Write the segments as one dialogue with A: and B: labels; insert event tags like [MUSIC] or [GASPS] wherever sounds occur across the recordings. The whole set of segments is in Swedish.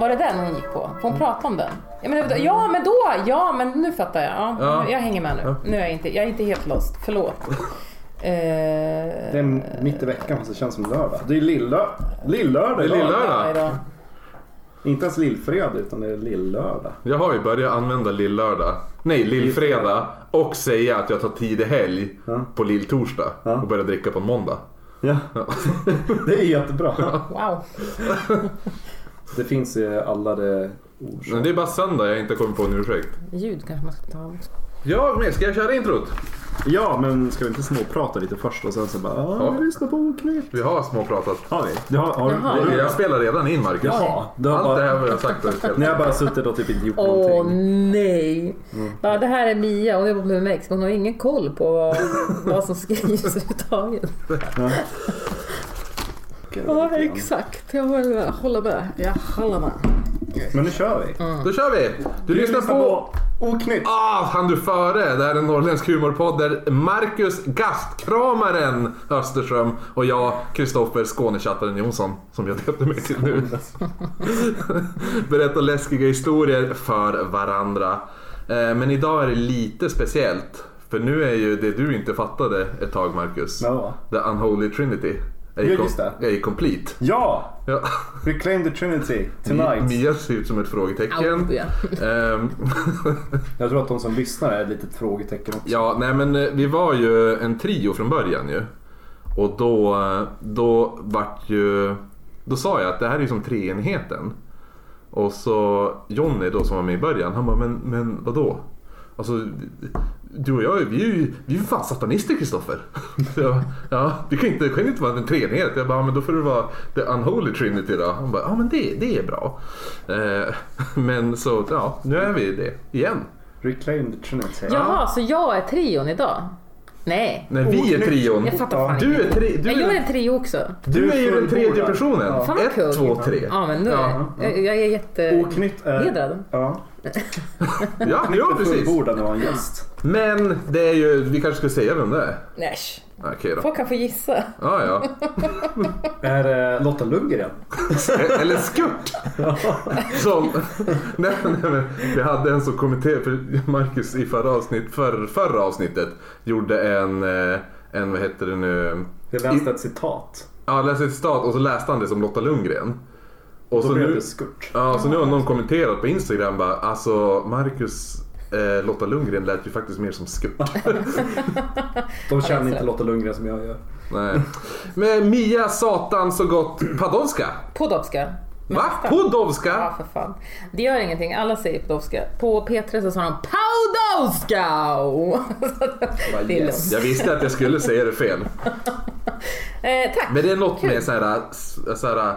A: Var det den hon gick på? För hon pratade om den. Ja men, det- ja men då, ja men nu fattar jag. Ja,
B: Ja.
A: nu- Jag hänger med nu.
B: Ja.
A: Nu är jag inte, jag är inte helt lost,
B: [LAUGHS]
A: förlåt. Eh,
C: Det är mitt i veckan fast det känns som lördag. Det är lillö- lillördag
B: Det är
C: idag.
B: lillördag.
A: ja, idag.
C: Inte ens lillfredag utan det är lillördag.
B: Jag har ju börjat använda lillördag, nej lillfredag och säga att jag tar tidig helg
C: Ja.
B: på lilltorsdag
C: Ja.
B: och börjar dricka på måndag.
C: Ja. [LAUGHS] det är jättebra.
A: Wow.
C: Det finns i alla det ord.
B: Men det är bara söndag jag inte kommer på en ursäkt.
A: Ljud kanske man ska ta av också.
B: Jag med, ska jag köra introt?
C: Ja, men ska vi inte småprata lite först och sen så bara ja. vi lyssnar på oknytt.
B: Vi har småpratat.
C: Har vi? Du har, har,
A: Jaha.
C: du-
B: Jag spelar redan in Marcus.
C: Jaha. Du har
B: Allt det
C: bara,
B: här har jag sagt. förut.
C: ni har bara suttit och typ inte gjort
A: Åh
C: någonting.
A: nej!
B: Mm.
A: Ja, det här är Mia, hon jobbar på MX men hon har ingen koll
B: [LAUGHS]
A: på vad, vad som skrivs överhuvudtaget. Ja exakt, jag håller håller med. Jag håller med.
C: Men nu kör vi.
B: Då kör vi! Du lyssnar på
C: Oknytt.
B: Ah, han du före! Det här är en norrländsk humorpodd där Marcus Gastkramaren Österström och jag, Kristoffer Skånechattaren Jonsson, som jag döpte mig till nu, [LAUGHS] berättar läskiga historier för varandra. Eh, Men idag är det lite speciellt, för nu är ju det du inte fattade ett tag Marcus,
C: Ja.
B: The Unholy Trinity, är
C: Ja,
B: ju
C: just det.
B: kom- är ju complete.
C: Ja!
B: Ja.
C: Reclaim the Trinity tonight.
B: [LAUGHS] Mia ser ut som ett frågetecken.
A: Out, ja.
B: Ehm, [LAUGHS]
C: Jag tror att de som lyssnar är ett litet frågetecken också.
B: Ja, nej men eh, vi var ju en trio från början ju. Och då, eh, då vart ju... Då sa jag att det här är ju som treenigheten. Och så Jonny då som var med i början, han bara men, men vadå? Alltså du och jag, vi är ju, vi är ju fan satanister Kristoffer. [LAUGHS] Så jag bara, Ja, vi kan inte, det kan inte vara en treenhet. Jag bara, "Ja, men då får det vara the unholy trinity då. Han bara, ja men det, det är bra. Eh, [LAUGHS] men så, ja, nu är vi det igen.
C: Reclaim the Trinity.
A: Jaha, så jag är trion idag? Nej,
B: När vi är
C: Osnyggt.
B: trion.
A: jag fattar fan
B: Mm. Du är,
A: ingenting.
B: tre, du,
A: Nej, Jag är
B: är,
A: en trio också.
B: du är ju den tredje
C: fullbordad.
B: personen.
C: Ja.
A: Fan vad kul.
B: Ett, två, tre.
A: Ja men nu,
B: Ja.
A: jag, jag är jätte...
C: Oknytt är...
A: Hedrad.
C: Ja.
B: Ja,
C: [LAUGHS]
B: ja, precis.
C: Fullbordad var en gäst.
B: Men det är ju, vi kanske ska säga vem det är.
A: Näsch,
B: Okej då.
A: folk kan få gissa.
B: Ja,
A: [LAUGHS]
B: ja.
C: Är det Lotta Lundgren?
B: Eller Skurt. Som, [LAUGHS] nej, nej, men, vi hade en som kommenterade, för Marcus i förra, avsnitt, för, förra avsnittet gjorde en, eh, en vad heter det nu,
C: Jag läste ett citat.
B: ja, han läste ett citat och så läste han det som Lotta Lundgren. Och
C: Då
B: så
C: blev
B: nu,
C: det skurt.
B: Ja, så nu har någon kommenterat på Instagram bara, alltså Marcus eh, Lotta Lundgren lät ju faktiskt mer som Skurt.
C: De känner inte Lotta Lundgren som jag gör.
B: Nej. Men Mia Satan så gott Podolska.
A: Podovska.
B: Va?
A: Ja,
B: Podolska?
A: för fan. Det gör ingenting, alla säger podovska. På P3 så sa de Paudowska! det är lugnt.
B: Jag visste att jag skulle säga det fel.
A: Eh, tack!
B: Men det är något med så här, så här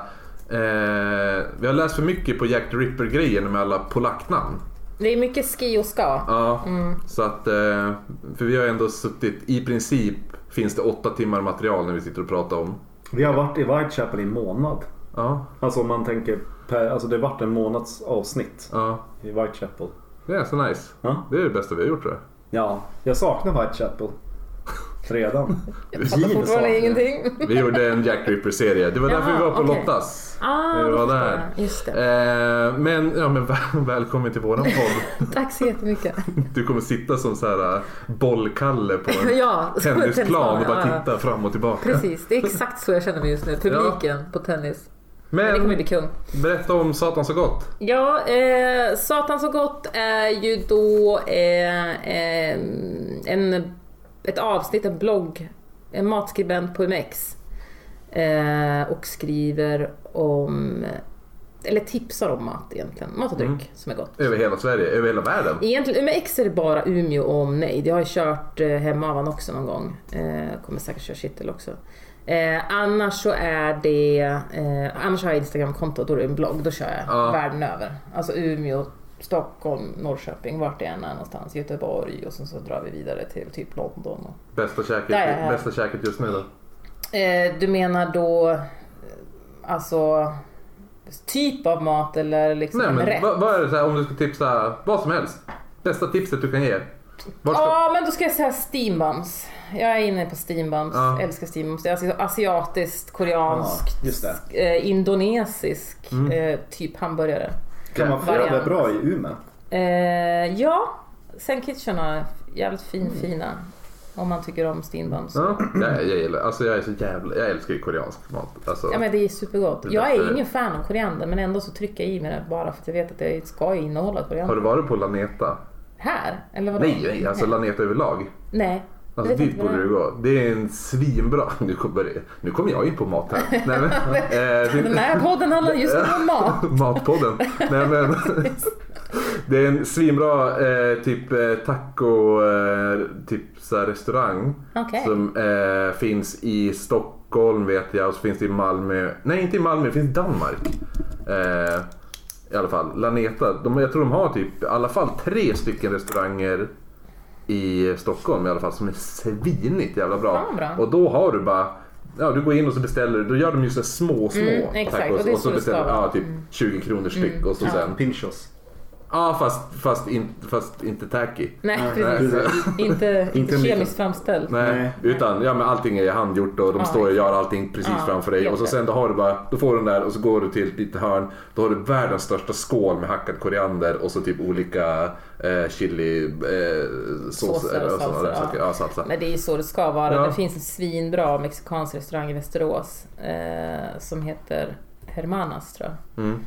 B: eh, vi har läst för mycket på Jack the Ripper grejen med alla polacknamn.
A: Det är mycket ski och ska.
B: Ja,
A: Mm.
B: så att, eh, för vi har ändå suttit, i princip finns det åtta timmar material när vi sitter och pratar om.
C: Vi har varit i Whitechapel i en månad.
B: Ja,
C: Alltså om man tänker per, alltså det vart en månads avsnitt
B: ja.
C: i Whitechapel.
B: Det är så nice.
C: Ja.
B: Det är det bästa vi har gjort tror jag.
C: Ja, jag saknar Whitechapel. Redan.
A: Jag fattar
C: Givet
A: fortfarande
C: saknar.
A: ingenting.
B: [LAUGHS] Vi gjorde en Jack Ripper-serie. Det var
A: Jaha,
B: därför vi var på
A: okej.
B: Lottas.
A: Ah,
B: Vi var
A: det
B: där.
A: förstår jag. Just det.
B: Eh, men, ja, men väl, välkommen till våran
A: [LAUGHS]
B: podd.
A: Tack
B: [LAUGHS]
A: så jättemycket.
B: Du kommer sitta som så här eh, bollkalle på en
A: [LAUGHS] Ja, som en
B: tennisplan och bara
A: tennisplan, ja.
B: titta fram och tillbaka.
A: Precis, det är exakt så jag känner mig just nu. Publiken på tennis. Men det kommer bli
B: Men
A: kul.
B: berätta om Satan så gott.
A: Ja, eh, Satan så gott är ju då eh, eh, en, ett avsnitt, en blogg, en matskribent på MX. Eh, och skriver om, eller tipsar om mat egentligen. Mat och dryck som är gott.
B: Över hela Sverige, över hela världen.
A: Egentligen, med X är det bara Umeå och omnejd. Jag har kört eh, Hemavan också någon gång. Eh, kommer säkert köra Kittel också. Eh, annars så är det, eh, annars har jag Instagramkonto, då är det en blogg. Då kör jag
B: Ja.
A: världen över. Alltså Umeå, Stockholm, Norrköping, vart det än är någonstans. Göteborg och sen så drar vi vidare till typ London. Och,
B: Bästa käket,
A: Där är jag.
B: bästa käket just nu då?
A: eh, du menar då, eh, alltså typ av mat eller liksom
B: Nej, men,
A: rätt?
B: vad, vad är det så här, om du ska tipsa vad som helst? Bästa tipset du kan ge? Vart ska...
A: Ja, men då ska jag säga steambombs. Jag är inne på steambombs.
B: Ja.
A: Älskar steambombs. Det är alltså asiatiskt, koreanskt,
C: Ja, just det.
A: eh, indonesisk
B: Mm.
A: eh, typ hamburgare.
C: Kan man få
A: Variant.
C: det bra i Umeå?
A: Eh, ja, sen Kitchen har jävligt fin, fina. Om man tycker om steambombs.
B: Mm. Ja, jag, jag gillar, alltså jag är så jävla, jag älskar ju koreansk mat. Alltså,
A: Ja men det är supergott. Jag
B: därför-
A: är ingen fan av koriander men ändå så trycker jag i mig det bara för att jag vet att det ska ju innehålla
B: Har
A: koriander.
B: du varit på Laneta?
A: Här? Eller vadå?
B: Nej, nej, alltså Laneta överlag.
A: Nej. Jag
B: Alltså
A: vet
B: dit
A: inte vad
B: borde
A: det är.
B: du gå. Det är en svinbra... [LAUGHS] Nu kommer, det- nu kommer jag in på mat
A: [LAUGHS]
B: här. Nej, men, eh, det-
A: Den här podden handlar just
B: [LAUGHS]
A: om mat.
B: Matpodden. Nej
A: [LAUGHS]
B: men. Det är en svinbra eh, typ eh, taco eh, typ så här restaurang.
A: Okej.
B: Som eh, finns i Stockholm vet jag och så finns det i Malmö. Nej inte i Malmö, det finns i Danmark. Eh, I alla fall. Laneta. De, jag tror de har typ i alla fall tre stycken restauranger i Stockholm i alla fall som är svinigt jävla bra.
A: Fan, bra.
B: Och då har du bara Ja, du går in och så beställer du. Då gör de ju så här små, små
A: Mm, exakt.
B: tacos.
A: Och det är
B: Och så
A: så det
B: beställer
A: ska vara. Mm.
B: ja, typ 20 kronor styck. Och så sen
C: Pinchos.
B: Ja, fast, fast, in, fast inte tacky.
A: Nej, precis.
B: Nej,
A: Inte, inte
C: mycket.
A: kemiskt framställd.
B: nej,
C: Nej.
B: utan ja, men allting är handgjort och de
A: Ja,
B: står och gör allting precis
A: Ja,
B: framför dig.
A: helt
B: Och så
A: rätt.
B: sen då har du bara, då får du den där och så går du till ett litet hörn. Då har du världens största skål med hackad koriander och så typ olika eh, chili eh, såser
A: Såser och
B: och sådana där
A: salsor,
B: saker.
A: ja.
B: Ja, salsa.
A: Men det är ju så det ska vara.
B: Ja.
A: Det finns en svinbra mexikansk restaurang i Västerås eh, som heter Hermanas tror jag.
B: Mm.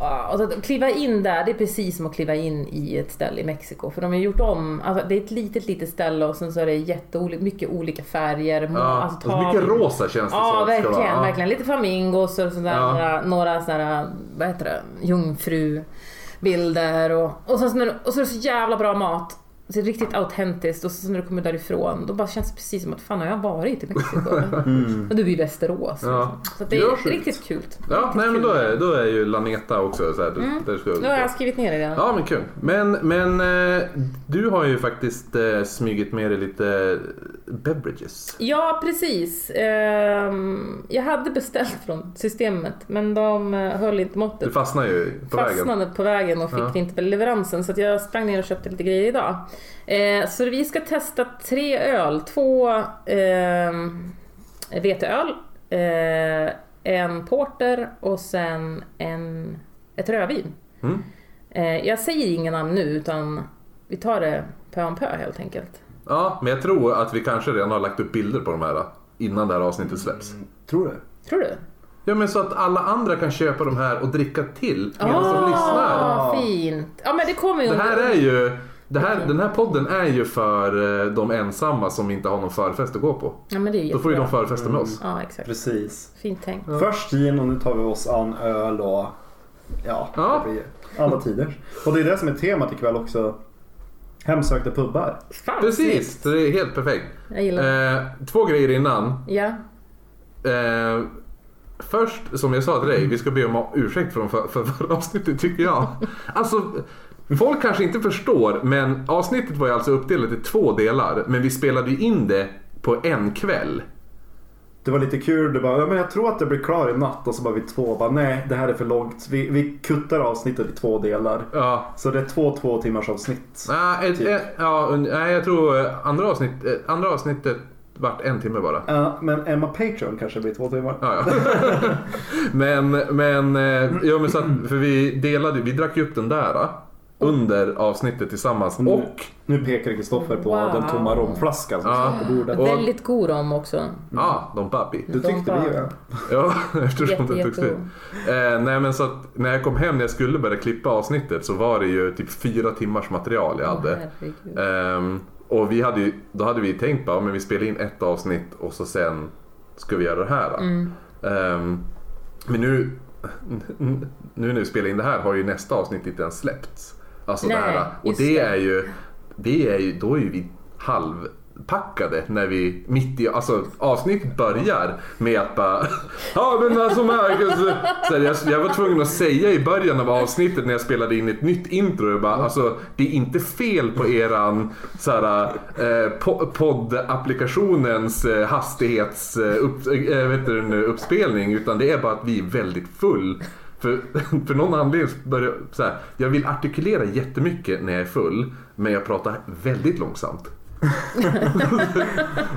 A: Ja, Och att kliva in där, det är precis som att kliva in i ett ställe i Mexiko. För de har gjort om, alltså, det är ett litet, litet ställe och sen så är det jätteolika, mycket olika färger.
B: Ja,
A: alltså,
B: och så
A: tak-
B: mycket rosa känns det som
A: Ja,
B: att det ska
A: verkligen.
B: vara. Ja.
A: verkligen. Lite flamingos och sådär,
B: Ja.
A: några, några sådär, vad heter det, jungfrubilder. Och, och, sen så när, du- och så är det så jävla bra mat. Så det är riktigt autentiskt och så när du kommer därifrån då bara känns det precis som att fan har jag varit i
B: [LAUGHS]
A: Mexiko? Men du är ju i Västerås.
B: Mm. Ja.
A: Liksom. Så att det
B: Gör
A: är
B: sjukt.
A: riktigt kul.
B: Ja, nej men då är, då är ju Laneta också så här, där ska jag
A: Nu har jag skrivit ner det redan.
B: Ja men kul. Men, men eh, du har ju faktiskt eh, smugit med dig lite beverages.
A: Ja, precis. Ehm, jag hade beställt från systemet men de eh, höll inte måttet.
B: Du fastnar ju på vägen.
A: fastnade på vägen och fick
B: Ja.
A: inte leveransen så att jag sprang ner och köpte lite grejer idag. Eh, så vi ska testa tre öl. Två eh, veteöl, eh, en porter och sen en, ett rödvin.
B: Mm.
A: Eh, jag säger ingen namn nu utan vi tar det pö om pö helt enkelt.
B: Ja, men jag tror att vi kanske redan har lagt upp bilder på de här äh, innan det här avsnittet släpps.
C: Tror du?
A: Tror du?
B: Ja men så att alla andra kan köpa de här och dricka till medan de lyssnar.
A: Ah, fint! Ja men det kommer ju
B: Det
A: under-
B: här är ju, det här, den här podden är ju för eh, de ensamma som inte har någon förfest att gå på.
A: Ja men det är
B: Då får ju de
A: jättebra.
B: förfesta med oss.
A: Ja exakt.
C: Precis.
A: Fint tänkt.
C: Först gin och nu tar vi oss an öl och ja,
B: Ja.
C: Det blir alla tider. Och det är det som är temat ikväll också. Hemsökta pubbar.
A: Fan, snyggt.
B: Precis, så det är helt perfekt.
A: Jag gillar det.
B: Eh, två grejer innan.
A: Ja.
B: Eh, först, som jag sa till dig, vi ska be om ursäkt från för, för förra avsnittet tycker jag. Alltså, folk kanske inte förstår, men avsnittet var ju alltså uppdelat i två delar. Men vi spelade ju in det på en kväll.
C: Det var lite kul. Du bara, ja, men jag tror att det blir klar i natt. Och så bara vi två bara, nej det här är för långt. Vi, vi kuttar avsnittet i två delar.
B: Ja.
C: Så det är två två timmars avsnitt.
B: Nej, Ah, ett,
C: Typ.
B: ett, ja, un- nej, jag tror eh, andra, avsnitt, eh, andra avsnittet vart en timme bara.
C: Ja, men Emma Patreon kanske blir två timmar.
B: Ja, [LAUGHS] ja. men, men, eh, ja, men så att, för vi delade, vi drack ju upp den där eh, under avsnittet tillsammans.
C: Mm.
B: Och
C: Nu pekar Kristoffer på
A: Wow.
C: den tomma romflaskan som
B: Ja.
C: står på bordet.
B: Och-
A: Väldigt god rom också.
B: Ja, Don Papi.
C: Du tyckte vi ju.
B: Ja, [LAUGHS] eftersom
A: Jätte,
B: det tog slut.
A: jättegod.
B: Eh, nej men så att när jag kom hem när jag skulle börja klippa avsnittet så var det ju typ fyra timmars material jag hade.
A: Herregud.
B: Ehm, och vi hade ju, då hade vi tänkt bara, men vi spelar in ett avsnitt och så sen ska vi göra det här. då.
A: Mm.
B: Ehm, men nu, nu när vi spelar in det här har ju nästa avsnitt inte ens släppts. Alltså det
A: Nej,
B: här. Och
A: just
B: det
A: det.
B: är ju, det är ju, då är ju vi halvpackade när vi mitt i, alltså avsnitt börjar med att bara [LAUGHS] Ja men alltså Marcus, så här, jag, jag var tvungen att säga i början av avsnittet när jag spelade in ett nytt intro jag bara, alltså det är inte fel på eran så här, eh, po- poddapplikationens eh, hastighets eh, upp, eh, vad heter det nu, uppspelning utan det är bara att vi är väldigt full För, [LAUGHS] för någon anledning så börjar jag så här, jag vill artikulera jättemycket när jag är full men jag pratar väldigt långsamt.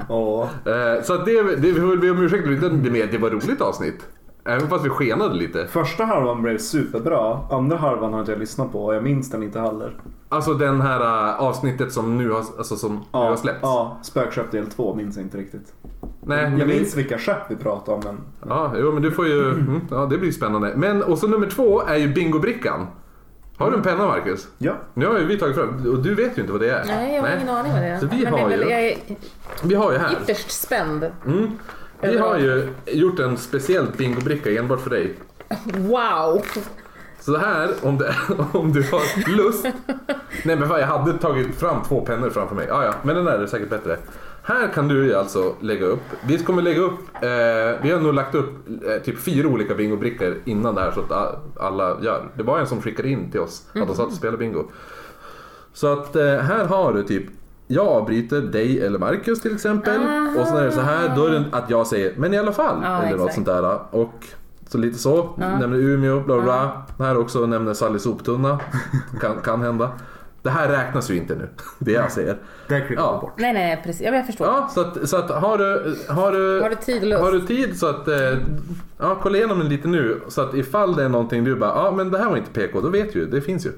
C: Ja.
B: Eh, så att det, det vi får väl be om ursäkt lite mer, det var ett roligt avsnitt. Även fast vi skenade lite.
C: Första halvan blev superbra. Andra halvan har inte jag lyssnat på och jag minns den inte heller.
B: Alltså den här eh, avsnittet som nu har, alltså, som nu har släppts.
C: Ja, Spökskepp del 2 minns jag inte riktigt.
B: Nej,
C: Jag
B: men-
C: minns vilka skepp vi pratade om men...
B: Ja, jo, men du
C: [CLEARS THROAT]
B: får ju... Mm, ja, det blir spännande. Men och så nummer två är ju bingobrickan. Har du en penna Marcus?
C: Ja.
B: Nu har ju vi tagit fram och du vet ju inte vad det är.
A: Nej, jag har ingen aning vad det är.
B: Så vi
A: Men det är
B: har ju-
A: väl- Jag är
B: Vi har ju här.
A: ytterst spänd.
B: Mm. Vi har ju gjort en speciell bingobricka enbart för dig.
A: Wow!
B: Så det här, om, det, [LAUGHS] om du har lust. Nej men fan, jag hade tagit fram två pennor framför mig. Ah, ja, men den där är säkert bättre. Här kan du ju alltså lägga upp. Vi kommer lägga upp, eh, vi har nog lagt upp eh, typ fyra olika bingobrickor innan det här så att a- alla gör. Det var en som skickade in till oss att de satt och spelade bingo. Så att eh, här har du typ jag avbryter dig eller Marcus till exempel. Och sen är det så här, då är det att jag säger men i alla fall.
A: Ja,
B: eller något
A: exakt.
B: sånt där. Och så lite så. Nämner Umeå, bla bla. Här också nämner Sally soptunna. kan, kan hända. Det här räknas ju inte nu. Det jag säger.
C: Det klipper
B: Ja.
C: vi bort.
A: Nej, nej, precis. Ja, men jag förstår.
B: Ja, så att, så att har, du, har du...
A: Har du tid och lust?
B: Har du tid så att... eh, Ja, kolla igenom den lite nu. Så att ifall det är någonting du bara, ja men det här var inte PK, då vet du ju. Det finns ju.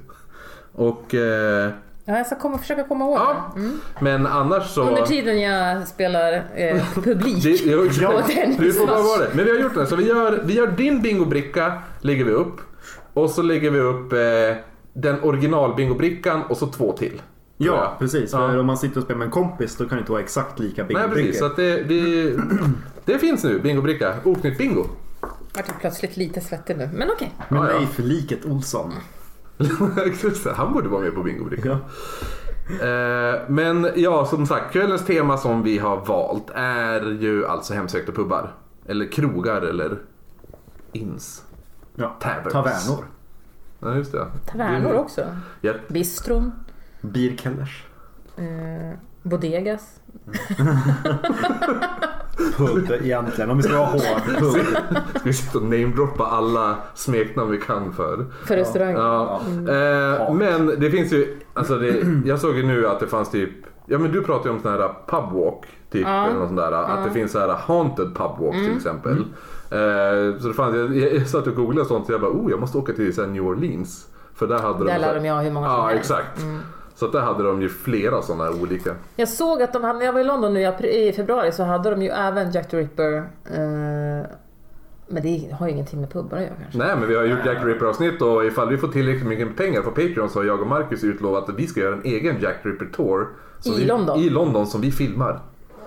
B: Och... Eh,
A: Ja, jag ska komma, försöka komma ihåg
B: ja.
A: det. Mm.
B: Men annars så...
A: Under tiden jag spelar eh,
B: [LAUGHS]
A: publik.
B: Det, jag, [LAUGHS]
C: Ja,
A: den
B: du får
A: är
B: bara
A: smart.
B: vara det. Men vi har gjort det. Så vi gör, vi gör din bingobricka, lägger vi upp. Och så lägger vi upp eh, den original bingobrickan och så två till. tror
C: Ja,
B: jag.
C: precis.
B: Ja.
C: För om man sitter och spelar med en kompis då kan det inte vara exakt lika
B: Nej, precis. Så
C: bingobrickor.
B: att det, vi, det finns nu, bingobricka. Oknytt bingo. [LAUGHS]
A: Jag vart plötsligt lite svettig nu, men okej.
C: Men
B: Ja, ja.
C: nej för liket Olsson.
B: Han borde vara med på bingobrickan.
C: Ja.
B: Eh, men ja, som sagt, kvällens tema som vi har valt är ju alltså hemsökta pubbar. Eller krogar eller ins.
C: Ja.
B: Taverns.
C: Tavernor.
B: Ja, just det.
A: Tavernor
B: Du-
A: också.
B: Ja,
A: Bistron.
C: Birkellers.
A: Eh, bodegas.
C: Pub egentligen, om vi ska vara hård. Pub.
B: Ska vi sitta och namedroppa alla smeknamn vi kan för?
A: För restaurang.
B: Ja. Eh, men det finns ju, alltså det, jag såg ju nu att det fanns typ, ja men du pratade ju om sån här pubwalk typ
A: Ja. Mm.
B: eller något sånt där. Att det finns så här haunted pubwalk till exempel. Eh, så det fanns, jag, jag, jag satt och googlade sånt och jag bara, oh jag måste åka till så här, New Orleans. För där hade de...
A: Där
B: så här-
A: lär de ju Mm. ha hur många som
B: Ja
A: helst.
B: exakt. Så att där hade de ju flera sådana olika.
A: Jag såg att de hade, när jag var i London nu i apr- i februari så hade de ju även Jack the Ripper. Eh, men det har ju ingenting med pubbar att göra kanske.
B: Nej men vi har gjort Jack the Ripper avsnitt och ifall vi får tillräckligt mycket pengar på Patreon så har jag och Marcus utlovat att vi ska göra en egen Jack the Ripper Tour. som
A: I
B: vi,
A: London?
B: I London som vi filmar.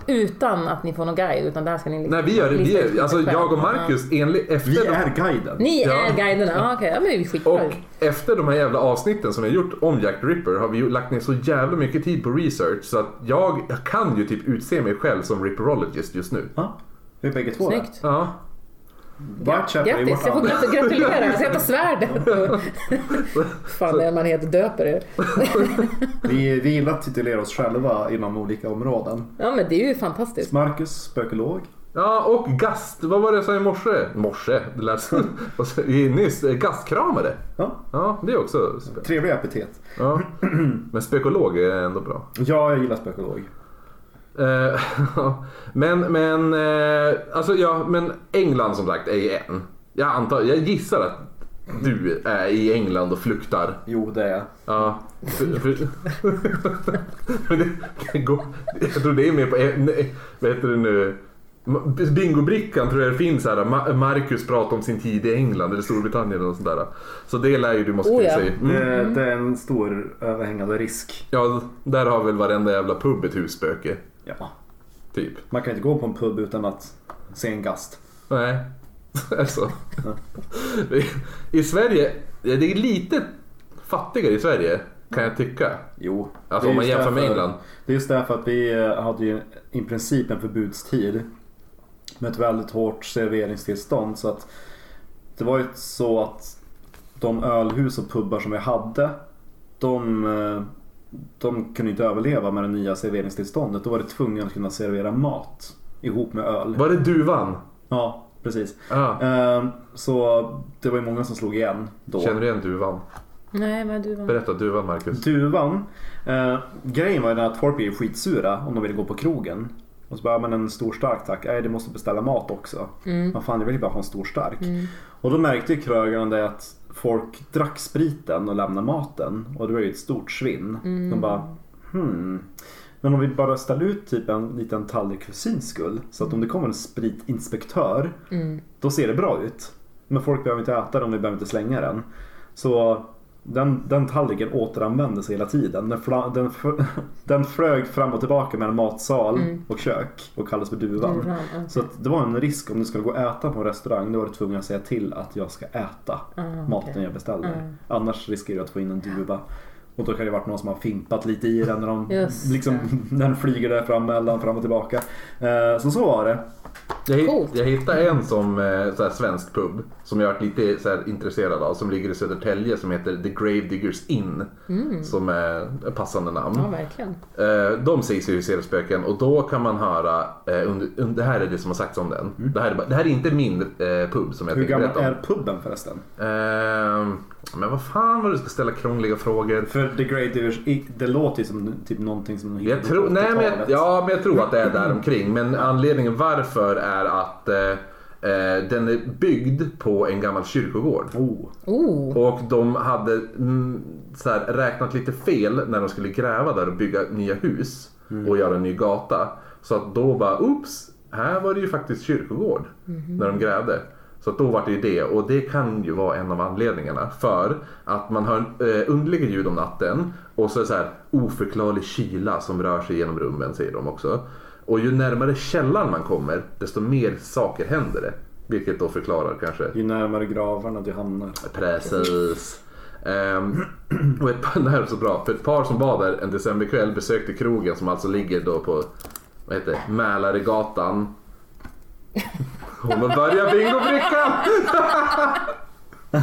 A: Utan att ni får någon guide, utan där ska ni liksom
B: Nej vi gör vi
A: lista ut
B: är, alltså
A: själva.
B: jag och
A: Ja.
B: Marcus enligt, efter,
C: Vi
B: de-
C: är guiden.
A: Ni
B: Ja.
A: är guiderna, ah, okej. Ja men det är ju skitbra ju.
B: och efter de här jävla avsnitten som vi har gjort om Jack the Ripper har vi ju lagt ner så jävla mycket tid på research så att jag, jag kan ju typ utse mig själv som ripperologist just nu.
C: Ja, vi är bägge två där.
A: Snyggt.
B: Ja,
C: Whitechapel är vårt
A: Grattis, jag får
C: andra.
A: grat- gratulera. Sätta
B: [LAUGHS]
A: svärdet. Fan, det är man heter döper er.
C: Vi, vi gillar att titulera oss själva inom olika områden.
A: Ja men det är ju fantastiskt.
C: Marcus, spökolog.
B: ja och gast, vad var det jag sa i morse? Morse? Det lät [LAUGHS] som... vad sa- Nyss, eh, gastkramare.
C: Ja,
B: Ja, det är också spe-
C: trevliga epitet.
B: Ja. Men spekolog är ändå bra.
C: Ja, jag gillar spökolog.
B: Eh, [LAUGHS] men, men, eh, alltså, ja, men England som sagt är ju en. Jag, antar, jag gissar att du är i England och fluktar.
C: Jo, det är
B: Ja. För, för, [LAUGHS] men det, det går, jag tror det är mer på... Nej, vad heter det nu? Ma- Bingobrickan tror jag det finns här. Ma- Marcus pratar om sin tid i England eller Storbritannien eller sånt där. Så det lär ju du måste
A: Oh,
B: kunna
A: ja.
B: säga. Mm.
C: det. Det är en stor överhängande risk.
B: Ja, där har väl varenda jävla pub ett husspöke.
C: Ja.
B: Typ.
C: Man kan inte gå på en pub utan att se en gast.
B: Nej, [LAUGHS] alltså. I Sverige, det är lite fattigare i Sverige kan jag tycka.
C: Jo.
B: Alltså
C: Det är
B: om man
C: just
B: jämför med
C: därför-
B: England.
C: Det är just därför att vi eh, hade ju i princip en förbudstid. Med ett väldigt hårt serveringstillstånd. Så att det var ju så att de ölhus och pubbar som vi hade. De, eh, de kunde inte överleva med det nya serveringstillståndet. Då var det tvungna att kunna servera mat ihop med öl.
B: Var det duvan?
C: Ja, precis.
B: Ah,
C: Ehm, Så det var ju många som slog igen då.
B: känner du igen duvan?
A: Nej, men du var...
B: Berätta duvan Marcus.
C: Duvan. Eh, grejen var ju den att folk blev skitsura om de ville gå på krogen. Och så bara, men en stor stark tack. Nej, du måste beställa mat också.
A: Mm.
C: Vad fan, jag vill ju bara ha en stor stark.
A: Mm.
C: Och då märkte ju krögarna det att folk drack spriten och lämnade maten. Och det var ju ett stort svinn.
A: Mm.
C: De bara, hmm. Men om vi bara ställer ut typ en liten tallrik för syns skull. Så att om det kommer en spritinspektör
A: Mm.
C: då ser det bra ut. Men folk behöver inte äta den, vi behöver inte slänga den. Så den, den tallriken återanvändes hela tiden. Den, fla, den, f- [LAUGHS] den flög fram och tillbaka mellan matsal
A: Mm.
C: och kök och kallades för duvan.
A: Duvan. ja.
C: Så att det var en risk om du skulle gå och äta på en restaurang. Då var du tvungen att säga till att jag ska äta
A: Ah,
C: maten
A: okej.
C: jag beställer.
A: Mm.
C: Annars riskerar du att få in en duva. Och då kan det varit någon som har fimpat lite i den när, de,
A: [LAUGHS] Just
C: liksom, [LAUGHS] när den flyger där fram, eldan fram och tillbaka. Eh, Så så var det.
B: Jag, hit-
A: Coolt.
B: jag hittade en som eh, så här, svensk pub som jag har varit lite så här, intresserad av som ligger i Södertälje som heter The Gravediggers Inn.
C: Mm.
B: Som är ett passande namn.
A: Mm. Ja, verkligen.
B: Eh, de sägs ju se spöken och då kan man höra, eh, under, under, det här är det som har sagts om den. Det, här är, bara- det här är inte min eh, pub som
C: Mm. Hur
B: jag tänkte
C: gammal
B: berätta om.
C: är puben förresten?
B: Ehm, men vad fan vad du ska ställa krångliga frågor.
C: För The Great Divers, det låter ju som typ någonting som de
B: Jag
C: hittade
B: tror,
C: på
B: nej, men,
C: 80-talet.
B: ja, men jag tror att det är där omkring. Men anledningen varför är att eh, eh, den är byggd på en gammal kyrkogård.
C: Oh,
A: Oh,
B: Och de hade mm, så här, räknat lite fel när de skulle gräva där och bygga nya hus och göra en ny gata. Så att då bara, oops, här var det ju faktiskt kyrkogård när de grävde. Så att då var det ju det och det kan ju vara en av anledningarna. För att man hör eh, underliga ljud om natten och så är det så här oförklarlig kyla som rör sig genom rummen säger de också. Och ju närmare källan man kommer desto mer saker händer det. Vilket då förklarar kanske
C: ju närmare gravarna du hamnar.
B: Precis. Ehm, och ett par, [LAUGHS] det här är så bra, för ett par som var där en decemberkväll besökte krogen som alltså ligger då på vad heter det, Mälaregatan. Hon börjar bingobrickan!
A: det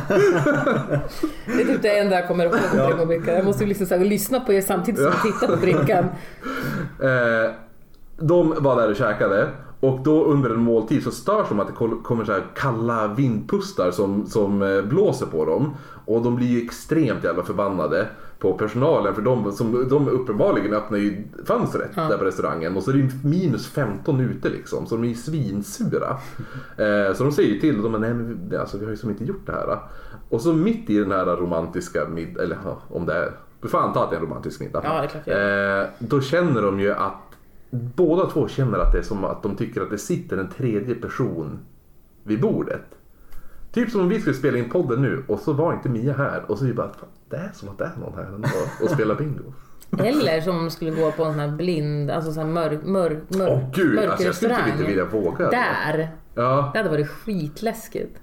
A: är typ det enda jag kommer ihåg om ja. brickan. Jag måste ju liksom så här, lyssna på er samtidigt som jag tittar
B: [LAUGHS]
A: på brickan.
B: Eh, de var där och käkade och då under en måltid så störs de att det kol- kommer så här kalla vindpustar som, som eh, blåser på dem. Och de blir ju extremt jävla förbannade på personalen för de, som, de uppenbarligen öppnar ju fönstret
A: Ja.
B: där på restaurangen och så är det ju minus 15 ute liksom så de är ju svinsura. Eh, så de säger ju till och de bara, nej men vi- alltså, vi har ju som inte gjort det här. då." Och så mitt i den här romantiska middagen, eller ja, om det är, du får anta att det är en romantisk middag.
A: Ja, det är klart det är.
B: Eh, Eh, då känner de ju att båda två känner att det är som att de tycker att det sitter en tredje person vid bordet. Typ som om vi skulle spela in podden nu och så var inte Mia här och så är vi bara "Fan, det är som att det är någon här ändå och spelar bingo.
A: Eller som om de skulle gå på en sån här blind, alltså sån här mörk, mörk, mörk,
B: [LAUGHS] Åh gud,
A: mörk
B: alltså, jag skulle typ inte vilja våga.
A: Där!
B: Ja,
A: Det hade varit skitläskigt.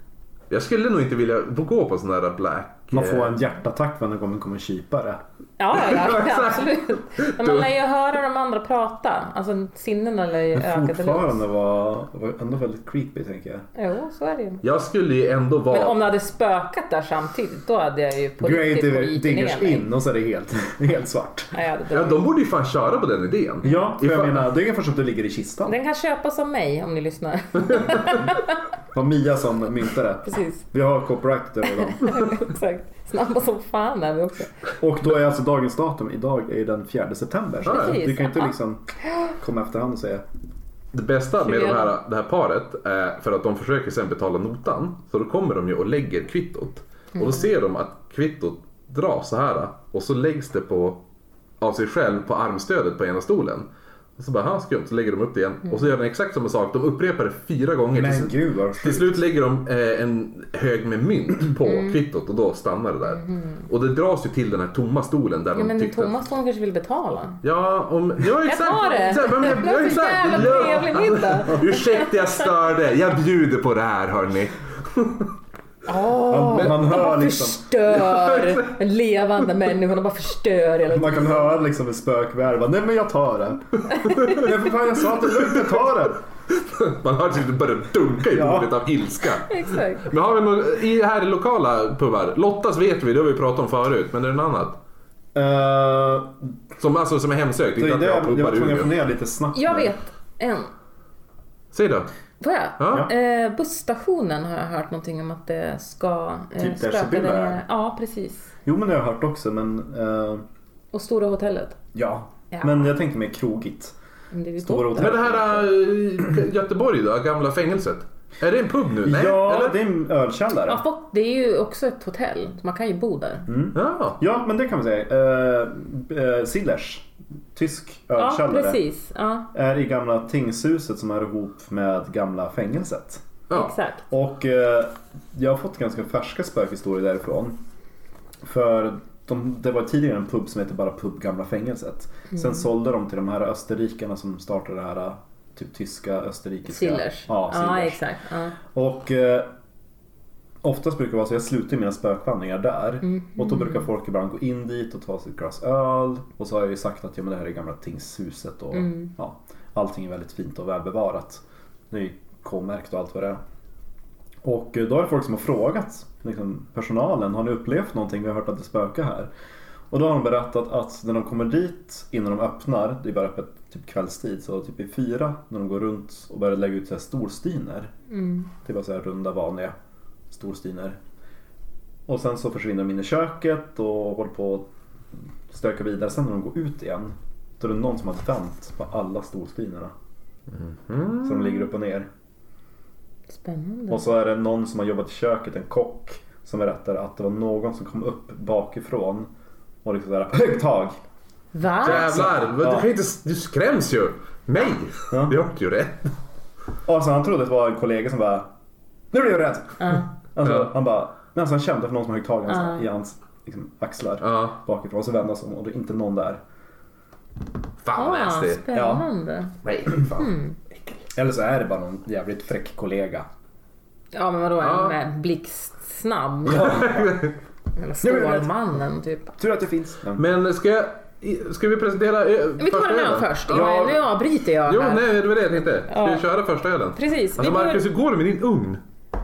B: jag skulle nog inte vilja gå på sån där black.
C: Man får
B: eh,
C: en hjärtattack när det kommer, kommer en kypare.
A: Ja, ja, [LAUGHS] ja
B: Exakt.
A: absolut. Men man lär ju höra de andra prata. Alltså sinnena lär ju öka till
C: Fortfarande var, var ändå väldigt creepy tänker jag.
A: Jo, så är det ju.
B: Jag skulle ju ändå vara...
A: Men om det hade spökat där samtidigt, då hade jag ju på
C: Great
A: riktigt
C: Diver-
A: skjutit ner
C: Diggers
A: mig.
C: in och så är det helt, [LAUGHS] helt svart.
A: Nej, jag hade
B: Ja,
A: dragit.
B: de borde ju fan köra på den idén.
C: Ja, för jag
B: Ifall-
C: menar det är ungefär som att du ligger i kistan. Det
A: Den kan köpas av mig om ni lyssnar. [LAUGHS]
C: var Mia som myntade det.
A: Precis,
C: Vi har copyright över
A: [LAUGHS]
C: dem.
A: exakt. Snabba som fan är vi också.
C: Och då är alltså dagens datum, idag är den 4 september. Så
B: Ja,
A: ja.
C: du kan ju inte
A: Ja.
C: liksom komma efterhand och säga
B: Det bästa med de här,
A: Fördelar.
B: det här paret är för att de försöker sen betala notan. Så då kommer de ju och lägger kvittot.
A: Mm.
B: Och då ser de att kvittot dras så här och så läggs det på, av sig själv på armstödet på ena stolen. Och så bara, "Ha, skumt, så lägger de upp det igen. Och så gör de exakt samma sak. De upprepar det fyra gånger.
C: Men
B: Till-
C: gud vad
B: till
C: sjukt.
B: slut lägger de eh, en hög med mynt på
A: Mm.
B: kvittot och då stannar det där. Och det dras ju till den här tomma stolen där
A: Ja,
B: de
A: men
B: tyckte att-
A: Thomas hon kanske vill betala.
B: Ja, om... Ja, exakt.
A: tar det.
B: Exakt, men,
A: Det var så jävla trevlig middag.
B: Ursäkta jag störde. Jag bjuder på det här hörni.
A: Åh,
C: Man- man hör
A: bara
C: liksom-
A: förstör [LAUGHS] en levande människa. De bara förstör hela tiden.
C: Man kan höra liksom en spökvärva. Nej men jag tar den.
A: [LAUGHS]
C: Nej för fan jag sa att det är lugnt, jag tar den.
B: Man hör typ det börjar dunka i
C: Ja.
B: bordet av ilska.
A: Exakt.
B: Men har vi någon, i, här i lokala pubar. Lottas vet vi, det har vi pratat om förut. Men är det något annat?
C: Eh,
B: Som, alltså, som är hemsökt.
C: det är
B: Inte att
C: det
B: vi har
C: jag
B: pubbar
C: var
B: i
C: tvungen att
B: Umeå.
C: fundera lite snabbt.
A: Jag
C: nu.
A: vet en.
B: Säg då.
A: Får jag?
B: Ja.
A: Eh, busstationen har jag hört någonting om att det ska eh,
C: Typ där
A: spöka
C: Sibylla
A: där
C: är.
A: nere. Ja, precis.
C: Jo men det har jag hört också men eh,
A: Och Stora hotellet.
C: ja.
A: Ja.
C: Men jag tänkte mer krogigt.
A: Men det är ju
C: Stora
A: gott där.
C: hotellet.
B: Men det här äh, Göteborg då, gamla fängelset. Är det en pub nu? Nej?
C: ja,
B: Eller?
C: det är en ölkällare.
A: Ja, folk- det är ju också ett hotell. så Man kan ju bo där.
C: Mm.
B: Ja.
C: Ja, men det kan man säga. Eh, eh, Sillers, tysk
A: ja,
C: ölkällare,
A: precis. Ja,
C: är i gamla tingshuset som är ihop med gamla fängelset.
B: ja.
A: exakt.
C: Och eh, jag har fått ganska färska spökhistorier därifrån. För de, det var tidigare en pub som hette bara Pub Gamla Fängelset. Sen sålde de till de här österrikarna som startade det här typ tyska, österrikiska.
A: Sillers.
C: Ja, Sillers.
A: exakt. Ja.
C: Och eh, oftast brukar det vara så jag slutar mina spökvandringar där. Och då brukar folk ibland gå in dit och ta sitt glas öl. Och så har jag ju sagt att ja, men det här är gamla tingshuset och ja, allting är väldigt fint och välbevarat. Det är ju K-märkt och allt vad det är. Och eh, då är det folk som har frågat liksom, personalen, har ni upplevt någonting? Vi har hört att det spökar här. Och då har de berättat att när de kommer dit innan de öppnar, det är bara öppet typ kvällstid, så typ i fyra när de går runt och börjar lägga ut så här storstiner.
A: Mm.
C: Det var så här runda vanliga storstiner. Och sen så försvinner de in i köket och håller på att stöka vidare. Sen när de går ut igen, då är det någon som har vänt på alla storstinerna.
B: Mhm.
C: Så de ligger upp och ner.
A: Spännande.
C: Och så är det någon som har jobbat i köket, en kock, som berättar att det var någon som kom upp bakifrån och liksom såhär högt tag.
A: Va?
B: Jävlar, men du,
C: Ja.
B: kan inte, du skräms ju. Mig!
C: Ja.
B: Det vart ju det.
C: Och så han trodde att det var en kollega som bara Nu blir jag rädd!
A: Ja.
C: Alltså,
B: Ja.
C: Han bara, men alltså, han kände för någon som högg tag i hans,
A: Ja.
C: i hans liksom, axlar
B: Ja.
C: bakifrån. Så vände han sig om och det är inte någon där.
B: Fan vad
A: Ah,
B: nasty.
A: spännande.
B: Nej, fan.
C: Eller så är det bara någon jävligt fräck kollega.
A: Ja, men vadå?
B: Ja.
A: En eh, blixtsnabb. Eller
C: Nu är det rätt.
A: Stålmannen, typ.
C: Tur att det finns. Ja.
B: [LAUGHS] Men ska, jag, i- ska vi presentera eh, ö,
A: Vi tar den här först. Ja. Nu avbryter jag
B: Jo,
A: här.
B: nej det var det jag tänkte. Ska
A: Ja.
B: vi köra första ölen?
A: Precis,
B: Alltså
A: vi bör-
B: Marcus, hur går det med din ugn?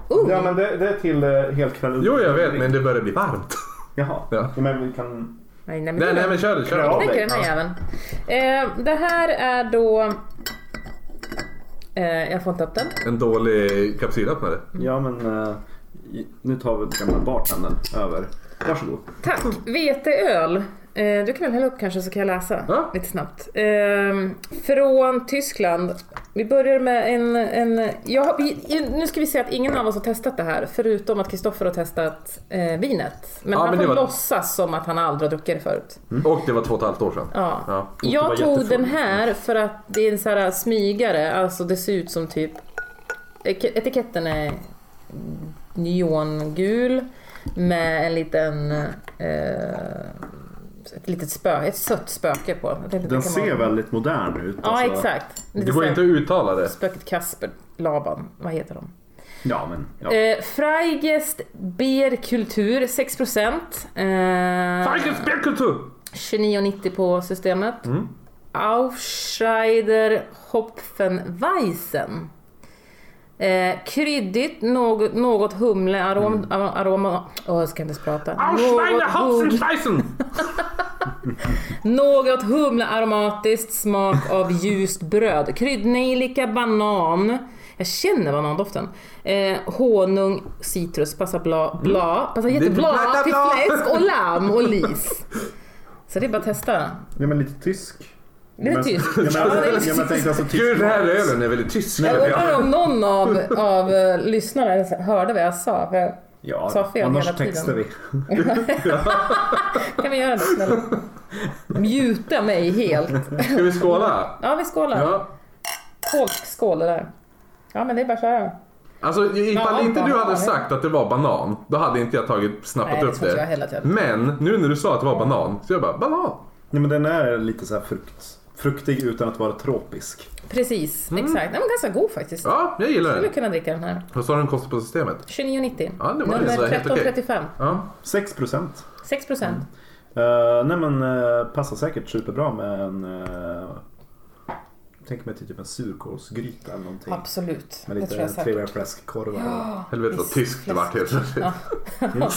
A: Oh,
C: Ja men det, det är till eh, helkvällen.
B: Jo, jag vet men det börjar bli
A: [LAUGHS]
B: varmt.
C: Jaha.
B: Ja.
C: Ja. men vi kan...
A: nej, nej, men
B: Nej,
A: det-
B: nej men kör det, kör
C: Ja.
B: det.
A: knäcker den här jäveln. Eh, det här är då... Eh, jag får inte upp den.
B: En dålig kapsylöppnare.
C: Ja men eh, i- nu tar vi gamla bartendern över. Varsågod.
A: Tack! Veteöl. Eh, du kan väl hälla upp kanske så kan jag läsa
B: Ja.
A: lite snabbt. Ehm, från Tyskland. Vi börjar med en... en jag har, vi, nu ska vi säga att ingen av oss har testat det här förutom att Kristoffer har testat eh, vinet. Men
B: Ja,
A: han
B: men det
A: får
B: var-
A: låtsas som att han aldrig har druckit det förut.
B: Och det var två och ett halvt år sedan.
A: Ja.
B: Ja.
C: det var
B: Och
A: Jag tog
C: jättefull.
A: den här för att det är en så här smygare, alltså det ser ut som typ Eke- Etiketten är neongul med en liten eh, ett litet spöke, ett sött spöke på. Jag tänkte att det
C: Den
A: kan
C: ser
A: vara-
C: väldigt modern ut.
A: Ja
C: alltså.
A: exakt.
B: Det
A: Lite
B: går
A: så här-
B: inte att uttala det.
A: Spöket Kasper, Laban, vad heter de?
C: Ja men. Ja.
A: Eh, Freigest Bierkultur 6%. Eh,
B: Vilken spelkultur!
A: 29,90 på systemet. Mm. Aufscheider Hopfenweizen. Eh, kryddigt, något, något humlearom, ar- aroma, åh jag ska inte ens prata.
B: Ausschneider
A: Något, hum,
B: Hopfenschweizen!
A: något humlearomatiskt smak av ljust bröd. Kryddnejlika, banan. Jag känner banandoften. Eh, honung, citrus, passar bla, bla. Passar jättebra
B: bla, bla,
A: till
B: bla.
A: fläsk och lamm och lis. Så det är bara att testa.
C: Ja men lite tysk.
A: Det är
C: Men-
A: tyst.
C: Ja, men, alltså,
A: Ja, det är
C: ja,
A: lite
C: men jag tänkte alltså tysk.
B: Gud, den här ölen är väldigt tysk.
A: Jag undrar om någon av, av eh, lyssnarna hörde vad jag sa. För jag,
C: Ja,
A: Sa fel
C: annars
A: hela tiden.
C: textar vi.
A: kan vi göra det snälla? Mjuta mig helt.
B: Ska vi skåla?
A: Ja, vi skålar.
B: Ja.
A: Polsk skål det där. Ja, men det är bara att köra.
B: Alltså ifall
A: Ja,
B: inte du hade
A: banan.
B: sagt att det var banan, då hade inte jag tagit, snappat
A: Nej, det
B: upp
A: tror
B: det. Mm.
A: inte jag heller att jag-
B: Men nu när du sa att det var banan, så jag bara banan.
C: Nej men den är lite så här frukt, fruktig utan att vara tropisk.
A: Precis, exakt. Den var ganska god faktiskt.
B: Ja, jag gillar
A: Skulle
B: det.
A: kunna dricka den här.
B: Vad sa den kostar på systemet?
A: 29,90.
B: Ja, det var ju
A: Nummer
B: så här, helt okej.
A: 1335.
B: Ja.
C: 6 procent.
A: 6 procent.
C: nej men eh, passar säkert superbra med en... eh, tänker mig till typ en surkålsgryta eller någonting.
D: Absolut,
C: Med
D: det tror
C: lite
D: jag säkert.
C: trevliga fläskkorvar.
D: Ja,
B: Helvete vad
D: visst,
B: tyst det vart helt plötsligt.
D: [LAUGHS] Ja.
C: Mm. [LAUGHS]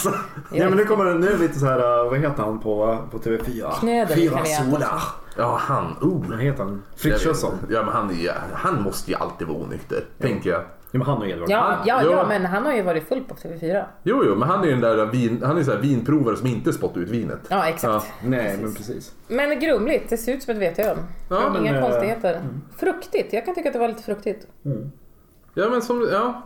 C: ja men nu kommer det, nu är det lite så här, eh, vad heter han på, på TV4?
D: Knödel kan vi äta.
C: Sola.
B: Ja, han. Oh.
C: Vad heter han?
B: Jag
C: Frithiofsson.
B: vet inte. Ja, men han, är, ju- han måste ju alltid vara onykter, tänker jag.
C: Ja men han och Edvard.
D: Ja, ja,
B: Ja.
D: ja, men han har ju varit full på TV4.
B: Jo, jo, men han är ju den där vin, han är så här vinprovare som inte spottar ut vinet.
D: Ja, exakt.
C: Nej men precis.
D: Men grumligt, det ser ut som ett veteöl.
B: Ja, men, mm.
D: Inga
C: eh,
D: konstigheter. Fruktigt, jag kan tycka att det var lite fruktigt.
B: ja, men som, ja.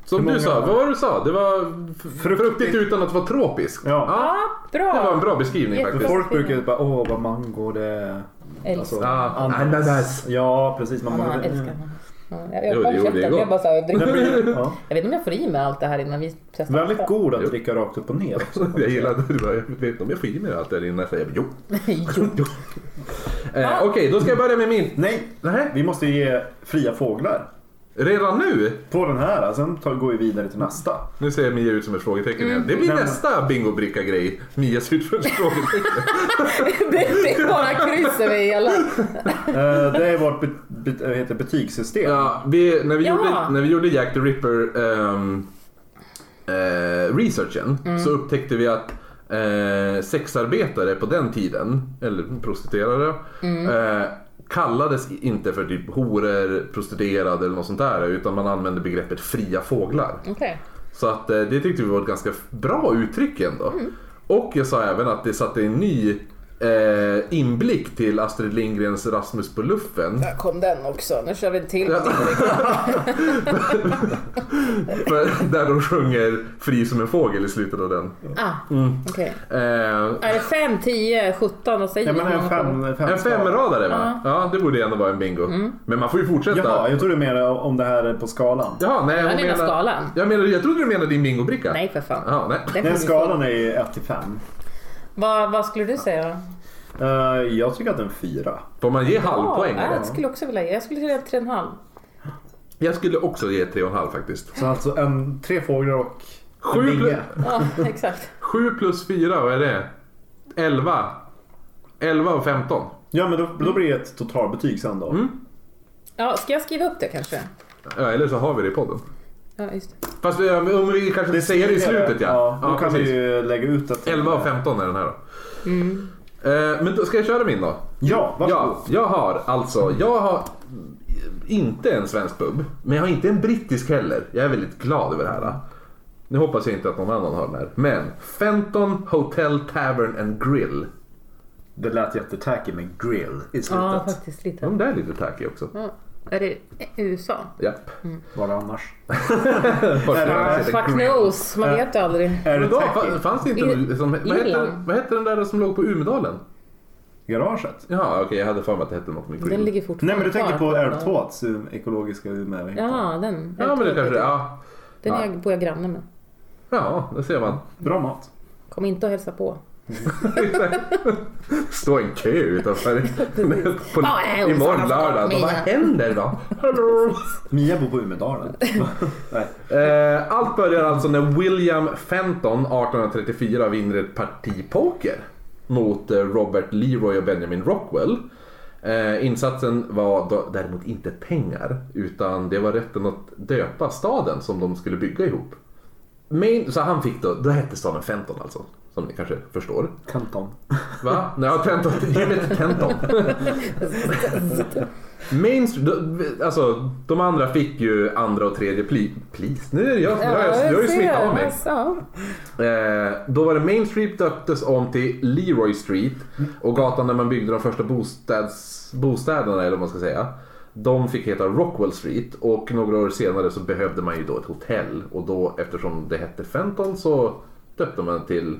C: Hur
B: som du
C: många-
B: sa, vad var det du sa? Det var f-
C: Fruktigt.
B: fruktigt, utan att vara tropisk.
C: Ja.
D: Ja, bra!
B: Det var en bra beskrivning
D: Jättebra.
B: faktiskt.
C: Folk brukar ju bara, åh vad mango det är.
D: Älskar.
B: Ja,
C: ananas.
B: ananas.
C: Ja precis. Man,
D: Ja,
C: man,
D: jag älskar honom. Ja, jag-
B: Jo,
D: jag
B: det-
D: bara
B: jo,
D: köpte
B: det är
D: den, jag
B: gott.
D: bara så här, dricker. [LAUGHS]
C: Den blir, ja.
D: Jag vet inte om jag får i mig allt det här innan vi testar.
C: Väldigt god att dricka rakt upp och ner. också.
B: [LAUGHS] Jag gillar det. Du bara, jag vet inte om jag får i mig allt det här innan jag säger jo.
D: [LAUGHS] Jo.
B: [LAUGHS] Eh, Okej, då ska jag börja med min.
C: Nej,
B: Nej,
C: vi måste ju ge fria fåglar.
B: redan nu?
C: På den här, alltså, sen tar, går vi vidare till nästa.
B: Nu ser Mia ut som ett frågetecken igen. Det blir
C: Nej, men-
B: nästa bingobricka-grej. Mia ser ut som ett frågetecken.
D: det det är bara kryss över hela.
C: Eh, det är vårt be, be, vad heter, det, betygssystem.
B: Ja, vi, när, vi
D: Ja.
B: gjorde, när vi gjorde Jack the Ripper ehm, eh, researchen så upptäckte vi att eh, sexarbetare på den tiden, eller prostituerade, eh, kallades inte för typ horor, prostituerade eller något sånt där utan man använde begreppet fria fåglar.
D: Okej.
B: Så att eh, det tyckte vi var ett ganska bra uttryck ändå. Och jag sa även att det satte en ny eh, inblick till Astrid Lindgrens Rasmus på luffen.
D: Där kom den också. Nu kör vi en
A: [LAUGHS]
D: till.
B: För, där de sjunger Fri som en fågel i slutet av den.
D: Ah,
B: Mm.
D: okej.
B: Eh,
A: Är det 5, 10, 17 och säger
C: Ja, men en fem, en fem
B: en femradare va? Ja, det borde ändå vara en bingo. Men man får ju fortsätta.
C: Jaha, jag tror det är mer om det här är på skalan.
B: Jaha, nej,
D: Den
B: jag,
D: är den
B: menar,
D: skalan.
B: jag, menar, jag trodde du menade din bingobricka.
D: Nej för fan.
B: Ja, nej.
D: Den får
C: Den
D: vi få.
C: skalan är ju 1 till 5.
D: Vad, vad skulle du säga?
C: Eh, jag tycker att den är 4.
B: Får man ge halvpoäng?
D: Ja,
B: eller?
D: jag skulle också vilja ge. Jag skulle säga 3,5.
B: Jag skulle också ge tre och en halv faktiskt.
C: Så alltså en, tre fåglar och
B: Sju
C: en vinge.
B: plus-
D: Ja, [LAUGHS] exakt.
B: 7 plus 4, vad är det? 11. 11 och 15.
C: Ja men då, då blir det ett totalbetyg sen då.
B: Mm.
D: Ja, ska jag skriva upp det kanske?
B: Ja, eller så har vi det i podden.
D: Ja, just det.
B: Fast vi, om vi kanske
C: Det är
B: säger det i
C: tidigare.
B: slutet ja.
C: ja då
B: Ja,
C: kan
B: precis.
C: vi ju lägga ut att...
B: 11 och 15 är den här då. Eh, men då ska jag köra min då?
C: Ja, varsågod.
B: Ja, jag har alltså, jag har inte en svensk pub, men jag har inte en brittisk heller. Jag är väldigt glad över det här. Nu hoppas jag inte att någon annan har den här. Men Fenton Hotel Tavern and Grill.
C: Det lät jättetacky med grill i slutet.
D: Ja, faktiskt lite.
B: De där är lite tacky också.
D: Ja. Är det USA?
B: Japp.
C: Bara annars.
B: Första gången jag
D: Fuck
B: ser grill.
D: knows, man vet ju aldrig.
C: Är
B: Men
C: det
B: då
C: tacky?
B: fa- fanns det inte...
D: I-
B: Som, vad, hette,
D: Irland.
B: vad hette den där som låg på Umedalen?
C: Garaget?
B: Jaha, okej jag hade för mig att det hette något med grill.
D: Den ligger fortfarande
C: Nej men du tänker på
D: kvar.
C: Ärvtåts um, ekologiska Umeå. vad heter den?
D: Ja, den.
B: Ja men det kanske ja.
D: Den är jag, bor jag granne med.
B: ja, det ser man.
C: Bra mat.
D: Kom inte och hälsa på.
B: Stå en kö utanför. på,
D: Ja, nej,
B: imorgon
D: Onsarna ska
B: lördag.
D: med.
B: Vad händer då? Hallå?
C: Mia bor på Umedalen. [LAUGHS] Nej.
B: Eh, allt börjar alltså när William Fenton 1834 vinner ett parti poker mot eh, Robert Leroy och Benjamin Rockwell. Eh, insatsen var då, däremot inte pengar utan det var rätten att döpa staden som de skulle bygga ihop. Main, så han fick då, då hette staden Fenton alltså, som ni kanske förstår.
C: Kanton.
B: Va? Nej, ja, Tenton. Gymmet Tenton. Main Street, de- alltså de andra fick ju andra och tredje pli, plis. Nu är det jag, som- jag, jag, jag har ju smittat av mig.
D: Alltså, Ja.
B: Eh, då var det Main Street döptes om till Leroy Street och gatan där man byggde de första bostads, bostäderna eller vad man ska säga. De fick heta Rockwell Street och några år senare så behövde man ju då ett hotell och då eftersom det hette Fenton så döpte man till,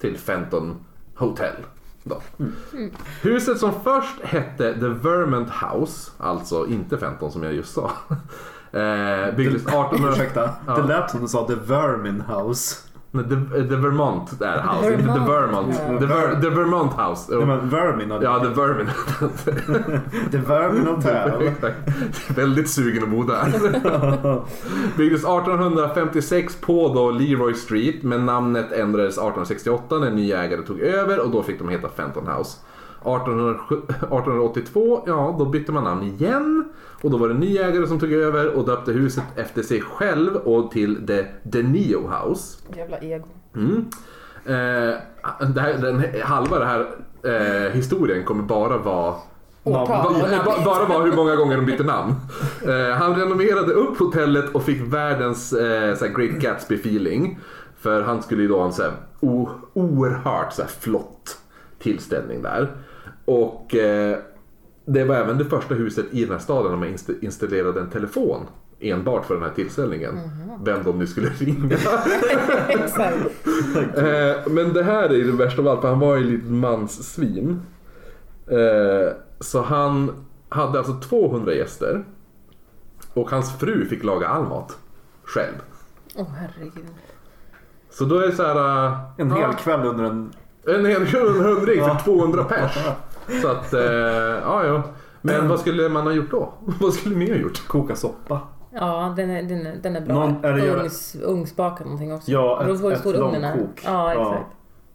B: till Fenton Hotel. Då. Huset som först hette The Vermont House, alltså inte Fenton som jag just sa, [LAUGHS] eh, byggdes 1800...
C: Ursäkta. Det lät som du sa The Vermin House.
B: Nej, The, the Vermont där house, inte The
D: Vermont,
B: Vermont.
D: ja.
B: The, Ver, the Vermont house.
C: Nej men Vermin. hade-
B: Ja, The Vermont.
C: The Vermin Hotel.
B: [LAUGHS] Väldigt sugen att bo där. Byggdes 1856 på då Leroy Street men namnet ändrades 1868 när en ny ägare tog över och då fick de heta Fenton House. 1882, ja då bytte man namn igen. Och då var det en ny ägare som tog över och döpte huset efter sig själv och till The Denio House.
D: Jävla ego.
B: Mm. Eh, det här, den, halva den här eh, historien kommer bara vara [LAUGHS]
D: Åtal.
B: Ba- eh, ba- bara var hur många gånger de bytte namn. Eh, han renoverade upp hotellet och fick världens eh, såhär Great Gatsby feeling. För han skulle ju då ha en såhär, o- oerhört såhär, flott tillställning där. Och eh, det var även det första huset i den här staden där man inst- installerade en telefon enbart för den här tillställningen. Vem de nu skulle [LAUGHS] ringa.
D: Exakt.
B: Eh, men det här är ju det värsta av allt för han var ju ett litet manssvin. Eh, så han hade alltså 200 gäster. Och hans fru fick laga all mat själv.
D: Åh herregud.
B: Så då är det så här... eh,
C: En hel
B: ja,
C: kväll under en...
B: en hel en hundring
C: Ja.
B: för 200 pers.
C: [LAUGHS]
B: Så att, eh, ja ja. Men vad skulle man ha gjort då? [LAUGHS] Vad skulle ni ha gjort?
C: Koka soppa.
D: Ja, den är, den är, den är bra.
C: Någon- eller gör-
D: Ugns, ugnsbakad någonting också.
C: Ja,
D: Beror på hur
C: ett,
D: stor
C: ett
D: ugnen är.
C: långkok.
D: Ja, exakt.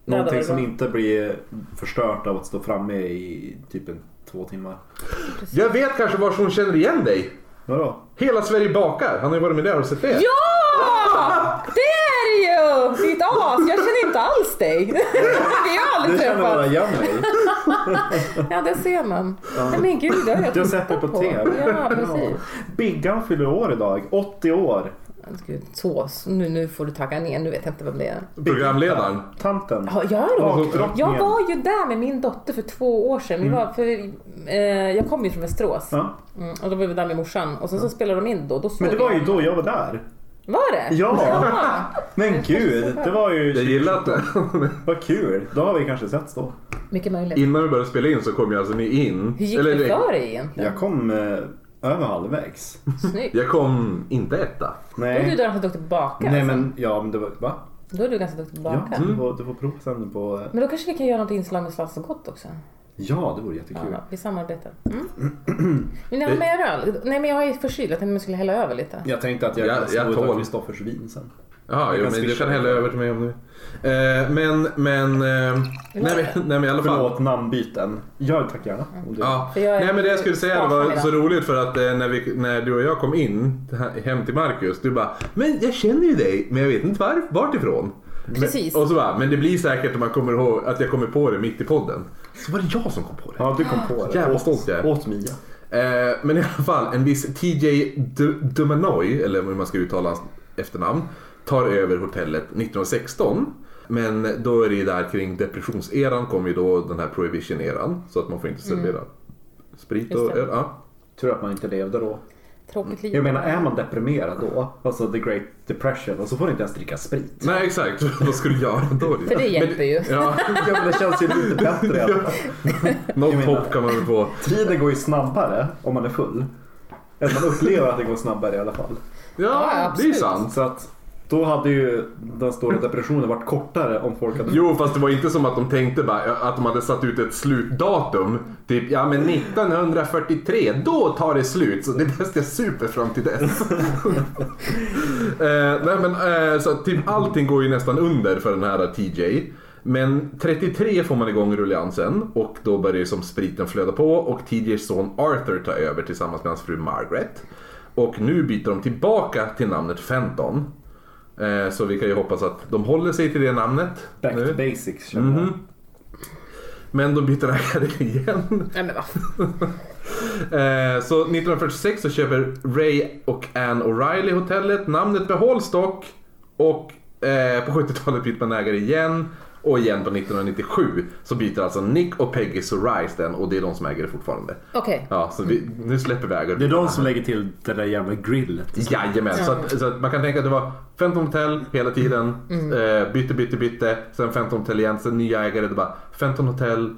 D: Det hade
C: Någonting
D: varit
C: som
D: bra.
C: inte blir förstört av att stå framme i typ en två timmar.
B: Jag vet kanske var hon känner igen dig.
C: Vadå?
B: Hela Sverige bakar. Han har ju varit med där och sett det.
A: Ja! Det är det ju! Ditt as! Jag känner inte alls
D: [LAUGHS]
A: dig. Vi har
C: Du
A: aldrig
C: känner bara
A: träffats.
C: igen mig.
D: Ja, det ser man. Nej, men gud, det har jag
C: Du har
D: tittat
C: sett det på TV.
D: [LAUGHS] Ja, precis.
C: Biggan fyller år idag. 80 år.
D: Gud, sås. Nu, nu får du tagga ner. Nu vet jag inte vem det är.
B: Programledaren.
C: Tanten.
D: Ja, jag, är då. jag
C: Bakdrottningen.
D: var ju där med min dotter för två år sedan. Vi var, för, eh, jag kom ju från Västerås
C: Mm. Ja.
D: mm, och då var vi där med morsan och sen så spelade de in då. då såg
C: Men det var
D: jag.
C: ju då jag var där.
D: Var det?
C: Ja!
D: Ja.
C: Men gud, det var ju...
B: Jag gillar att [LAUGHS] det.
C: Vad kul. Då har vi kanske setts då.
D: Mycket möjligt.
B: Innan vi började spela in så kom ju alltså ni in.
D: Hur gick det för dig egentligen?
C: Jag kom eh, över halvvägs.
D: Snyggt.
B: Jag kom inte etta.
D: Då är du
C: Nej.
D: ganska duktig på att baka.
C: Nej
D: alltså.
C: men ja, men det var... Va?
D: Då är du ganska duktig på att
C: Ja,
D: baka.
B: Mm.
C: du får, du får prova sen på... eh,
D: Men då kanske vi kan göra något inslag med Slass och Gott också.
C: Ja, det vore jättekul.
D: Ja, vi samarbetar. Mm. Vill ni ha mer öl? Nej men jag är förkyld. Jag tänkte man skulle hälla över lite.
C: Jag tänkte att jag,
B: Jag-
C: jag,
B: jag
C: jag
B: tål.
C: tog Kristoffers vin sen.
B: Ja, jo,
C: kan
B: men du
C: swisha.
B: kan hälla över till mig om du vill. eh, Men, men... Eh, nej, men, nej men i alla fall.
C: Förlåt namnbyten. Gör tack gärna. Om du...
B: Ja.
D: För jag är-
B: Nej men det jag skulle säga det var
D: Sparsam
B: så
D: idag.
B: roligt för att eh, när, vi, när du och jag kom in he- hem till Marcus, du bara Men jag känner ju dig men jag vet inte var, vart ifrån.
D: Precis.
B: Men, och så bara, men det blir säkert om man kommer ihåg att jag kommer på det mitt i podden. Så var det jag som kom på det.
C: Ja, du kom på det.
B: Jävla
C: Åt-
B: stolt jag är.
C: Åt Mia.
B: Eh, men i alla fall, en viss TJ Du- Dumanoy, eller hur man ska uttala hans efternamn, tar över hotellet 1916. Men då är det ju där kring depressionseran kommer ju då den här prohibition-eran. Så att man får inte servera sprit
D: Mm. Just
B: och
D: det.
B: öl. Ja.
C: Tur att man inte levde då.
D: Tråkigt liv.
C: Jag menar, är man deprimerad då, alltså the great depression, och så får du inte ens dricka sprit.
B: Nej exakt, [LAUGHS] vad ska du göra då?
D: För det hjälper
B: Men-
D: ju.
B: Ja,
C: Ja, men det känns ju [LAUGHS] lite bättre. i
B: [LAUGHS]
C: alla fall. Jag
B: något
C: menar-
B: hopp kan man väl få.
C: Tiden går ju snabbare om man är full. Eller man upplever att det går snabbare i alla fall.
B: Ja, det är ju
D: absolut.
B: sant.
C: Så att då hade ju den stora depressionen varit kortare om folk hade...
B: Jo, fast det var inte som att de tänkte bara att de hade satt ut ett slutdatum. Typ, ja men 1943, då tar det slut. Så det är bäst jag super fram till
C: [LAUGHS]
B: dess. eh, nej men eh, så att typ allting går ju nästan under för den här TJ. Men 33 får man igång rulliansen och då börjar ju som spriten flöda på och TJs son Arthur tar över tillsammans med hans fru Margaret. Och nu byter de tillbaka till namnet Fenton. Eh, så vi kan ju hoppas att de håller sig till det namnet.
C: Back to
B: nu.
C: basics känner jag.
B: Mhm. Men de byter ägare [LAUGHS] igen.
D: Nej men vad
B: Eh, så 1946 så köper Ray och Ann O'Reilly hotellet. Namnet behålls dock. Och eh, på 70-talet byter man ägare igen. Och igen på 1997 så byter alltså Nick och Peggy Sorais den och det är de som äger det fortfarande.
D: Okej.
B: Ja, så vi, nu släpper vi ägare.
C: Det är de som lägger till det där jävla grillet.
B: Jajamän, så, att, så att man kan tänka att det var 15 hotell hela tiden. Eh, bytte, bytte, bytte. Sen 15 hotell igen, sen nya ägare. Det bara 15 hotell,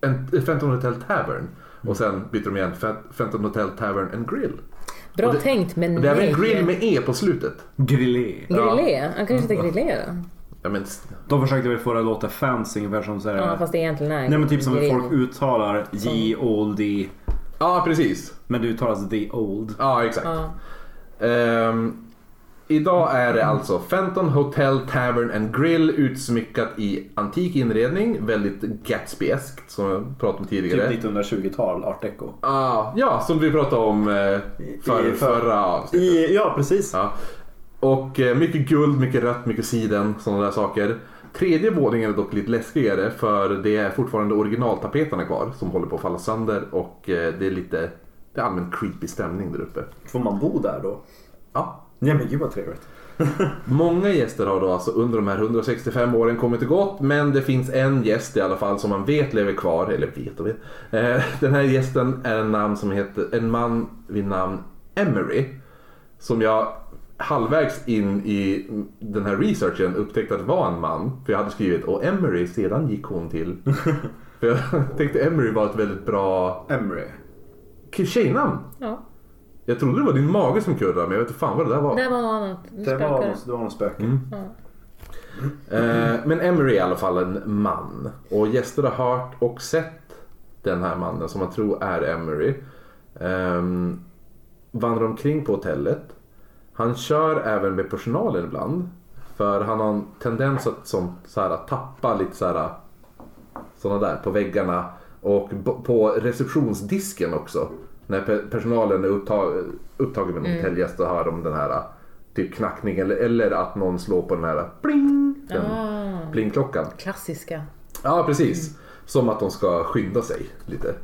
B: en, eh, 15 hotell tavern. Och sen bytte de igen, fe- 15 hotell tavern and grill.
D: Bra
B: Och det-
D: tänkt men
B: Och det är
D: nej.
A: Mm.
B: även grill med E på slutet.
C: Grillé.
D: Grillé? Han kanske inte grillerar?
B: Ja, men, s-
C: De försökte väl få det att låta fancy ungefär som så här,
D: Ja fast Mm. det egentligen är
C: Nej men typ som
D: grill.
C: folk uttalar Ye Old D.
B: ja precis.
C: Typ Men det uttalas The Old.
B: Ja, exakt.
D: Ja.
B: Ehm, Idag är det alltså Fenton Hotel Tavern and Grill utsmyckat i antik inredning. Väldigt Gatsbyeskt som jag pratade om
C: Typ
B: tidigare.
C: 1920-tal, art deco.
B: Ah, ja, som vi pratade om eh, för,
C: I-
B: förra avsnittet.
C: I, ja, precis.
B: Ja. Och eh, mycket guld, mycket rött, mycket siden, sådana där saker. Tredje våningen är dock lite läskigare för det är fortfarande originaltapeterna kvar som håller på att falla sönder och eh, det är lite det är allmänt creepy stämning där uppe.
C: Får man bo där då?
B: Ja.
C: Nej men gud vad trevligt.
B: Många gäster har då alltså under de här 165 åren kommit och gått men det finns en gäst i alla fall som man vet lever kvar, eller vet och vet. Eh, Den här gästen är en, namn som heter, en man vid namn Emery som jag halvvägs in i den här researchen upptäckte att det var en man. För jag hade skrivit och Emery, sedan gick hon till... för jag tänkte Emery var ett väldigt bra
C: Emery.
B: tjejnamn.
A: Ja.
B: Jag trodde det var din mage som kurrade men jag vet inte fan vad det där var.
A: Det var något annat. Nu
C: Det
A: spökar
C: var, det var något spöke.
B: Eh, men Emery är i alla fall en man. Och gäster har hört och sett den här mannen som man tror är Emery. Um, vandrar omkring på hotellet. Han kör även med personalen ibland. För han har en tendens att som, så här, tappa lite så här, sådana där på väggarna. Och b- på receptionsdisken också. När pe- personalen är uppta- upptagen med en hotellgäst och hör om den här typ knackningen. Eller, eller att någon slår på den här pling. Den,
A: Ah.
B: Plingklockan.
A: Klassiska.
B: Ja, precis. Som att de ska skynda sig lite.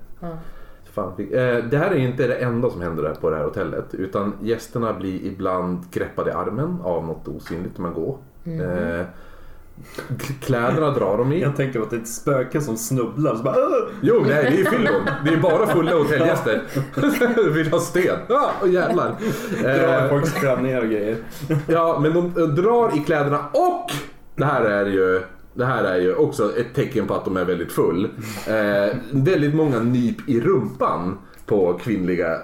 B: Fan, fick- eh, det här är inte det enda som händer där på det här hotellet. Utan gästerna blir ibland greppade i armen av något osynligt när man går. Eh, k- kläderna drar de i.
C: Jag tänker att det är ett spöke som snubblar så bara "Åh!"
B: Jo, nej, det är fyllon. Det är bara fulla hotellgäster. [LAUGHS] Vill ha sten. Ja, och jävlar.
C: drar i
B: Eh,
C: folks klänningar och grejer.
B: ja, men de eh, drar i kläderna och det här är ju det här är ju också ett tecken på att de är väldigt full. Eh, väldigt många nyp i rumpan på kvinnliga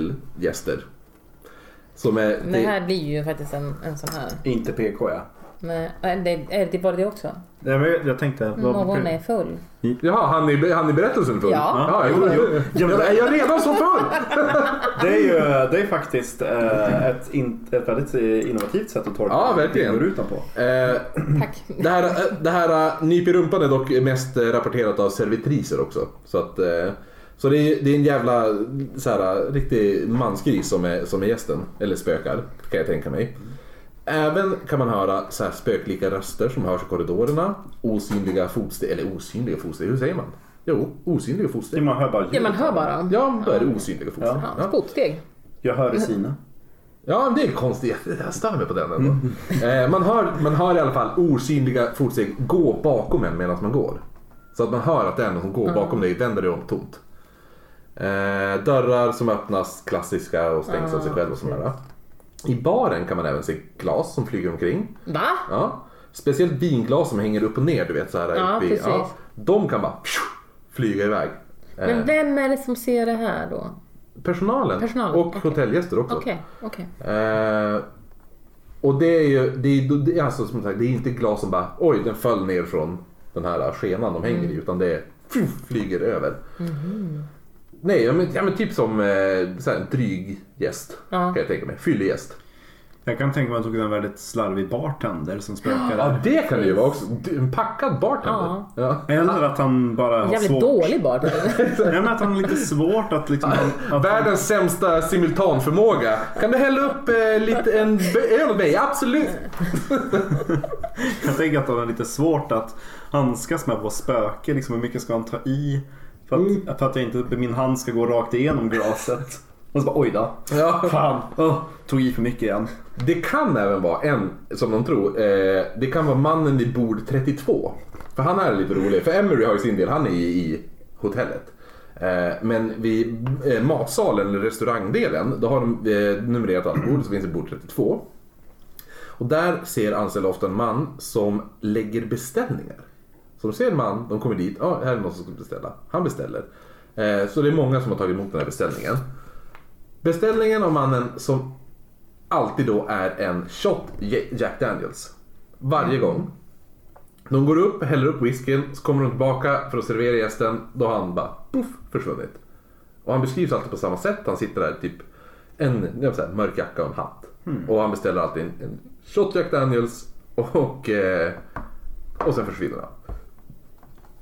B: hotellgäster. Som är,
A: Men det här blir ju faktiskt en, en sån här.
C: Inte PK ja.
A: Nej, är det, är det bara det också?
C: Nej, men jag- jag tänkte... vad-
A: Någon är full.
B: Jaha, han är, han är berättelsen full?
A: Ja.
B: jo, jo.
C: Ja, men-
B: Jag, är jag redan så
A: [LAUGHS]
B: full?
C: Det är ju det är faktiskt eh, ett, in, ett väldigt eh, innovativt sätt att torka
B: Ja, verkligen.
C: rutan på.
B: Eh,
A: Tack.
B: Det här, eh, det här eh, nyp i rumpan är dock mest eh, rapporterat av servitriser också. Så, att, eh, så det, är, det är en jävla så här, eh, riktig mansgris som är, som är gästen. Eller spökar, kan jag tänka mig. Även kan man höra så här spöklika röster som hörs i korridorerna. Osynliga fotsteg, eller osynliga fotsteg, hur säger man? Jo, osynliga
C: Ja,
B: fotsteg.
C: Man hör bara ljud.
A: Ja, man hör bara.
B: Ja, då är det osynliga fotsteg.
A: Ja,
B: Ja.
A: Fotsteg.
C: Jag hör i sina.
B: Ja, men det är konstigt. Jag stör mig på den ändå. Eh, man, hör, man hör i alla fall osynliga fotsteg gå bakom en medan man går. Så att man hör att det är någon som går bakom dig, vänder dig om tomt. Eh, dörrar som öppnas, klassiska och stängs
A: Ah,
B: av sig själv och sådär. I baren kan man även se glas som flyger omkring.
A: Va?
B: Ja. Speciellt vinglas som hänger upp och ner, du vet så här.
A: Ja,
B: uppe i-
A: precis.
B: De kan bara pju, flyga iväg. Eh,
A: Men vem är det som ser det här då?
B: personalen,
A: Personalen,
B: och
A: okej.
B: hotellgäster också.
A: Okej, okej.
B: Eh, och det är ju, det är, det är alltså som sagt, det är inte glas som bara oj den föll ner från den här skenan de hänger i utan det är, pff, flyger över. Nej, ja, men, ja, men typ som eh, så här, en dryg gäst kan jag tänka mig. Fyllig gäst.
C: Jag kan tänka mig att det är en väldigt slarvig bartender som spökar
B: Ja,
C: där.
B: det kan det ju vara också. Du- En packad bartender.
A: Ja.
B: Ja.
C: Eller att han bara har
A: Jävligt
C: svårt...
A: dålig bartender.
B: [LAUGHS]
C: Ja, men att han har lite svårt att [LAUGHS] liksom... han- Att han,
B: Världens sämsta simultanförmåga. Kan du hälla upp eh, lite, en b- öl åt mig? Absolut!
C: jag tänker att han har lite svårt att handskas med vad spöke liksom. Hur mycket ska han ta i? För att, för att jag inte, min hand ska gå rakt igenom glaset. Och så bara oj då.
B: Ja.
C: Fan, oh, tog i för mycket igen.
B: Det kan även vara en, som de tror, eh, det kan vara mannen vid bord 32. För han är lite rolig, för Emery har ju sin del, han är i, i hotellet. Eh, men vid eh, matsalen eller restaurangdelen, då har de eh, numrerat alla bord, så finns det bord 32. Och där ser anställda ofta en man som lägger beställningar. Så de ser en man, de kommer dit, ja här är någon som ska beställa. Han beställer. Eh, så det är många som har tagit emot den här beställningen. Beställningen av mannen som alltid då är en shot Ja- Jack Daniels. Varje gång. De går upp, häller upp whiskyn, så kommer de tillbaka för att servera gästen. Då har han bara poff försvunnit. Och han beskrivs alltid på samma sätt. Han sitter där typ en jag vill säga, mörk jacka och en hatt. Och han beställer alltid en, en shot Jack Daniels [LAUGHS] och, eh, och sen försvinner han.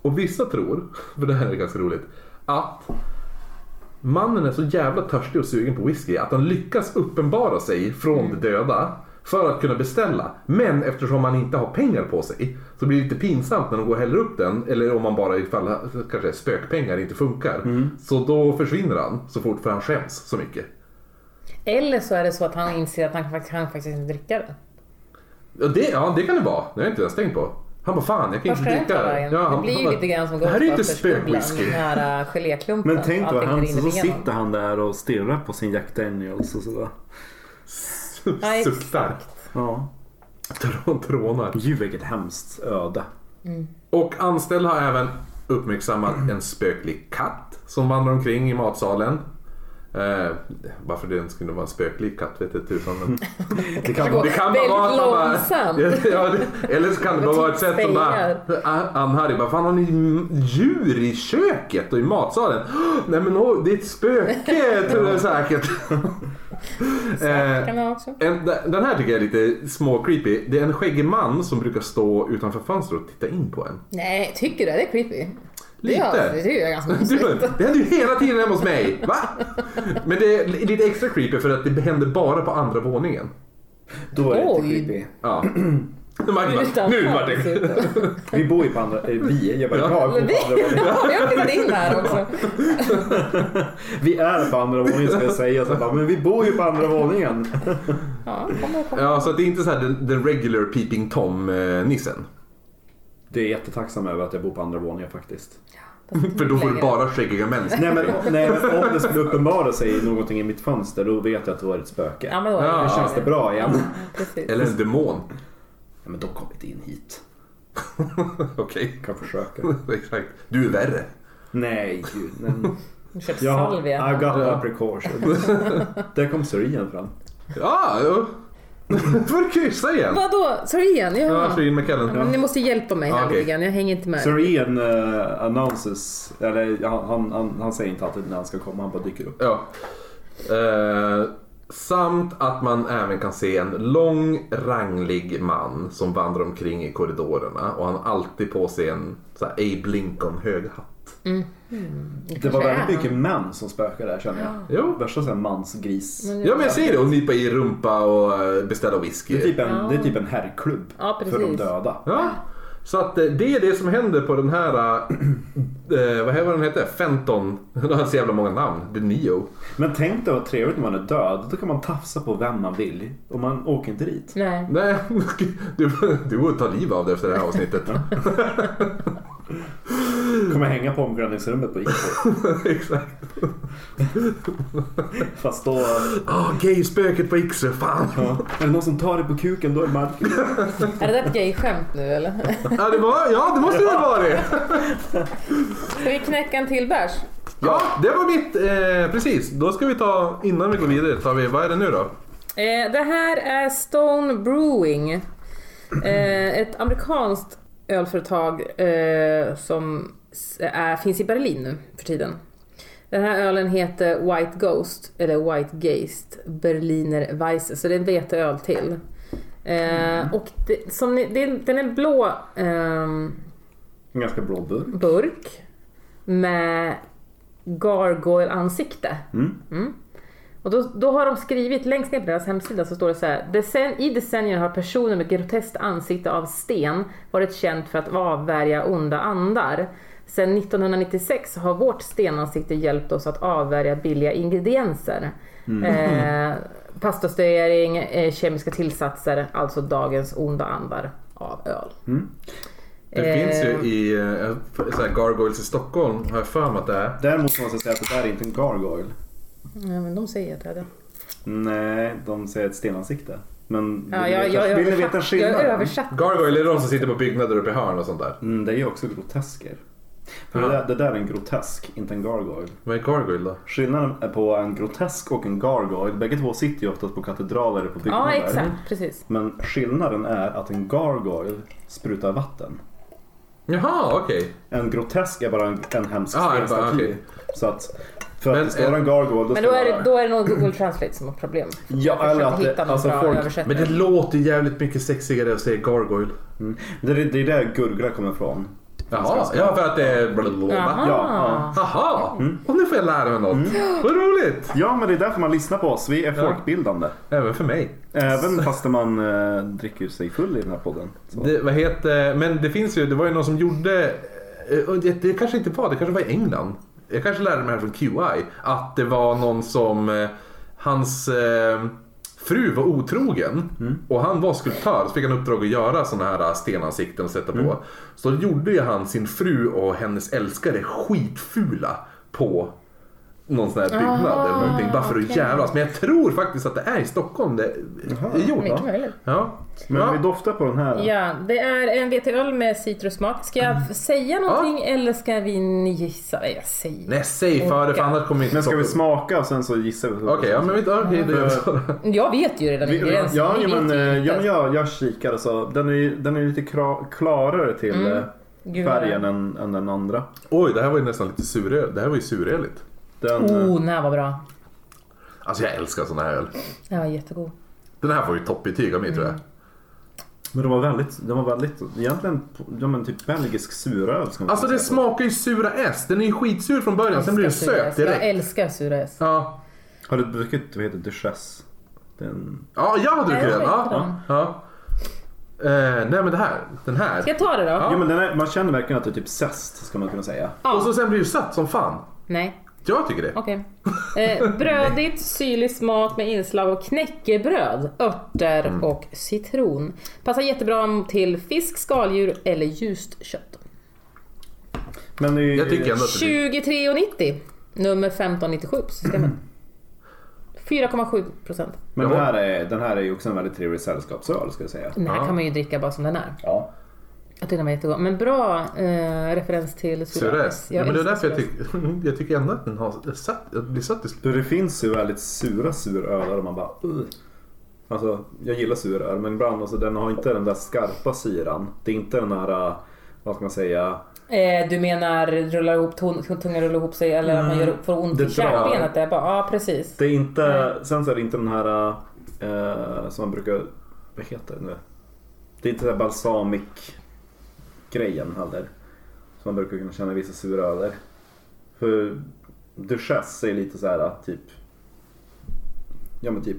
B: Och vissa tror, [LAUGHS] för det här är ganska roligt, att mannen är så jävla törstig och sugen på whisky att han lyckas uppenbara sig från
A: Mm.
B: de döda för att kunna beställa. Men eftersom han inte har pengar på sig så blir det lite pinsamt när de går och häller upp den. Eller om man bara ifall kanske spökpengar inte funkar.
A: Mm.
B: Så då försvinner han så fort för han skäms så mycket.
A: Eller så är det så att han inser att han faktiskt, han faktiskt inte dricker den.
B: Ja det, ja, det kan det vara. Det har jag inte ens tänkt på. Han bara fan, jag kan
A: Vart
B: inte
A: ska den
B: dricka.
A: ta vägen?
B: Ja, han-
A: det blir
B: han
A: ju
B: bara,
A: lite grann som
B: Det här är ju inte
A: Ghostbusters-bubblan,
B: spökwhisky.
A: [LAUGHS] Den här äh, geléklumpen.
C: Men tänk då,
A: Allting
C: han,
A: rinner
C: så
A: igenom.
C: sitter han där och stirrar på sin Jack Daniels och sådär.
A: Ja,
B: [LAUGHS]
A: exakt.
B: Suktar.
C: Ja.
B: Trån- Trånar.
C: Gud vilket hemskt öde.
B: Och anställd har även uppmärksammat en spöklig katt som vandrar omkring i matsalen. Eh, varför den skulle vara en spöklig katt vet jag tusan. Men... [LAUGHS] Det kan, det kan bara
A: Väldigt
B: vara att han bara-
A: långsamt. Typ
B: ja, det, eller så kan det bara vara ett sätt som bara...
A: Spejar.
B: Ah, Ann-Harry bara, fan har ni djur i köket och i matsalen? [GASPS] "Åh, Nej men åh, det är ett
A: [LAUGHS]
B: spöke tror jag säkert. Eh,
A: Kan han också?
B: en, den här tycker jag är lite små creepy. Det är en skäggig man som brukar stå utanför fönstret och titta in på en.
A: Nej, tycker du? Det är creepy.
B: Lite.
A: Ja, det tycker jag är
B: [LAUGHS]
A: ganska
B: Du,
A: mysigt.
B: det händer ju hela tiden hemma hos mig. Va? Men det är lite extra creepy för att det händer bara på andra våningen.
C: Då är det
A: Oj.
C: inte creepy.
B: Ja. Martin bara, nu
A: Utanför
B: vart det...
A: dessutom.
C: Vi bor ju på andra... eh, Vi? Jag bara,
B: Ja.
C: ja, vi, bor på andra våningen.
A: [LAUGHS] Ja, jag flyttade in här också.
C: vi är på andra våningen ska jag säga. Så jag bara, men vi bor ju på andra våningen.
A: Ja, kommer jag på.
B: Ja, så att det är inte så här den, den regular peeping Tom-nissen.
C: Det är jag jättetacksam över att jag bor på andra våningen faktiskt.
B: För då får du
A: Längre.
B: bara skäggiga män.
C: Nej men, nej, men om det skulle uppenbara sig någonting i mitt fönster då vet jag att det var ett spöke.
A: Ja, men då är
B: Ja.
A: det
C: Då känns det bra igen.
A: precis.
B: Eller en demon. [LAUGHS]
C: Ja, men de kommer inte in hit.
B: Okej.
C: Kan försöka.
B: Exakt. Du är värre.
C: Nej, gud. Men...
A: Du köpte
C: Jag har,
A: salvia.
C: I've got
B: Ja.
C: that precaution. Där kom sörjan fram.
B: Ja, ja. Du får kryssa igen.
A: Vadå? Sorry igen.
B: Ja,
A: Ja.
B: så in med Kellen.
A: Men ni måste hjälpa mig
B: Ja,
A: här
B: okej.
A: lite grann. Jag hänger inte med.
C: Sörjan uh, announces, eller han, han, han, han säger inte alltid när han ska komma, han bara dyker upp.
B: Ja. Eh, samt att man även kan se en lång ranglig man som vandrar omkring i korridorerna och han har alltid på sig en så här, Abe Lincoln hög hatt.
C: Det var
A: Kanske är
C: väldigt mycket män som spökade där känner jag.
B: Jo.
C: Värsta sån här mansgris.
B: Ja men jag ser det och nypa i rumpa och eh, beställa
C: Det är
B: whisky.
C: typ en, det är typ en herrklubb
A: Ja,
C: för de
A: precis.
C: döda.
B: Ja. Så att eh, det är det som händer på den här, eh, [CLEARS THROAT] vad heter den hette? [LAUGHS] Fenton. Den har så jävla många namn. The Neo.
C: Men tänk dig vad trevligt när man är död. Då kan man tafsa på vem man vill och man åker inte dit.
A: Nej.
B: Nej, [LAUGHS] du, du borde ta livet av dig efter det här avsnittet.
C: Kommer hänga på omklädningsrummet på Ico.
B: [LAUGHS] Exakt.
C: Fast då...
B: Ah, gay-spöket på Ixö, fan.
C: Ja. Är det någon som tar dig på kuken då är det Marcus.
A: Är det där ett gay-skämt nu eller? [LAUGHS]
B: Ja, det, var, ja, det måste det ha varit.
A: Ska vi knäcka en till bärs?
B: Ja, det var mitt. Eh, precis, då ska vi ta, innan vi går vidare, tar vi, vad är det nu då?
A: Eh, det här är Stone Brewing. Eh, ett amerikanskt ölföretag eh, som s- är, finns i Berlin nu för tiden. Den här ölen heter White Ghost, eller White Geist, Berliner Weisse, så det är en veteöl till. Eh, och det, som ni, det, är- den är blå ehm,
C: En ganska blå burk.
A: burk med gargoyle-ansikte.
C: Mm.
A: Och då, då har de skrivit, längst ner på deras hemsida så står det så här. Decen- I decennier har personer med groteskt ansikte av sten varit känt för att avvärja onda andar. Sedan 1996 har vårt stenansikte hjälpt oss att avvärja billiga ingredienser.
B: Mm.
A: Eh, pastastöring, eh, kemiska tillsatser, alltså dagens onda andar av öl.
B: Mm. Det finns ju i eh, så här Gargoyles i Stockholm, har jag för mig att det är.
C: Däremot måste jag säga att det där är inte en gargoyle.
A: Ja, men de säger att det är det.
C: Nej, de säger ett stenansikte. Men
A: Ja,
C: vill,
A: jag,
C: ni
A: jag,
C: veta,
A: jag,
C: vill ni veta
A: översatt, jag
C: skillnaden?
A: översatt.
B: Gargoyle är de som sitter på byggnader uppe i hörn och sånt där.
C: Mm, det är ju också grotesker. För
B: Ja.
C: det, där, det där är en grotesk, inte en gargoyle.
B: Vad är Gargoyle då?
C: Skillnaden är på en grotesk och en gargoyle. Bägge två sitter ju oftast på katedraler och på byggnader.
A: Ja, exakt. Precis.
C: Men skillnaden är att en gargoyle sprutar vatten.
B: Jaha, okej.
C: En grotesk är bara en, en hemsk
B: Ah,
C: stenstaty.
B: bara, okej.
C: Så att För
B: Men- eh,
C: att ska vara en gargoyle då
A: Men
C: ska
A: då är, det,
C: vara-
A: då är det nog Google Translate som har problem.
C: Ja, eller att
A: hitta
C: det,
A: någon
C: alltså
A: bra
C: folk,
A: översättning.
B: Men det låter jävligt mycket sexigare att säga gargoyle.
C: det, är- det är där gurgla kommer ifrån.
B: Jaha, ja för att det är blablabla.
A: Jaha.
C: Ja, ja.
B: Jaha, och nu får jag lära mig något. Vad roligt!
C: ja, men det är därför man lyssnar på oss. Vi är folkbildande.
B: Även för mig.
C: Även fast man eh, dricker sig full i den här podden. Så.
B: Det, vad heter, men det finns ju, det var ju någon som gjorde, eh, och det, det kanske inte var, det kanske var i England. Jag kanske lärde mig det här från QI. Att det var någon som, eh, hans eh, fru var otrogen och han var skulptör. Så fick han uppdrag att göra sådana här eh, stenansikten och sätta på. Så då gjorde ju han sin fru och hennes älskare skitfula på någon sån här byggnad eller någonting. Bara för att jävlas. Men jag tror faktiskt att det är i Stockholm det är gjort.
A: Mycket
B: va?
A: möjligt.
B: Ja.
C: Men
B: ja.
C: vi doftar på den här.
A: Ja, det är en veteöl med citrussmak. Ska
C: Mm.
A: jag säga någonting eller ska vi ni gissa? Nej, Jag säger.
B: Nej, säg före för
A: Orka.
B: annars kommer vi inte
C: Men ska vi
B: stoppa.
C: smaka och sen så gissar vi?
B: Okej, ja men vi tar okej, det gör vi så.
A: Jag vet ju redan
C: Vi- ja,
A: ingredienserna.
C: ja,
A: Ni vet
C: men,
A: ju
C: eh,
A: inte.
C: ja, men jag, jag kikade så. Den är, ju- den är lite kra- klarare till
A: Mm.
C: eh,
A: Gud, vad-
C: färgen än, än den andra.
B: [LAUGHS] Oj, det här var ju nästan lite suröl. Det här var ju suröligt.
C: Den, eh,
A: Oh, den här var bra.
B: Alltså jag älskar såna här öl.
A: Den var jättegod.
B: Den här får ju toppbetyg av mig tror jag.
C: Men de var väldigt, de var väldigt, egentligen ja, men typ belgisk suröl. ska man
B: Alltså det
C: säga.
B: smakar ju sura S. Den är ju skitsur från början, sen blir den
A: Älskar sura
B: söt
A: S. Jag
B: direkt.
A: älskar sura S.
B: Ja,
C: Har du druckit, vad heter det, duchesse? Den,
B: ja jag har druckit
A: Nej, jag
B: den.
A: vet
B: Ja,
A: inte
B: ja. Eh, nej men det här, den här.
A: Ska jag ta det då?
C: ja. men den är, man känner verkligen att det är typ zest ska man kunna säga.
B: Och så sen blir det ju sött som fan.
A: Nej,
B: Jag tycker det.
A: okej. Eh, brödigt, syrlig smak med inslag av knäckebröd, örter
B: Mm.
A: och citron. Passar jättebra till fisk, skaldjur eller ljust kött.
C: Men det är,
B: Jag tycker ändå att det blir...
A: 23,90. Nummer 1597 på systemet. 4,7 procent.
C: Men den här, är, den här är ju också en väldigt trevlig sällskapsöl ska jag säga.
A: Den här
B: Ja.
A: kan man ju dricka bara som den är.
C: Ja.
A: Jag tyckte den var jättegod. Men bra eh, referens till
B: Sura S. Ja, men det är
A: älskar
B: därför jag,
A: sura S.
B: tyck... jag tycker [LAUGHS] ändå att den har sött, att det blir sött i slutet.
C: För det finns ju väldigt sura surölar och man bara Ugh. Alltså jag gillar suröl men ibland alltså, den har inte den där skarpa syran. Det är inte den här, äh, vad ska man säga,
A: Eh, du menar rulla ihop, ton, tungan rullar ihop sig eller att
B: Mm.
A: man gör, får ont
C: Det
A: i
C: drar.
A: käkbenet? där bara, Ja, precis.
C: det är inte, sen så är det inte den här äh, som man brukar, vad heter det nu? Det är inte den här balsamic grejen heller. Som man brukar kunna känna i vissa suröler. För duchesse är lite så här äh, typ, ja men typ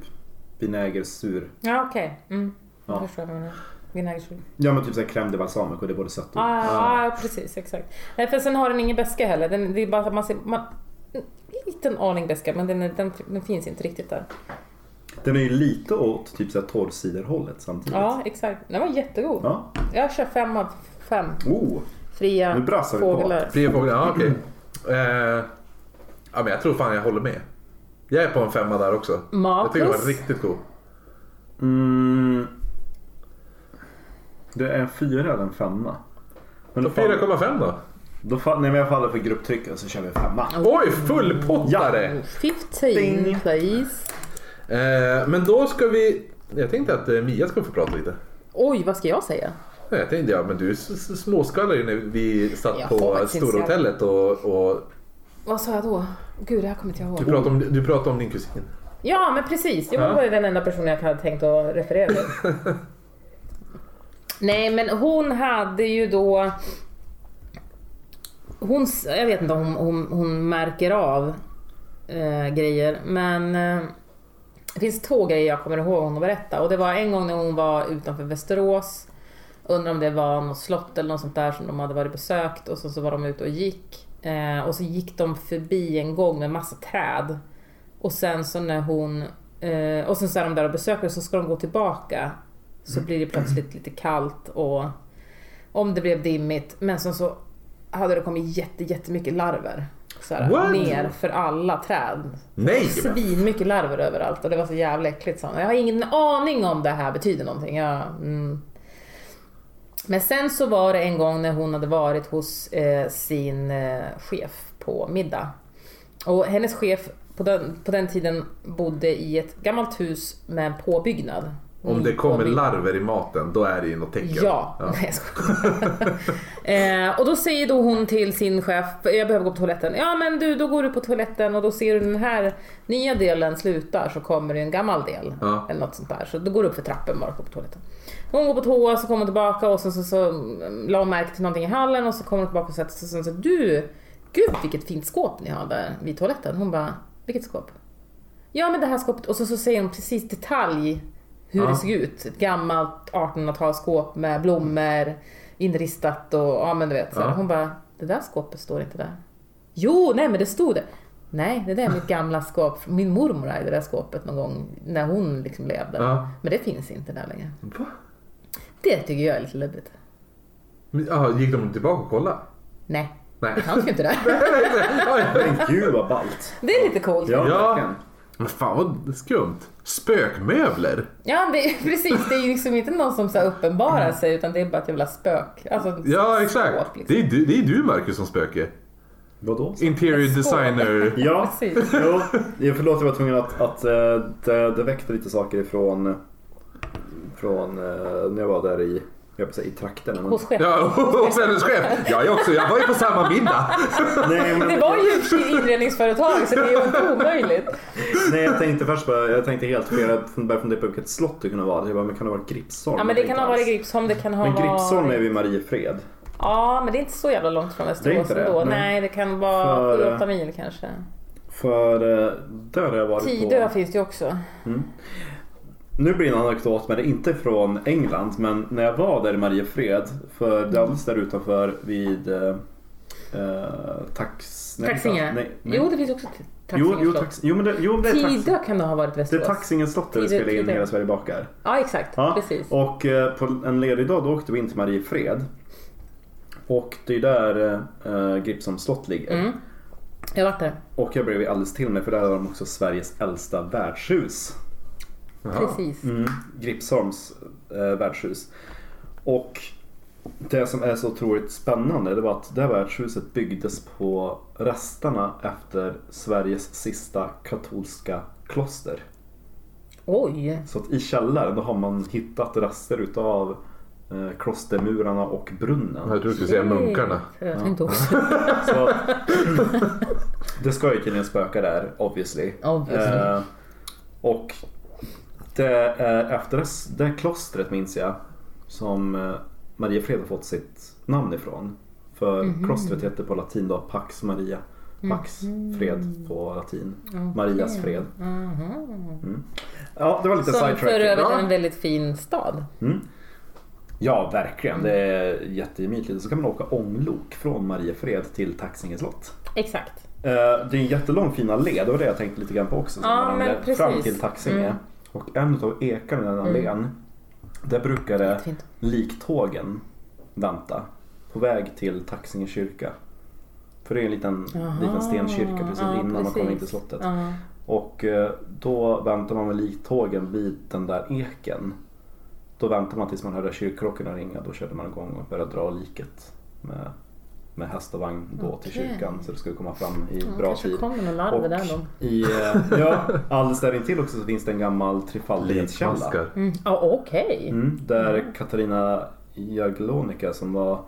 C: vinägersur.
A: Ja, okej. Mm.
C: Ja.
A: Jag förstår vad du menar. Vinägersvin.
C: Ja men typ såhär crème de balsamic och det är både sött och...
A: Ja, Ah, ja, ja, precis. Exakt. Nej, för sen har den ingen beska heller. Den, det är bara att man ser... Man, en liten aning beska, men den, är- den, den finns inte riktigt där.
C: Den är ju lite åt typ såhär torrsiderhållet samtidigt.
A: Ja, exakt. Den var jättegod.
C: Ja.
A: Jag kör fem av fem
C: Oh, Nu
A: fria
C: brassar vi på.
A: fåglar.
B: Fria fåglar, ja okej. Eh, ja men jag tror fan jag håller med. Jag är på en femma där också. Jag tycker den var
A: Marcus.
B: riktigt god.
C: mm. Det är en fyra eller en femma. Men då, faller,
B: 4,5 då.
C: då fall, nej, men jag faller för grupptrycket så kör vi en femma.
B: Oj, fullpottare!
A: 15 please.
B: Eh, men då ska vi... Jag tänkte att eh, Mia ska få prata lite.
A: Oj, vad ska jag säga?
B: Nej, Jag tänkte ja, men du s- s- småskallade ju när vi satt
A: Jag har
B: på
A: faktiskt inte
B: Storhotellet och, och
A: Vad sa jag då? Gud, det här kommer inte jag
B: du,
A: ihåg.
B: pratade om, du pratade om din kusin.
A: Ja, men precis. Jag
B: Ja.
A: var ju den enda personen jag hade tänkt att referera till. Nej, men hon hade ju då... Hon, s- jag vet inte om hon, hon, hon märker av eh, grejer, men eh, det finns två grejer jag kommer ihåg hon berätta. Och det var en gång när hon var utanför Västerås. Undrar om det var något slott eller något sånt där som de hade varit besökt och så, så var de ute och gick. Eh, och så gick de förbi en gång med massa träd. Och sen så när hon... Eh, och sen så är de där och besöker så ska de gå tillbaka. Så blir det plötsligt lite kallt och om det blev dimmigt. Men sen så hade det kommit jätte, jättemycket larver. Så
B: What?
A: här, ner för alla träd.
B: Mm. Nej!
A: Svinmycket larver överallt och det var så jävla äckligt. sa hon. Jag har ingen aning om det här betyder någonting. Jag, mm. Men sen så var det en gång när hon hade varit hos eh, sin eh, chef på middag. Och hennes chef på den, på den tiden bodde i ett gammalt hus med en påbyggnad.
B: Om det kommer larver i maten, då är det ju något tecken.
A: Mm, Ja, nej jag skojar. [LAUGHS] eh, och då säger då hon till sin chef, jag behöver gå på toaletten. Ja men du, då går du på toaletten och då ser du den här nya delen slutar så kommer det en gammal del.
B: Ja.
A: Eller något sånt där. Så då går du upp för trappen bara och går på toaletten. Hon går på toa så kommer hon tillbaka och sen så, så, mm, la hon märke till någonting i hallen och så kommer hon tillbaka och sätter sig och sen så du, gud vilket fint skåp ni har där vid toaletten. Hon bara, vilket skåp? Ja men det här skåpet och så, så säger hon precis detalj hur
B: Ja.
A: det såg ut. Ett gammalt 1800-talsskåp med blommor inristat och ja men du vet. Så här.
B: Ja.
A: Hon bara, det där skåpet står inte där. Jo, nej men det stod det. Nej, det där är mitt gamla skåp. Min mormor hade det där skåpet någon gång när hon liksom levde.
B: Ja.
A: Men det finns inte där längre.
B: Va?
A: Det tycker jag är lite luddigt.
B: Men, ja, gick de tillbaka och kollade?
A: Nej, det
B: [LAUGHS] Nej.
A: fanns ju inte där.
B: Oj.
C: Men gud vad ballt.
A: Det är lite coolt.
C: Ja,
B: Ja.
C: verkligen.
B: Men fan vad skumt. Spökmöbler?
A: Ja, det, är- precis. Det är ju liksom inte någon som så här uppenbarar sig utan det är bara ett jävla spök. Alltså, ett
B: Ja,
A: skåp,
B: exakt.
A: liksom.
B: Det är, du, det är du Marcus som spöke.
C: Vadå?
B: Interior designer.
C: Ja,
A: Precis.
C: Jo, jag förlåt jag var tvungen att, att eh, det, det väckte lite saker ifrån från eh, när jag var där i, jag höll på att säga i trakterna. Men,
A: Hos chefen.
B: Ja, och sen chef. Jag är också, jag var ju på samma middag.
C: nej, men,
A: Det var ju ett inredningsföretag så det är ju inte omöjligt.
C: nej, jag tänkte först på, jag tänkte helt fel, jag började fundera på vilket slott det kunde vara. Jag bara, men kan det ha varit Gripsholm?
A: Ja men det
C: Jag
A: kan
C: tänkte
A: ha varit
C: alls.
A: Gripsholm, det kan ha
C: Men Gripsholm
A: varit...
C: är vid Mariefred.
A: Ja men det är inte så jävla långt från
C: Det är
A: Västerås
C: inte det,
A: ändå.
C: nej.
A: Nej det kan vara
C: För, eh,
A: 7-8 mil kanske.
C: För eh, där har jag varit
A: Tidö
C: på.
A: finns det ju också.
C: Nu blir det en anekdot men det är inte från England. Men när jag var där i Mariefred, för
A: Mm.
C: det är alldeles där utanför vid eh, eh, tax... nej,
A: Taxinge?
C: Nej, nej.
A: Jo det finns också t-
C: Jo,
A: Taxinge
C: jo,
A: slott.
C: tax, jo, men det, jo, det är tax,
A: Tidö kan det ha varit
C: det är
A: Västerås.
C: Taxinge slott där vi
A: Tidö-
C: spelade in
A: Tidö.
C: Hela Sverige bakar.
A: Ja exakt,
C: Ja,
A: precis.
C: Och eh, på en ledig dag då åkte vi in till Mariefred. Och det är där eh, Gripsholms slott ligger.
A: Mm. Jag har varit där.
C: Och jag blev ju alldeles till mig för där har de också Sveriges äldsta värdshus.
B: Ja.
A: Precis.
C: Mm. Gripsholms eh, värdshus. Och det som är så otroligt spännande det var att det här värdshuset byggdes på restarna efter Sveriges sista katolska kloster.
A: Oj.
C: Så att i källaren då har man hittat rester utav eh, klostermurarna och brunnen.
B: Jag tror du skulle säga munkarna.
A: Jag
C: [LAUGHS]
A: tänkte också.
C: Så att, det ska ju tydligen spöka där obviously.
A: Obviously.
C: Eh, och det är efter det, det här klostret minns jag som eh, Maria Fred har fått sitt namn ifrån. För klostret heter på latin då Pax Maria. Pax Fred på latin. Marias fred. Mm. Ja, det var lite
A: Mhm. Som för
C: sidetracking.
A: övrigt
B: Ja.
A: är en väldigt fin stad.
C: Ja, verkligen. Det är jättemycket. Så kan man åka ånglok från Mariefred till Taxinge slott.
A: Exakt.
C: Eh, Det är en jättelång fina led och det jag tänkte lite grann på också. som
A: Ja,
C: man
A: men
C: använder
A: precis.
C: fram till Taxinge.
A: Mm.
C: Och en av ekarna i den allén, där brukar det
A: Jättefint.
C: liktågen vänta på väg till Taxinge kyrka. För det är en liten, liten stenkyrka precis
A: ja,
C: innan man
A: precis.
C: kommer in till slottet.
A: Ja.
C: Och eh, då väntar man med liktågen vid den där eken. Då väntar man tills man hörde kyrkklockorna ringa. Då körde man igång och började dra liket med, med häst och vagn då till
A: Okej.
C: kyrkan. Så det skulle komma fram i
A: Ja,
C: bra
A: kanske
C: tid.
A: kommer någon larv där då.
C: Och i, eh, ja, alldeles där intill också så finns det en gammal trefaldighetskälla.
B: Lekmaskar.
A: Mm. Ja, okej.
C: Mm, där Katarina Jaglonika som var,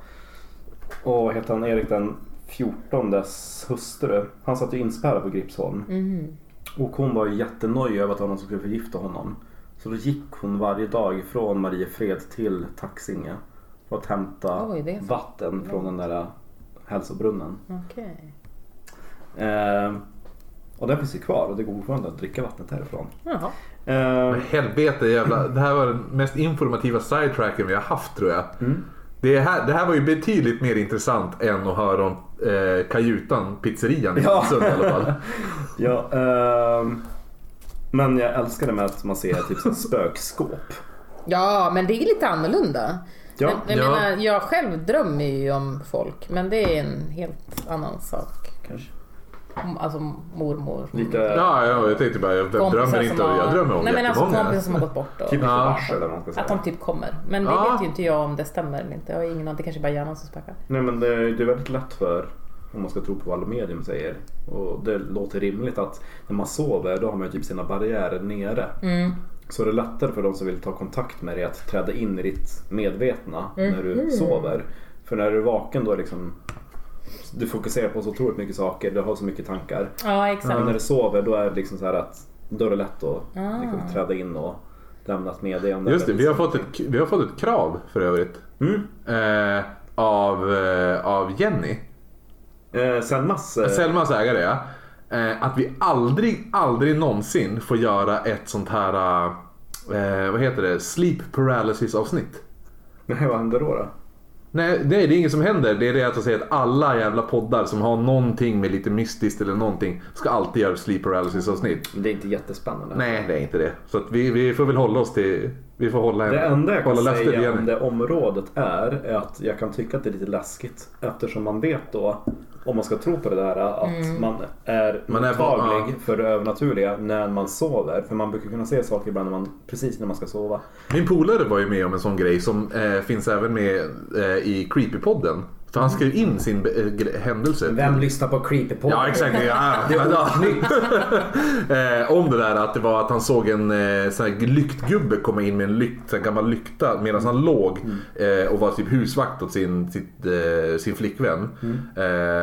C: åh vad heter han, Erik den 14:s hustru. Han satt ju inspärrad på Gripsholm.
A: Mm.
C: Och hon var ju jättenöjd över att det var någon som skulle förgifta honom. Så då gick hon varje dag från Mariefred till Taxinge för att hämta
A: Oj, det är så
C: vatten från den där eh, hälsobrunnen.
A: Okej.
C: Eh, och den finns ju kvar och det går fortfarande att dricka vattnet härifrån.
A: Jaha.
C: Eh,
B: Men helvete jävla. Det här var den mest informativa sidetracken vi har haft tror jag. Det, här, det här var ju betydligt mer intressant än att höra om eh, kajutan, pizzerian i
C: Ja.
B: Östersund i alla fall.
C: Ja, ehm, men jag älskar det med att man ser typ så här spökskåp.
A: Ja, men det är lite annorlunda.
C: Ja.
A: Men, jag,
B: Ja.
A: Menar, jag själv drömmer ju om folk, men det är en helt annan sak.
C: Kanske.
A: M- Alltså mormor.
C: Lite,
B: Ja, ja, jag tänkte bara, jag drömmer inte om, jag drömmer om
A: Nej men alltså
B: jättemånga.
A: kompisar som har gått bort. Och,
C: typ lite
B: Ja.
C: varsel eller vad man ska
A: att de
C: säga.
A: typ kommer. Men det
B: Ja.
A: vet ju inte jag om det stämmer eller inte. Jag har ingen aning. Det kanske bara är hjärnan som spökar.
C: Nej men det, är- det är väldigt lätt för Om man ska tro på vad Alumedium säger. Och det låter rimligt att när man sover då har man ju typ sina barriärer nere. Så det är lättare för de som vill ta kontakt med dig att träda in i ditt medvetna när du sover. För när du är vaken då är liksom du fokuserar på så otroligt mycket saker, du har så mycket tankar.
A: Ja,
C: Men
A: exakt.
C: när du sover då är det liksom så här att då är det lätt att liksom, träda in och lämna ett meddelande.
B: Just det,
C: eller
B: vi har,
C: liksom-
B: fått ett, vi har fått ett krav för övrigt.
C: Mm.
B: Eh, av, eh, av Jenny.
C: Eh, Selmas, eh,
B: Selmas ägare ja. Eh, att vi aldrig, aldrig någonsin får göra ett sånt här, eh, vad heter det, sleep paralysis avsnitt.
C: nej, [LAUGHS] vad händer då? då?
B: Nej, nej, det är inget som händer. Det är det att jag säger att alla jävla poddar som har någonting med lite mystiskt eller någonting ska alltid göra ett sleep paralysis avsnitt.
C: Det är inte jättespännande.
B: Nej, det är inte det. Så att vi, vi får väl hålla oss till... Vi får hålla
C: Det enda jag kan
B: hålla löftet
C: säga om
B: igen.
C: det området är, är att jag kan tycka att det är lite läskigt. Eftersom man vet då, om man ska tro på det där, att man är
B: Man är bara-
C: mottaglig för det övernaturliga när man sover. För man brukar kunna se saker ibland när man, precis när man ska sova.
B: Min polare var ju med om en sån grej som eh, finns även med eh, i Creepypodden. För han skrev in sin eh, gre- händelse.
C: Vem lyssnar på Creepypodden?
B: Ja exakt. Ja. Ja. [LAUGHS] eh, om det där att det var att han såg en eh, sån här lyktgubbe komma in med en, lykt, sån här gammal lykta medan han låg
C: Mm.
B: eh, och var typ husvakt åt sin, sitt, eh, sin flickvän.
C: Mm.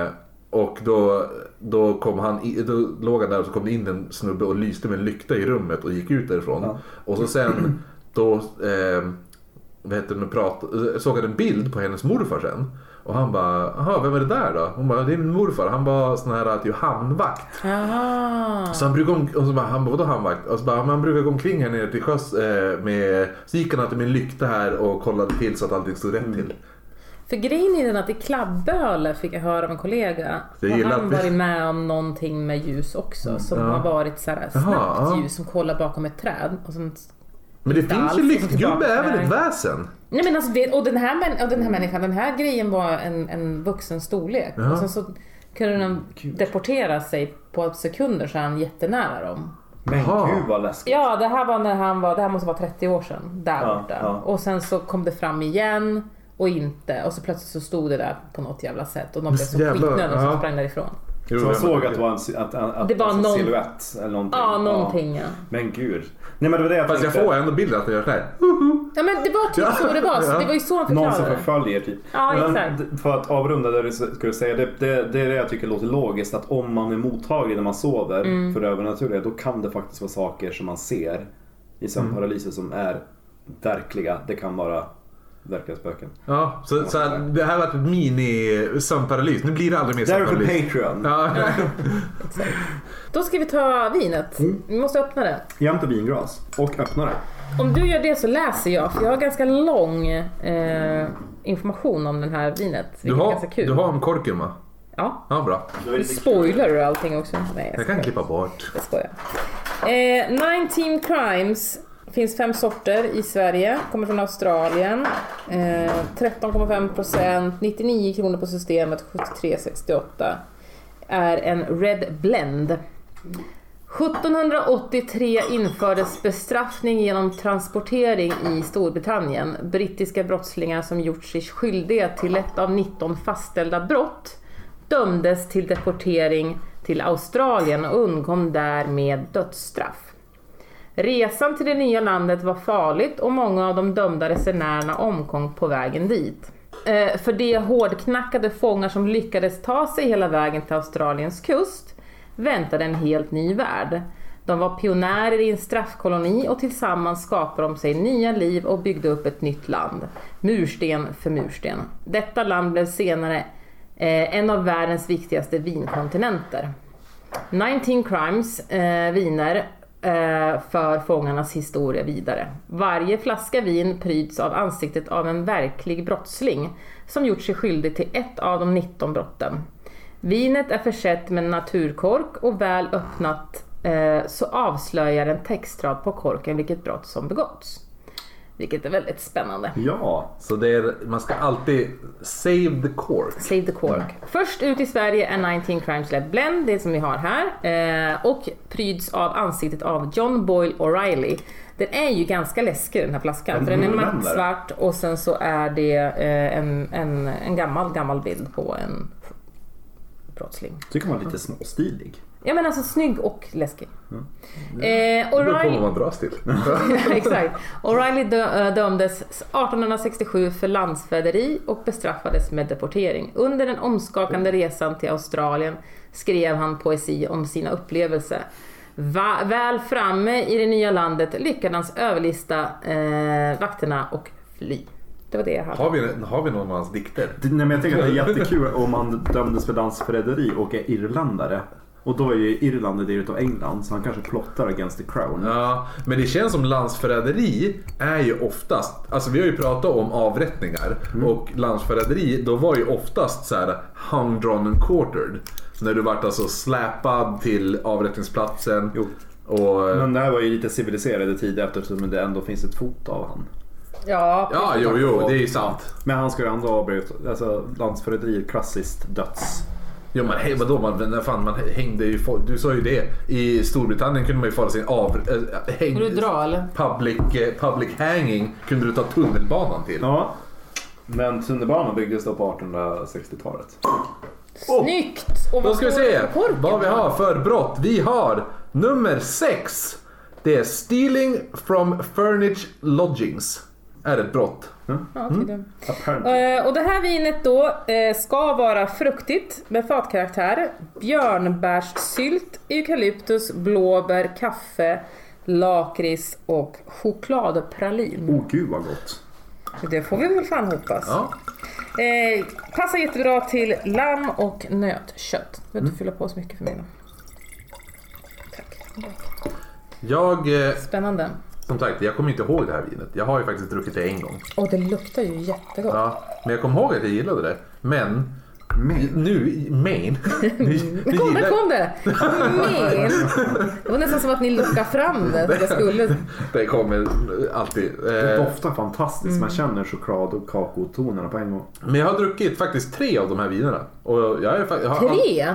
B: Eh, och då, då, kom han, i- då låg han där och så kom det in en snubbe och lyste med en lykta i rummet och gick ut därifrån.
C: Ja.
B: Och så sen då eh, vad heter det, nu, prat, eh, såg han en bild på hennes morfar sen. Och han bara, jaha vem är det där då? Hon bara, det är min morfar. Han var sån här typ hamnvakt.
A: Jaha.
B: Så han brukar, om, och så bara, han bara, vadå hamnvakt? Och så bara, "Men han brukar gå omkring här nere till sjöss eh, med, så gick han alltid med en lykta här och kollade till så att allting stod rätt
C: Mm.
B: till.
A: För grejen är den att i Klabböle fick jag höra av en kollega.
B: Jag
A: har
B: gillar
A: han
B: att vi-
A: varit med om någonting med ljus också. Som
B: Ja.
A: har varit så här snabbt
B: Jaha, ja.
A: ljus som kollar bakom ett träd. Och sen...
B: Men det
A: Inte
C: alltså,
B: finns ju
A: alls.
B: lyktgubbe
A: Tillbaka.
B: är väl ett väsen?
A: Nej, men alltså det, och, den här, män- och den här människan, den här grejen var en, en vuxen storlek.
B: Ja.
A: Och sen så kunde den deportera sig på sekunder så är han jättenära dem.
C: Men
B: Jaha.
C: gud vad läskigt.
A: Ja, det här var när han var, det här måste vara 30 år sedan. Där
C: Ja,
A: borta.
C: ja.
A: Och sen så kom det fram igen och inte. Och så plötsligt så stod det där på något jävla sätt. Och någon blev så
B: Jävlar,
A: skitnödig och
B: ja.
A: så sprang därifrån.
B: Jo,
C: Så man
B: vem-
C: såg att det var en si- att, att, att,
A: Det var
C: alltså,
A: någon-
C: silhuett eller någonting.
A: Ja, någonting ja.
C: Men gud. Nej men det var det jag
B: Fast jag
C: tänkte.
B: får ändå bilden att han gör såhär.
A: Ja men det var typ
B: Ja.
A: så det var. Så
B: Ja.
A: det var ju så han
C: Någon som
A: förklarade det.
C: förföljer typ.
A: Ja,
C: Men
A: exakt.
C: d- För att avrunda det du s- skulle säga. Det, det, det är det jag tycker låter logiskt. Att om man är mottaglig när man sover
A: Mm.
C: för det övernaturliga. Då kan det faktiskt vara saker som man ser i
B: Mm.
C: sömnparalyser som är verkliga. Det kan vara verkliga spöken.
B: Ja, så, så här, det här var ett mini sömnparalys. Nu blir det aldrig mer
C: Det här är för
B: sömnparalys.
C: Patreon.
B: Ja.
A: Då ska vi ta vinet. Vi måste öppna det.
C: Jämte vinglas. Och öppna det.
A: Om du gör det så läser jag. För jag har ganska lång eh, information om den här vinet. Vilket
B: Du
A: är
B: har,
A: ganska kul.
B: du har om korken va?
A: Ja.
B: Ja, bra.
A: Spoiler och allting också. Nej, jag
B: Jag kan klippa bort.
A: Jag skojar. Eh, 19 Crimes. Finns fem sorter i Sverige. Kommer från Australien. Eh, 13,5 procent. 99 kronor på systemet. 73,68. Är en Red Blend. 1783 infördes bestraffning genom transportering i Storbritannien. Brittiska brottslingar som gjort sig skyldiga till ett av 19 fastställda brott dömdes till deportering till Australien och undkom därmed dödsstraff. Resan till det nya landet var farligt och många av de dömda resenärerna omkom på vägen dit. Eh, För de hårdknackade fångar som lyckades ta sig hela vägen till Australiens kust väntade en helt ny värld. De var pionjärer i en straffkoloni och tillsammans skapade de sig nya liv och byggde upp ett nytt land. Mursten för mursten. Detta land blev senare eh, en av världens viktigaste vinkontinenter. 19 Crimes eh, viner eh, för fångarnas historia vidare. Varje flaska vin pryds av ansiktet av en verklig brottsling som gjort sig skyldig till ett av de 19 brotten. Vinet är försett med naturkork och väl öppnat eh, så avslöjar en textrad på korken vilket brott som begåtts. Vilket är väldigt spännande.
C: Ja.
B: Så det är, man ska alltid save the cork.
A: Save the Cork. Först ut i Sverige är 19 Crimes Led Blend, det som vi har här. Eh, och pryds av ansiktet av John Boyle O'Reilly. Den är ju ganska läskig den här flaskan. För den är
C: Norrländare.
A: matt svart och sen så är det eh, en, en, en gammal, gammal bild på en brottsling.
C: Tycker man är lite småstilig.
A: Ja men alltså snygg och läskig. Eh,
B: Mm. Det beror på
A: O'Reilly,
B: vad man dras till.
A: [LAUGHS] exakt. O'Reilly dö- eh, dömdes 1867 för landsförräderi och bestraffades med deportering. Under den omskakande resan till Australien skrev han poesi om sina upplevelser. Va- väl framme i det nya landet lyckades han överlista eh, vakterna och fly. Det var det jag hade.
B: [LAUGHS] Har vi, har vi någon av hans dikter?
C: Det- Nej, men jag tänker att det är jättekul om man dömdes för landsförräderi och är irländare. Och då är ju Irland en del utav England så han kanske plottar against the crown.
B: Ja, men det känns som landsförräderi är ju oftast, alltså vi har ju pratat om avrättningar och landsförräderi då var ju oftast så här hung, drawn and quartered. När du vart alltså släpad till avrättningsplatsen.
C: Jo.
B: Och,
C: Men det här var ju lite civiliserade tider eftersom det ändå finns ett fot av han.
A: Ja,
B: ja, jo, jo, det är ju sant.
C: Men han ska ju ändå avbryta, alltså landsförräderi är klassiskt döds.
B: Jo men hej, vadå, man, när fan, man hängde ju folk, du sa ju det. I Storbritannien kunde man ju fara sin av... Äh, häng,
A: Vill du dra eller?
B: public, eh, public hanging kunde du ta tunnelbanan till.
C: Ja. Men tunnelbanan byggdes då på 1860-talet.
A: Snyggt! Och
B: Då
A: vad
B: ska vi
A: står det
B: se
A: på korken?
B: vad vi har för brott. Vi har nummer 6. Det är stealing from furnished lodgings. Är ett brott.
A: Ja, tydligen.
C: Apparently.
A: Eh, Och det här vinet då eh, ska vara fruktigt med fatkaraktär. Björnbärssylt, eukalyptus, blåbär, kaffe, lakrits och chokladpralin.
C: Åh gud vad gott.
A: Det får vi väl fan hoppas.
B: Ja.
A: Eh, passar jättebra till lamm och nötkött. Du behöver
B: Mm.
A: inte fylla på så mycket för mig då. Tack.
B: Jag, eh,
A: Spännande.
B: som sagt, jag kommer inte ihåg det här vinet. Jag har ju faktiskt druckit det en gång.
A: Och det luktar ju jättegott.
B: Ja, men jag kommer ihåg att jag gillade det. Men nu,
A: [LAUGHS]
B: main. Nu, nu
A: Nu kom det,
B: gillar- [LAUGHS]
A: kom det! Men! Det var nästan som att ni lockade fram det. att Jag skulle
B: Det kommer alltid.
C: Det
B: Eh,
C: doftar fantastiskt. Man känner choklad och kakaotonerna på en gång.
B: men jag har druckit faktiskt tre av de här vinerna. Och jag är fak- jag har,
A: Tre?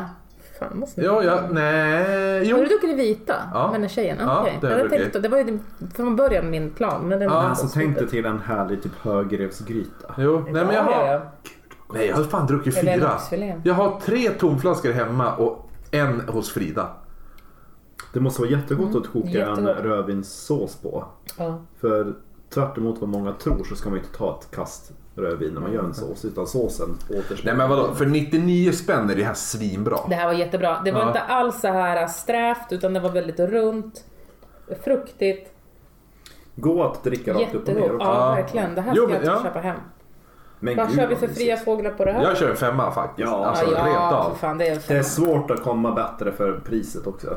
A: Fan vad snyggt.
B: Ja, jag, nej, jo.
A: Har du druckit det vita?
B: Ja.
A: Med den här tjejen?
B: Ja,
A: Okej.
B: det har
A: Jag hade
B: jag druckit.
A: tänkt, det var ju från början min plan. Men den
B: Ja,
A: var
C: Alltså
A: på
C: tänk dig
A: slutet.
C: till en härlig typ högrevsgryta.
B: Jo, nej men jag
A: Ja,
B: har,
A: ja,
B: Nej, jag har fan druckit
A: Eller en
B: fyra.
A: oxfilé.
B: Jag har tre tomflaskor hemma och en hos Frida.
C: Det måste vara jättegott att koka en
A: Mm, jättegott.
C: rödvinssås på.
A: ja.
C: För tvärt emot vad många tror så ska man inte ta ett kast rödvin när man
A: Mm.
C: gör en sås utan såsen återspeglar.
B: Nej men vadå, för 99 spänn är det här svinbra.
A: Det här var jättebra. Det var
B: Ja.
A: inte alls så här strävt utan det var väldigt runt. Fruktigt.
C: Gå att dricka rakt upp och
A: Jättegott.
C: ner. också.
A: Ja,
B: Ja.
A: verkligen. Det här
B: Jo,
A: ska
B: men-
A: jag
B: ja.
A: köpa hem.
C: Men
A: Vad
C: gud,
A: kör vi för fria
C: mysigt.
A: fåglar på det här?
B: Jag kör en femma faktiskt.
C: Ja.
B: alltså
A: ja,
B: rent
A: för
B: av.
A: fan. Det är,
C: Det är
A: fan
C: svårt att komma bättre för priset också.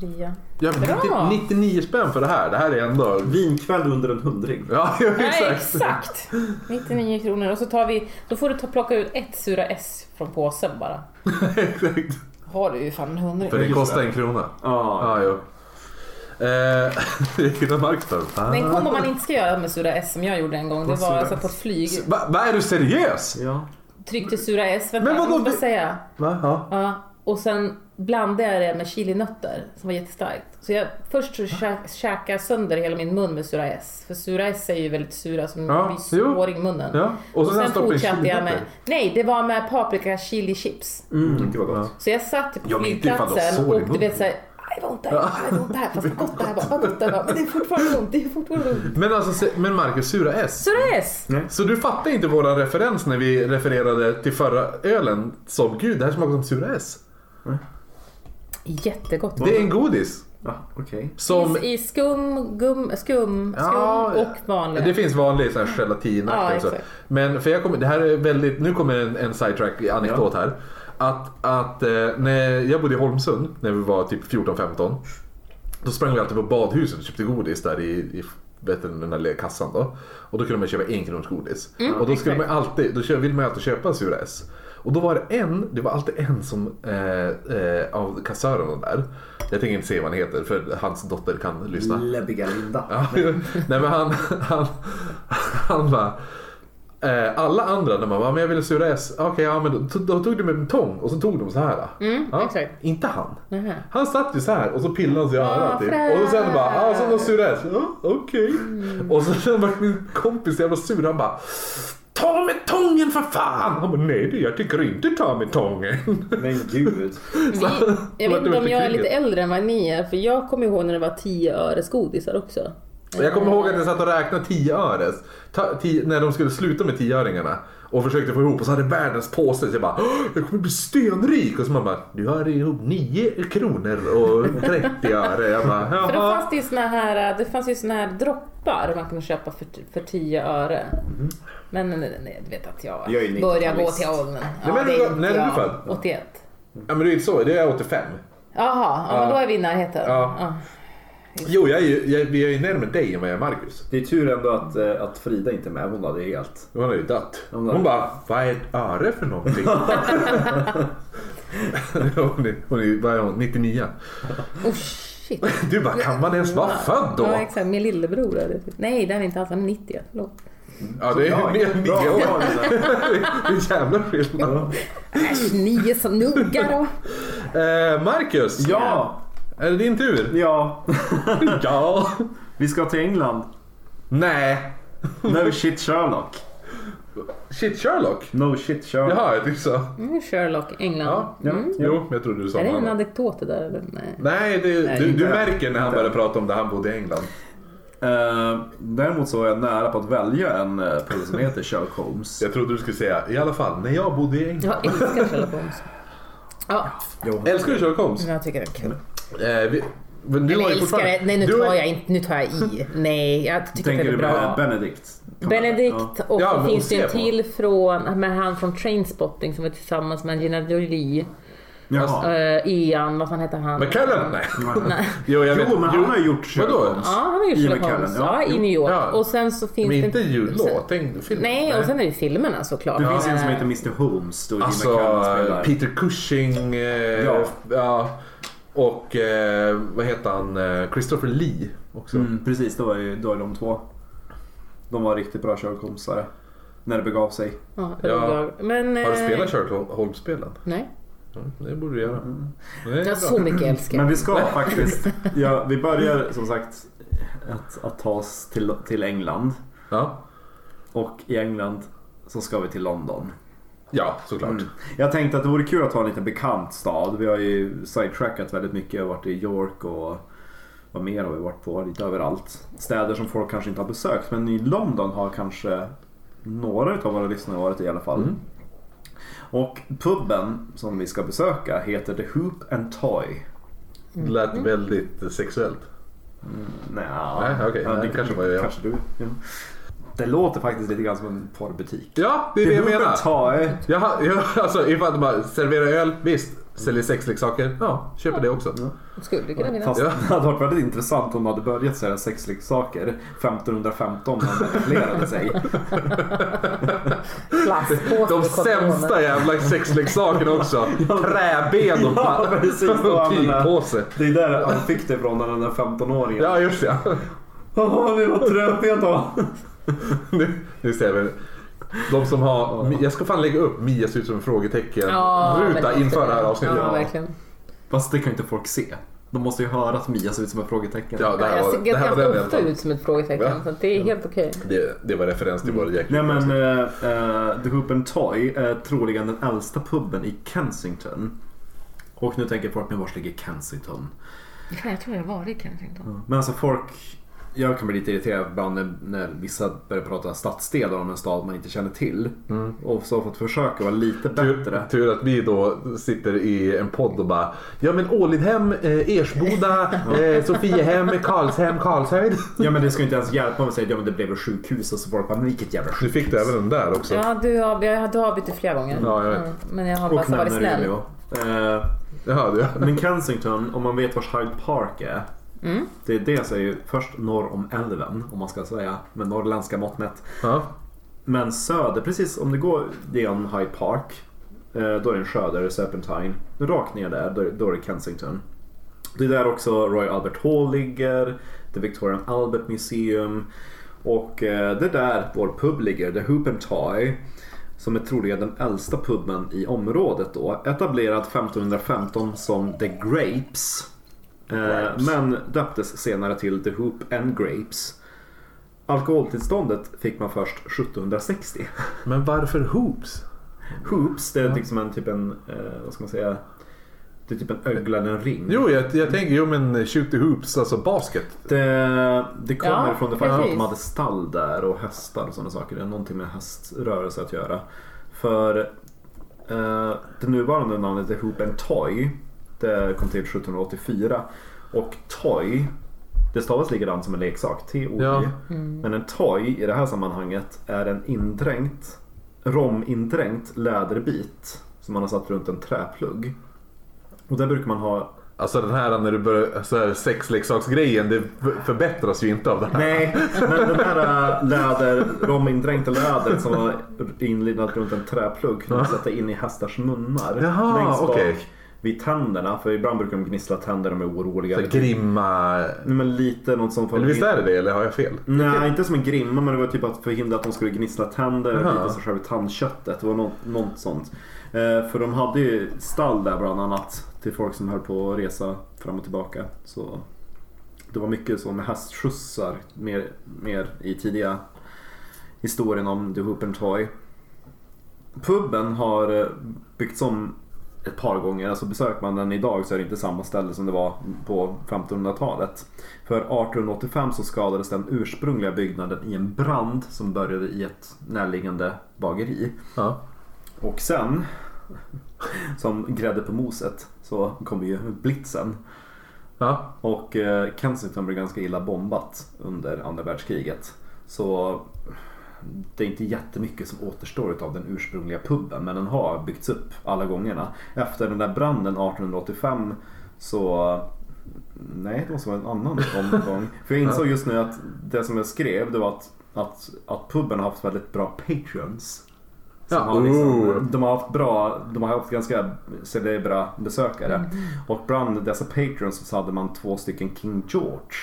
A: fria.
B: Ja, men
A: Bra.
B: 90, 99 spänn för det här. Det här är ändå...
C: Vinkväll under en hundring.
B: Ja, [LAUGHS] ja, [LAUGHS] exakt.
A: Nej, exakt! 99 kronor. Och så tar vi, då får du ta, plocka ut ett sura S från påsen bara.
B: Exakt.
A: Har du ju fan en hundring.
B: För det
C: Just
B: kostar
C: det.
B: en krona.
C: Ja.
B: Ja, jo. Eh, [LAUGHS] Riktigt marknadsföring. Fan.
A: Den kombo man inte ska göra med sura S som jag gjorde en gång, det
C: Vad
A: var
C: sura
A: alltså på
C: S?
A: ett flyg.
B: Va, va, är du seriös?
C: ja.
A: Tryck till sura S, vänta,
B: Men vadå,
A: jag måste
B: det-
A: säga.
B: Va? Ja.
A: Ja, och sen blandade jag det med chilinötter som var jättestarkt. Så jag först så kä- käkade jag sönder hela min mun med sura S. För sura S är ju väldigt sura som
B: Ja,
A: blir
B: jo.
A: sårig i munnen.
B: ja. Och så
A: Och sen
B: nästa upp en
A: fortsatte jag med,
B: chilinötter.
A: nej det var med paprika chili chips.
C: Mm, gud vad gott.
A: Så jag satt typ
B: Ja,
A: på
B: men inte ifall du har
A: flygplatsen
B: sår i
A: och du
B: munnen.
A: vet såhär, aj vad ont det här, aj vad ont det här, fast vad gott det här var, vad gott det här var, men det är fortfarande ont, det är fortfarande ont.
B: Men alltså, se- men Marcus, sura S.
A: Suarez!
B: Så du fattar inte våran referens när vi refererade till förra ölen som gud, det här smakar som sura S.
A: Jättegott.
B: Det är en godis.
C: Ja, Okej.
B: Som,
A: I, I skum, gum, skum, skum
B: Ja,
A: och vanlig.
B: det finns vanlig sån här
A: Mm. Ja,
B: gelatinaktig också.
A: exakt.
B: Men för jag kommer, det här är väldigt, nu kommer en, en sidetrack anekdot här. Att, att eh, när jag bodde i Holmsund när vi var typ 14-15. Då sprang vi alltid på badhuset och köpte godis där i, i vet du, den där lilla kassan då. Och då kunde man köpa en kronors godis.
A: Mm,
B: och då, skulle man alltid, då kö- ville man ju alltid köpa en sura S. Och då var det en, det var alltid en som eh, eh, av kassörerna där. Jag tänker inte säga vad han heter för hans dotter kan lyssna.
C: Läbbiga Linda.
B: Ja, nej men han, han, han bara. eh, Alla andra när man bara, men jag ville sura S. Okej, ja men då, då tog du med en tång och så tog de så här.
A: Mm,
B: ja,
A: exakt. Ah,
B: Inte han.
A: Nähä.
B: Han satt ju så här och så pillade han sig i örat. Typ.
A: fräs.
B: Och sen bara, ah, så
A: Mm.
B: var sura S. Ja, Okej. Och så sen vart min kompis jävla sur. Han bara, Ta med tången för fan! Han bara, nej du, jag tycker inte ta med tången.
C: [LAUGHS] Men gud.
B: [LAUGHS] Så-
A: Jag
B: så
A: vet
B: att det
A: inte
B: var
A: om jag är
B: kriget.
A: lite äldre än vad ni är, för jag kommer ihåg när det var 10 öres godisar också.
B: Och Jag
A: Eh.
B: kommer ihåg att jag satt och räknade 10 öres. Ta, ti, när de skulle sluta med 10 öringarna och försökte få ihop och så hade världens påse. Så jag bara, "Åh, jag kommer bli stenrik. Och så man bara, du har ihop 9 kronor och 30 öre. Jag bara,
A: För då
B: jaha.
A: fanns det ju såna här, det fanns ju såna här droppar man kunde köpa för, för 10 öre.
B: Mhm.
A: Men nej, nej, nej, du vet att jag,
C: Jag är ju
A: börjar gå
C: 90-talist.
A: till åldern.
B: Nej, men
A: det
B: du-
A: är inte
B: när är du
A: jag.
B: född?
A: 81.
B: Ja men det är inte så, det är 85.
A: Jaha, ja. men då är vi i närheten.
B: Ja.
A: Ja.
B: Jo, jag är ju, jag, vi är ju närmare dig än vad jag är Marcus.
C: Det är tur ändå att, eh, att Frida inte är med. Hon hade helt...
B: Hon har ju dött.
C: Hon har-
B: Hon bara, vad är ett öre för
A: [LAUGHS]
B: någonting? hon är, hon är, ju- vad är hon, 99?
A: Oh, shit.
B: Du bara, kan man ens vara född då?
A: Ja, exakt. Min lillebror. är det. Nej, den är inte alls. Han är 90. Förlåt.
B: [LAUGHS] Ja, det är ju nio
C: bra,
B: år.
C: bra,
B: [LAUGHS]
C: Lina.
B: Det är en jävla skillnad.
A: Äsch, nio som nuggar då.
B: Eh, Marcus,
C: Ja,
B: är det din tur?
C: ja.
B: Ja.
C: Vi ska till England.
B: Nej.
C: No shit Sherlock.
B: Shit Sherlock.
C: No shit Sherlock.
B: Jaha, jag tyckte så.
A: Mm, Sherlock, England.
B: Ja.
C: Ja,
B: Jo, men jag trodde du sa
A: Mm. Är det
B: något
A: en
B: annat.
A: anekdot det där? eh, eller? Nej.
B: Nej, det,
A: Nej,
B: du,
A: inte
B: du
C: jag.
B: märker när han
C: Inte.
B: börjar prata om det han bodde i England.
C: Eh, däremot så var jag nära på att välja en eh, person som heter Sherlock Holmes.
B: Jag trodde du skulle säga, i alla fall, när jag bodde i England.
A: Jag älskar Sherlock Holmes. Ja,
C: Jo.
B: Älskar du Sherlock Holmes?
A: jag tycker det är kul.
B: Eh, vi, men du
A: Eller
B: har ju
A: älskar
B: fortfarande-
A: det. Nej, nu
B: du har-
A: tar jag inte. Nu tar jag i. Nej, jag tycker
C: Tänker
A: det är
C: du
A: bra.
C: på Benedict?
A: Benedict och
B: Ja,
A: så
B: men
A: finns
B: och
A: det ju en
B: se på.
A: till från, med han från Trainspotting som är tillsammans med Angelina Jolie.
C: Jaha.
A: Uh, Ian, vad fan heter han?
B: McKellen? Nej.
A: [LAUGHS] Nej.
B: Jo, jag vet.
C: Jo, men han har ju gjort Sherlock
B: Vadå?
C: Holmes.
A: Ja, han har ju
C: Ian
A: Sherlock
C: McKellen,
A: Holmes.
C: ja.
A: Ja, i New York.
B: Ja.
A: Och sen så finns
B: Men
A: det...
B: inte ljudlåt,
A: sen-
B: tänk filmen.
A: Nej, och sen är det filmerna såklart.
C: Det finns en som
A: Eh,
C: heter Mr Holmes då Jimmy
B: Alltså
C: Callum spelar.
B: Peter Cushing eh, ja.
C: Ja.
B: och eh, vad heter han? eh, Christopher Lee också.
C: Mm, precis, då var ju då är de två. De var riktigt bra körkompisar. När det begav sig.
A: Ja,
B: Ja.
A: ja. Men,
B: Har du
A: eh,
B: spelat Sherlock Holmes-spelen?
A: Nej.
B: Mm, det borde du göra. Det är
A: Jag
B: bra.
A: så mycket älskar
C: Men
A: jag.
C: vi ska
A: [LAUGHS]
C: faktiskt, ja, vi börjar som sagt att, att ta oss till, till England.
B: Ja.
C: Och i England så ska vi till London.
B: ja, såklart.
C: Mm. Jag tänkte att det vore kul att ha en liten bekant stad. Vi har ju sidetrackat väldigt mycket. Jag har varit i York och vad mer har vi varit på? Lite överallt. Städer som folk kanske inte har besökt. Men i London har kanske några av våra lyssnare varit i alla fall.
B: Mm.
C: Och puben som vi ska besöka heter The Hoop and Toy.
B: Det lät
A: Mm.
B: väldigt eh, sexuellt.
C: Nja,
B: Nej, okej. Nej, det kanske var jag.
C: Kanske du. Ja. Det låter faktiskt lite grann som en porrbutik.
B: Ja, det är det
C: The
B: jag
C: Hoop
B: menar.
C: and Toy.
B: Ja, ja, alltså ifall de bara serverar öl, visst. Säljer sexleksaker, ja, köper det också.
A: Skulle kunna vinna.
C: Fast det hade varit väldigt intressant om de hade börjat sälja sexleksaker 1515 när de etablerade sig.
A: Plastpåse
B: De
A: och kondomer.
B: sämsta jävla sexleksakerna
C: [LAUGHS]
B: också. Träben och,
C: Ja, precis, då
B: och
C: använder-
B: tygpåse.
C: Det är där han fick det ifrån, den där 15-åringen.
B: Ja, just det. Ja.
C: Åh, ni var trötbent då!
B: Nu, nu ser vi. De som har... Jag ska fan lägga upp Mia ser ut som en frågetecken
A: Ja,
B: ruta
A: verkligen.
B: inför det här avsnittet.
A: Ja,
B: Ja,
A: verkligen.
C: Fast det kan ju inte folk se. De måste ju höra att Mia ser ut som ett frågetecken.
B: det här
A: jag
B: var,
A: ser
B: det här var
A: ganska
B: den i alla
A: ofta
B: fall.
A: ut som ett frågetecken,
B: Ja.
A: så att det är helt okej.
B: Det, det var referens till vår Jack
C: Nej men eh, eh, The Hoop and Toy är troligen den äldsta puben i Kensington. Och nu tänker folk, men var ligger Kensington?
A: Fan, jag tror jag har varit i Kensington.
B: Mm.
C: Men alltså folk, jag kan bli lite irriterad ibland när, när vissa börjar prata stadsdelar om en stad man inte känner till.
B: Mm.
C: Och så har fått försöka vara lite
B: Tur,
C: bättre.
B: tur att vi då sitter i en podd och bara Ja men Ålidhem, eh, [LAUGHS] Ersboda, eh, Sofiehem, Karlshem, Karlshöjd.
C: Ja men det ska ju inte ens hjälpa om man säger att ja, men det blev ett sjukhus och så folk bara, men vilket jävla
B: Du
C: sjukhus.
B: fick det även den där också.
A: Ja, du har, jag, du har avbytt flera gånger.
B: Ja, jag vet.
A: Mm, Men jag har
C: Och
A: bara så varit
C: nämner
A: snäll.
C: Umeå. Eh,
B: Jaha, du.
C: men Kensington, om man vet var Hyde Park är. Det är det som är ju först norr om älven, om man ska säga med norrländska mått mätt.
B: Ja.
C: Men söder, precis om du går genom Hyde Park. eh, Då är det en sjö där det är Serpentine. Rakt ner där, då är- då är det Kensington. Det är där också Royal Albert Hall ligger. The Victorian Albert Museum. Och eh, det är där vår pub ligger, The Hoop and Toy. Som är troligen den äldsta puben i området då. Etablerad 1515 som The Grapes. Eh, Men döptes senare till The Hoop and Grapes. Alkoholtillståndet fick man först 1760.
B: Men varför hoops?
C: Hoops, det är liksom en typ en, eh, vad ska man säga, det är typ en ögla eller en ring.
B: Jo, jag, jag tänker jo men shoot the hoops, alltså basket.
C: Det, eh, det kommer
D: Ja,
C: från det faktum att
D: precis.
C: de hade stall där och hästar och sådana saker. Det är någonting med häströrelse att göra. För eh, det nuvarande namnet är Hoop and Toy. Det kom till 1784. Och Toy, det stavas likadant som en leksak. T-O-Y.
B: Ja.
D: Mm.
C: Men en Toy i det här sammanhanget är en indränkt, romindränkt läderbit som man har satt runt en träplugg. Och där brukar man ha
B: Alltså den här när du börjar, så här sexleksaksgrejen, det förbättras ju inte av det här.
C: Nej, men den här äh, läder, romindränkta lädret som var inlindat runt en träplugg kunde man sätta in i hästars munnar.
B: Jaha,
C: längst bak
B: okej.
C: vid tänderna. För ibland brukar de gnissla tänder när de är oroliga.
B: Så här, grimma...
C: Nej, men lite något som...
B: Eller visst är det det, eller har jag fel?
C: Nej, inte som en grimma men det var typ att förhindra att de skulle gnissla tänder och
B: Jaha.
C: bita sig själv i tandköttet. Det var något, något sånt. Eh, för de hade ju stall där bland annat till folk som höll på att resa fram och tillbaka. Så det var mycket så med hästskjutsar mer, mer i tidiga historien om The Hoop and Toy. Puben har eh, byggts om ett par gånger. Alltså besöker man den idag så är det inte samma ställe som det var på 1500-talet. För 1885 så skadades den ursprungliga byggnaden i en brand som började i ett närliggande bageri.
B: Ja.
C: Och sen, som grädde på moset, så kom ju blitzen.
B: ja.
C: Och eh, Kensington blev ganska illa bombat under andra världskriget. Så det är inte jättemycket som återstår av den ursprungliga puben men den har byggts upp alla gångerna. Efter den där branden 1885 så Nej, det måste vara en annan
B: [LAUGHS]
C: omgång. För jag insåg just nu att det som jag skrev det var att, att, att puben har haft väldigt bra patrons. Som
B: Ja,
C: har liksom,
B: oh.
C: de har haft bra, de har haft ganska celebra besökare.
B: Mm.
C: Och bland dessa patrons så hade man två stycken King George.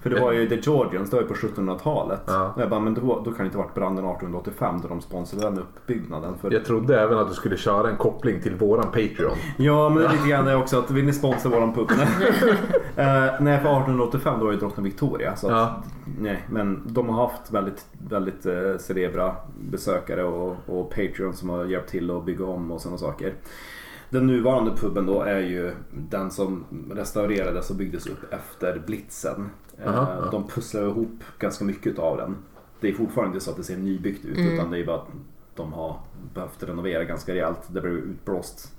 C: För det var ju The Georgians, det var ju på 1700-talet.
B: Mm. Ja.
C: Och Jag bara, men då, då kan det inte ha varit branden 1885 då de sponsrade den uppbyggnaden. För...
B: Jag trodde även att du skulle köra en koppling till våran Patreon.
C: Ja, men det är lite grann det också att vill ni sponsra våran pub? [LAUGHS] Nej, Eh, nej för 1885 då var ju drottning Victoria. Så att,
B: Ja.
C: nej, men de har haft väldigt, väldigt eh, celebra besökare och, och Patreon som har hjälpt till att bygga om och sådana saker. Den nuvarande puben då är ju den som restaurerades och byggdes upp efter blitzen. Eh,
B: Aha, ja.
C: De pusslar ihop ganska mycket av den. Det är fortfarande inte så att det ser nybyggt ut
B: Mm.
C: utan det är bara att de har behövt renovera ganska rejält. Det blev utblåst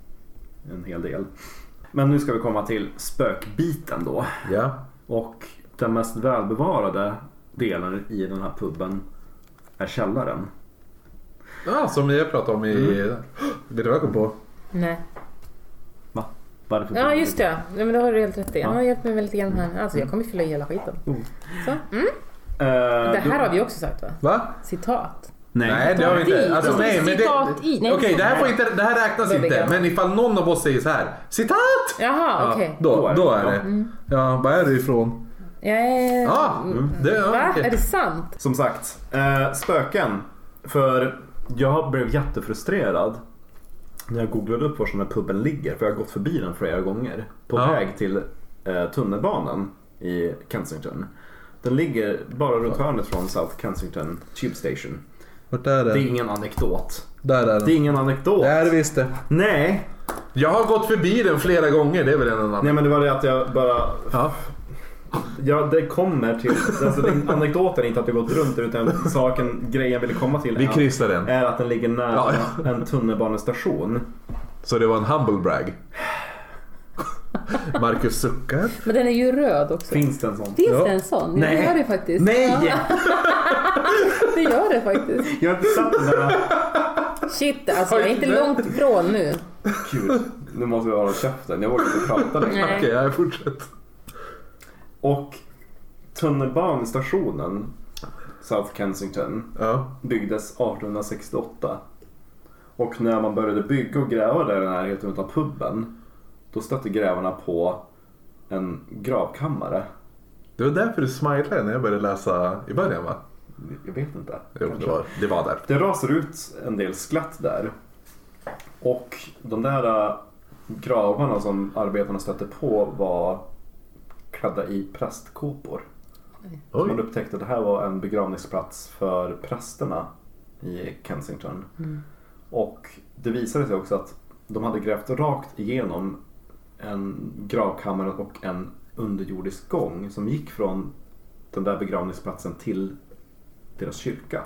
C: en hel del. Men nu ska vi komma till spökbiten då.
B: Ja.
C: Och den mest välbevarade delen i den här puben är källaren.
B: ja, som jag pratade om i... Vet du vad jag kom på?
D: Nej.
C: Va? Varför
D: Ja just det, Nej, men det har du helt rätt i. Han har hjälpt mig väldigt grann här.
B: Mm.
D: Alltså jag kommer fylla i hela skiten. Så. Mm. Det här har vi också sagt va?
B: Va?
D: Citat.
C: Eh, Nej.
B: Nej, det har vi
D: Dit,
B: inte. Alltså,
D: alltså,
B: nej, men det...
D: citat i. Nej,
B: Okej, det, här
D: nej.
B: får inte, det här räknas
D: Då blir
B: inte.
D: jag-
B: Men ifall någon av oss säger så här. Citat!
D: Jaha okej.
B: Ja, då, då är det. Ja, var är du ifrån?
D: Jag är...
B: Ja, det... Ah! Ja,
D: Va? Är det
B: okej.
D: sant?
C: Som sagt, eh, spöken. För jag blev jättefrustrerad när jag googlade upp var den här puben ligger. För jag har gått förbi den flera gånger. På
B: Ja.
C: väg till eh, tunnelbanan i Kensington. Den ligger bara runt hörnet från South Kensington Tube Station.
B: Vart är
C: Det är
B: den?
C: ingen anekdot.
B: Där är
C: Det är
B: den.
C: ingen anekdot.
B: Där visst det.
C: Nej.
B: Jag har gått förbi den flera gånger, det är väl en annan.
C: Nej men det var det att jag bara...
B: Ja.
C: Ja, det kommer till... Alltså, den anekdoten är inte att jag gått runt där, utan saken, grejen jag ville komma till
B: Vi
C: är-
B: kryssar den.
C: är att den ligger nära
B: Ja,
C: en tunnelbanestation.
B: Så det var en humble [LAUGHS] brag. Marcus suckar.
D: Men den är ju röd också.
C: Finns det en sån?
D: Finns
B: Ja.
D: det en sån? Nej.
C: Nej.
D: Det gör det faktiskt.
C: Nej!
D: Ja, det gör det faktiskt.
C: Jag har inte sett den där.
D: Shit, alltså jag är inte långt ifrån nu.
C: Gud, nu måste jag hålla käften. Jag vågar inte prata längre.
B: Okej,
D: Nej.
B: jag fortsätter.
C: Och tunnelbanestationen South Kensington
B: Ja.
C: byggdes 1868. Och när man började bygga och gräva där i närheten utav puben då stötte grävarna på en gravkammare.
B: Det var därför du smilade när jag började läsa i början va?
C: Jag vet inte.
B: Jo, det var, det var där.
C: Det rasar ut en del skelett där. Och de där äh, gravarna som arbetarna stötte på var klädda i prästkåpor. Så man
B: Oj.
C: upptäckte att det här var en begravningsplats för prästerna i Kensington. Och det visade sig också att de hade grävt rakt igenom en gravkammare och en underjordisk gång som gick från den där begravningsplatsen till deras kyrka.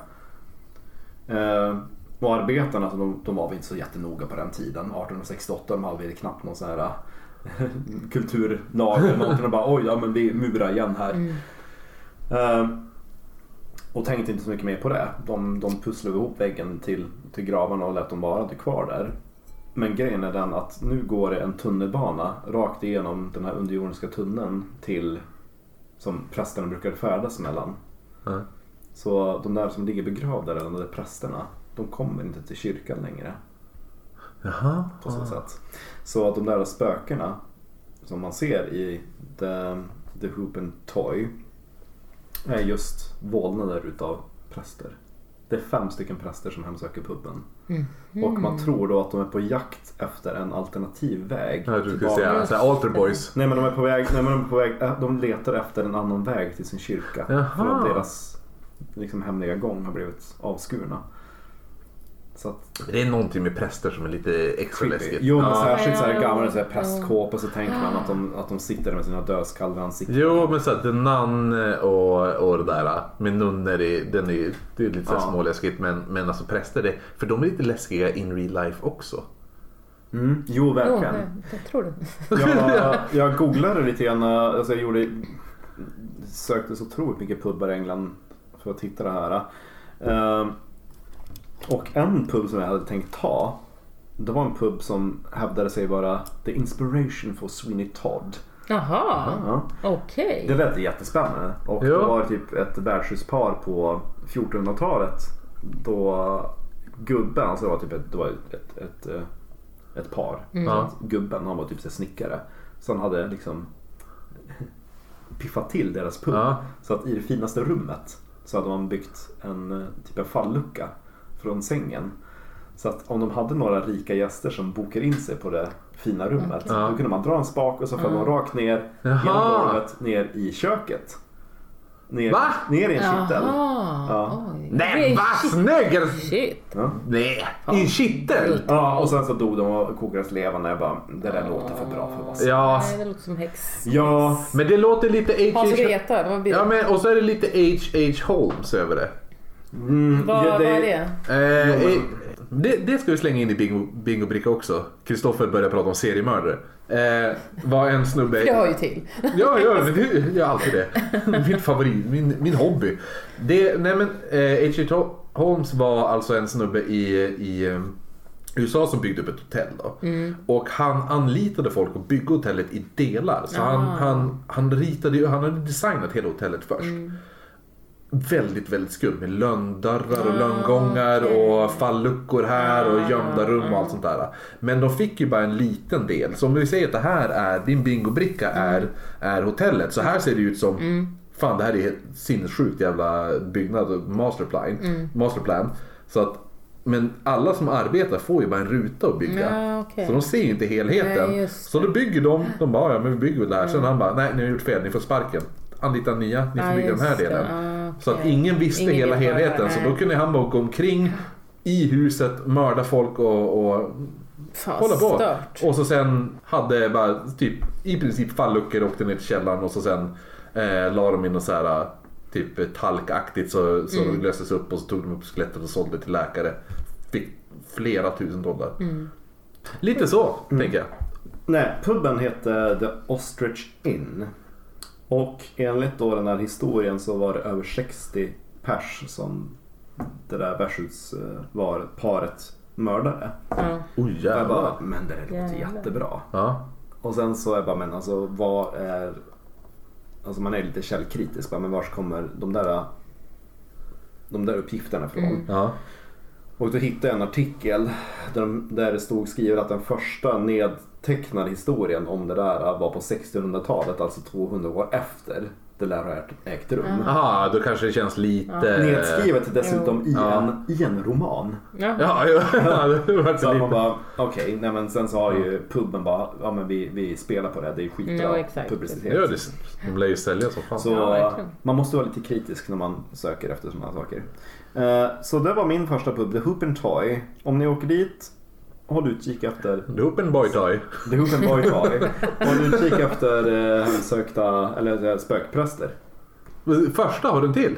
C: Eh, och arbetarna, alltså, de, de var väl inte så jättenoga på den tiden. 1868 de hade väl knappt någon sån här eh, [LAUGHS] kulturlag eller någonting. De bara oj, ja, men vi murar igen här. Eh, och tänkte inte så mycket mer på det. De, de pusslade ihop väggen till, till gravarna och lät dem vara inte kvar där. Men grejen är den att nu går det en tunnelbana rakt igenom den här underjordiska tunneln till som prästerna brukade färdas mellan.
B: Ja.
C: Så de där som ligger begravda där, de där prästerna, de kommer inte till kyrkan längre
B: Jaha.
C: på så sätt. Så att de där spökena som man ser i The, the Hoop and Toy är just vålnader utav präster. Det är fem stycken präster som hemsöker puben. Och man tror då att de är på jakt efter en alternativ väg.
B: Jag trodde du skulle
C: tillbaka.
B: säga såhär, Alter Boys.
C: Nej men de är på väg, nej, men de, är på väg äh, de letar efter en annan väg till sin kyrka.
B: Jaha.
C: För att deras liksom, hemliga gång har blivit avskurna. Så att
B: Det är någonting med präster som är lite extra läskigt.
C: Jo men
B: Ja.
C: särskilt så här
A: Ja.
C: gamla så här prästkåpor så tänker man att de, att de sitter där med sina dödskallar i ansiktet.
B: Jo men såhär The Nun och, och det där med nunnor, i, den är, det är lite såhär
C: Ja.
B: småläskigt men, men alltså präster, det, för de är lite läskiga in real life också.
C: Mm. Jo
D: Jo,
C: verkligen.
D: det, det tror du.
C: Jag, jag googlade lite grann, alltså jag gjorde, sökte så otroligt mycket pubbar i England för att hitta det här. Ehm, och en pub som jag hade tänkt ta, det var en pub som hävdade sig vara the inspiration for Sweeney Todd.
D: Jaha,
C: Ja.
D: okej.
C: Det lät jättespännande. Och
B: Ja.
C: det var typ ett värdshuspar på 1400-talet. Då gubben, alltså det var typ ett, det var ett, ett, ett, eh, ett par. Så
B: Mm. Ja.
C: att gubben han var typ så här snickare. Så han hade liksom piffat till deras pub.
B: Ja.
C: Så att i det finaste rummet så hade man byggt en eh, typ en fallucka från sängen. Så att om de hade några rika gäster som bokar in sig på det fina rummet
B: Ja.
C: då kunde man dra en spak och så föll de rakt ner genom
B: Jaha.
C: golvet ner i köket. Ner,
B: Va?
C: ner i en kittel.
D: Jaha,
C: Ja.
D: oj.
B: Nej vad snygg!
D: Shit.
C: Ja.
B: Nej, i en kittel!
C: ja, och sen så dog de och kokades levande. Jag bara, det där låter för bra för att vara sant.
B: Ja,
D: Nej, det låter som häx.
C: Ja,
B: men det låter lite
D: Hans och
B: H.H.
D: Greta, det var bilden.
B: Ja men och så är det lite H.H. Holmes över det.
C: mm,
D: vad,
C: ja,
D: vad är det?
B: Eh, eh, det, det ska vi slänga in i bingo, bingobricka också. Kristoffer börjar prata om seriemördare. Eh, var en snubbe...
D: Det hör ju till.
B: Ja, ja men det, jag har alltid det. Min favorit, min, min hobby. Det, nej men, eh, H.H. Holmes var alltså en snubbe i, i eh, USA som byggde upp ett hotell. Då. Och han anlitade folk att bygga hotellet i delar. Så han, han, han ritade, ju- han hade designat hela hotellet först. Väldigt, väldigt skumt med lönndörrar
D: Ah,
B: och lönngångar och falluckor här och gömda rum och allt sånt där. Men de fick ju bara en liten del. Så om vi säger att det här är, din bingobricka
D: Mm.
B: är, är hotellet. Så här ser det ut som, fan det här är helt sinnessjukt jävla byggnad och masterplan.
D: Mm.
B: masterplan. Så att, men alla som arbetar får ju bara en ruta att bygga.
D: Ja, Ah, okej.
B: Så de ser ju inte helheten.
D: Nej, just Ah. Mm.
B: så då bygger de, de bara ja men vi bygger väl det här. Sen han bara nej ni har gjort fel, ni får sparken. Anlita nya, ni får
D: Ja,
B: bygga den
D: Ah, just
B: här
D: det.
B: delen.
D: Ja,
B: Så att
D: okej.
B: ingen visste
D: Ingen
B: hela
D: vet vad det
B: helheten.
D: är.
B: Så då kunde han bara gå omkring i huset, mörda folk och, och
D: Fan,
B: hålla på.
D: stört.
B: Och så sen hade bara typ i princip falluckor åkte ner till källaren och så sen eh, la de in något så här typ talkaktigt så, så
D: Mm.
B: det löstes upp och så tog de upp skelettet och sålde till läkare. Fick flera tusen dollar.
D: Mm.
B: Lite så tänker jag.
C: Nej, puben hette The Ostrich Inn. Och enligt då den här historien så var det över 60 pers som det där värdshus eh, var paret mördare.
D: Ja.
B: Oj
C: Och jag
B: jävlar.
C: bara, men det där låter
D: Jävlar.
C: jättebra.
B: Ja.
C: Och sen så är jag bara, men alltså vad är... Alltså man är lite källkritisk, bara, men vars kommer de där, de där uppgifterna ifrån?
B: Ja.
C: Och då hittade jag en artikel där, de, där det stod skrivet att den första nedtecknade historien om det där var på 1600-talet, alltså 200 år efter det lär ha ägt- ägt rum.
B: Aha, då kanske det känns lite...
C: Nedskrivet dessutom i,
B: Ja.
C: en, i en roman.
B: Ja, [LAUGHS] ja, ja det vart
C: Så att man
B: lite...
C: bara, okej, nej men sen så har ju puben bara, ja men vi, vi spelar på det, det är
E: Ja,
C: skitbra
E: exakt.
C: publicitet.
B: Ja, det, de lär ju sälja som fan.
C: Så
E: Ja, verkligen.
C: man måste vara lite kritisk när man söker efter sådana saker. Eh, Så det var min första pub, The Hoop and Toy. Om ni åker dit, håll utkik efter
B: Du upp en boy toy.
C: The Hoop and Boy Toy. Håll utkik efter eh, hemsökta, eller eh, spökpräster.
B: Första har du en till?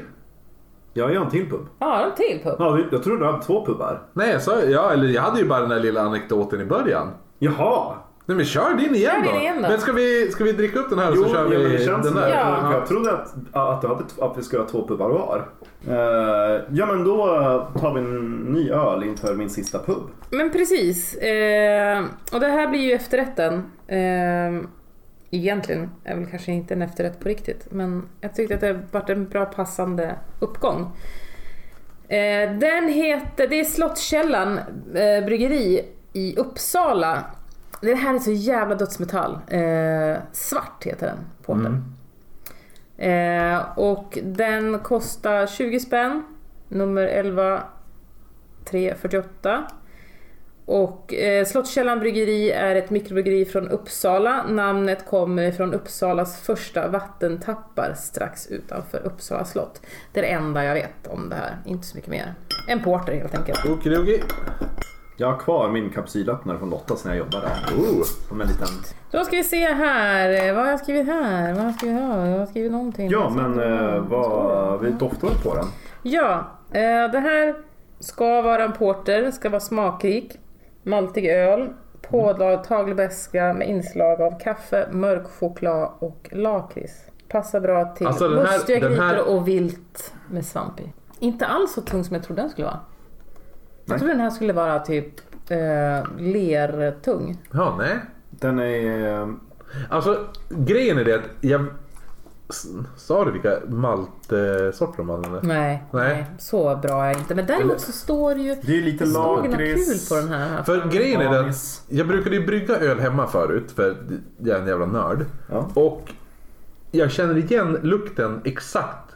C: Ja, jag har en till pub.
E: Ja, har de till pub?
C: Ja, vi- jag trodde du hade två pubbar.
B: Nej, jag, sa, ja, eller jag hade ju bara den där lilla anekdoten i början.
C: Jaha!
B: Nej men kör din igen,
E: Kör din
B: då.
E: igen då.
B: Men ska vi, ska vi dricka upp den här och
C: Jo,
B: så kör
C: ja, men det
B: vi
C: känns
B: den
C: som
B: där?
C: det.
E: Ja.
C: Jag trodde att, att, du hade, t- att vi skulle ha två pubbar var. Eh, ja, men då eh, tar vi en ny öl inför min sista pub.
A: Men precis. Eh, och det här blir ju efterrätten. Eh, egentligen är väl kanske inte en efterrätt på riktigt. Men jag tyckte att det varit en bra passande uppgång. Eh, den heter, det är Slottskällan eh, bryggeri i Uppsala. Det här är så jävla dödsmetall. Eh, svart heter den, porten. Eh, och den kostar 20 spänn. Nummer 11 348. Och eh, Slottskällan bryggeri är ett mikrobryggeri från Uppsala. Namnet kommer från Uppsalas första vattentappar strax utanför Uppsala slott. Det är det enda jag vet om det här, inte så mycket mer. En porter helt enkelt.
B: Okidoki.
C: Jag har kvar min kapsylöppnare från Lottas när jag jobbar där.
B: Oh.
C: Som en liten...
A: Då ska vi se här, Eh, vad har jag skrivit här? Vad har jag skrivit här? Jag har skrivit någonting.
C: Ja, men eh, vad, vi doftar väl på den.
A: Ja, eh, det här ska vara en porter, ska vara smakrik, maltig öl, påtaglig beska med inslag av kaffe, mörk choklad och lakrits. Passar bra till
B: Alltså, den här-
A: mustiga
B: den här-
A: grytor och vilt med svamp i. Inte alls så tung som jag trodde den skulle vara.
C: Nej.
A: Jag trodde den här skulle vara typ eh, lertung.
B: Ja, nej.
C: Den är... eh,
B: Alltså grejen är det att jag... S- Sa du vilka maltsorter de använde?
A: Nej,
B: Nej.
A: nej. så bra är jag inte. Men däremot så står det ju...
C: Det är ju lite
A: Det står ju något kul
C: lakrits.
A: på den här.
B: För grejen är det att
C: Anis.
B: jag brukade ju brygga öl hemma förut för jag är en jävla nörd.
C: Ja.
B: Och jag känner igen lukten exakt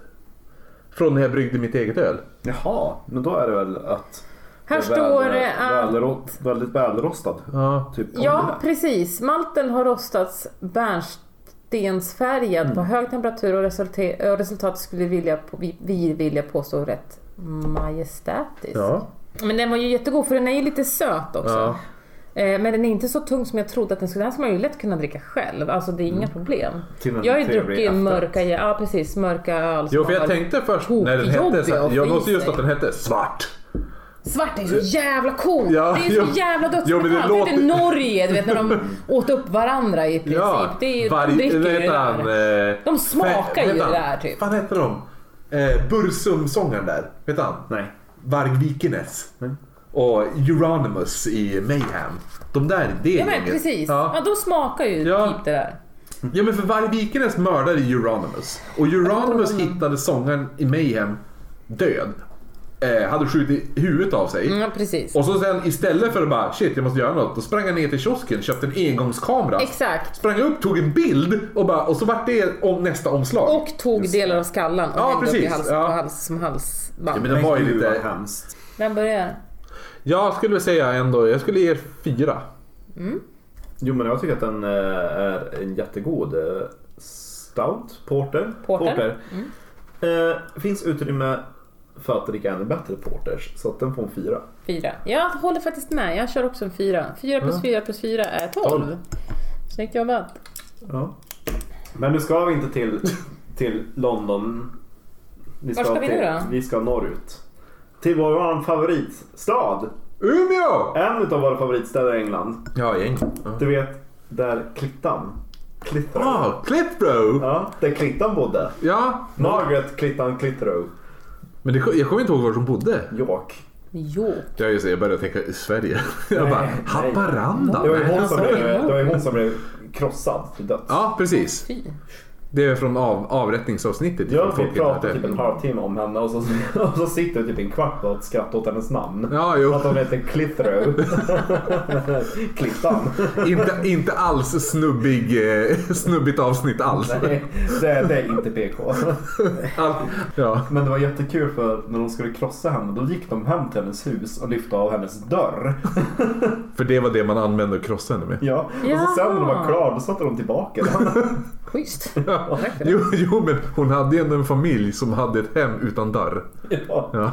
B: från när jag bryggde mitt eget öl.
C: Jaha, men då är det väl att...
A: Här
C: är väl-
A: står det att-
C: välro- Väldigt välrostad.
B: Ja.
C: Typ
A: Ja, precis. Malten har rostats bärnstensfärgad
B: Mm.
A: på hög temperatur och resulte- och resultatet skulle vilja, på- vi, vi vilja påstå rätt majestätisk.
B: Ja.
A: Men den var ju jättegod för den är ju lite söt också.
B: ja.
A: Eh, Men den är inte så tung som jag trodde att den skulle Den här skulle man ju lätt kunna dricka själv. Alltså det är
B: Mm.
A: inga problem.
C: Till en
A: Jag har ju
C: trevlig
A: druckit
C: efterrätt.
A: mörka, ja precis, mörka öl. som
B: Jo, för
A: har
B: jag
A: varit-
B: tänkte först när den
A: Tokjobbig
B: hette... Så
A: att
B: här,
A: få
B: jag
A: i
B: låste just
A: sig.
B: att den hette svart.
A: Svart är så jävla coolt!
B: Ja,
A: det är så
B: jo.
A: jävla
B: Jo, men det
A: dödsmetallt. Det är inte
B: låter-
A: Norge, du vet när de
B: [LAUGHS]
A: åt upp varandra i princip. det är ju, de dricker ju
B: vad
A: det
B: heter
A: där.
B: han, eh,
A: De smakar
B: fe- vad heter
A: ju det
B: han?
A: där, typ.
B: Vad heter de? Eh, Bursum-sångaren där. Vet han?
C: Nej.
B: Varg Vikernes. Och Euronymous i Mayhem. De där, det
A: Ja men
B: gänget.
A: precis. Ja.
B: Ja.
A: de smakar ju
B: Ja.
A: typ det där.
B: ja men för Varg Vikernes mördade Euronymous. Och Euronymous hittade sångaren i Mayhem död. Eh, hade skjutit huvudet av sig.
A: Ja precis.
B: Och så sen istället för att bara shit jag måste göra något. Då sprang han ner till kiosken, köpte en engångskamera.
A: Exakt.
B: Sprang upp, tog en bild och, bara, och så vart det om nästa omslag.
A: Och tog delar av skallen och
B: Ja,
A: hängde upp i
B: precis.
A: hals,
B: Ja.
A: på hals, som halsband.
B: ja, men
C: Men
B: den var ju
C: gud, vad
B: lite...
C: hemskt.
A: Vem börjar?
B: Jag skulle väl säga ändå, jag skulle ge er fyra.
C: Jo men jag tycker att den eh, är en jättegod eh, stout, porter.
A: Porter. Mm.
C: Eh, finns utrymme för att dricka ännu bättre porters så att den får en fyra.
A: Fyra. Jag håller faktiskt med. Jag kör också en fyra. Fyra plus fyra plus fyra är tolv. Snyggt jobbat.
C: Ja. Men nu ska vi inte till, till London. Vi
A: Vart ska vi
C: till,
A: nu då?
C: Vi ska norrut. Till vår favoritstad.
B: Umeå!
C: En utav våra favoritstäder i England.
B: Ja, gäng. Ja.
C: Du vet, där Klittan. Clitheroe.
B: Ah, Cliffbro!
C: Ja, där Klittan bodde.
B: Ja,
C: Margaret Klittan Clitheroe.
B: men det, jag kommer inte ihåg var de bodde.
C: York.
A: Jo.
B: Ja, just det, jag började tänka i Sverige. [LAUGHS] Jag
C: Nej,
B: bara,
C: nej.
B: Haparanda?
C: Det var ju
B: Nej. alltså,
C: hon som
A: sa
C: blev,
A: det.
C: det var ju hon som blev krossad till döds.
B: Ja, precis.
A: Fy.
B: Det är från av, avrättningsavsnittet. ifall
C: Jag fick
B: inte
C: prata
B: vet
C: typ
B: det.
C: en halvtimme om henne och så, [LAUGHS] och så sitter vi typ en kvart och skrattar åt hennes namn.
B: Ja, jo.
C: Att hon heter Clithrow. [LAUGHS] Klittan.
B: Inte, inte alls snubbig, eh, snubbigt avsnitt alls.
C: Nej, det, det är inte PK.
B: All, ja.
C: Men det var jättekul för när de skulle krossa henne då gick de hem till hennes hus och lyfte av hennes dörr.
B: För det var det man använde att krossa henne med.
C: Ja. Och så sen när de var
F: Jaha.
C: klara då satte de tillbaka den.
A: Schysst.
B: Jo, jo, men hon hade ju ändå en familj som hade ett hem utan dörr.
C: Ja,
B: [LAUGHS] Ja,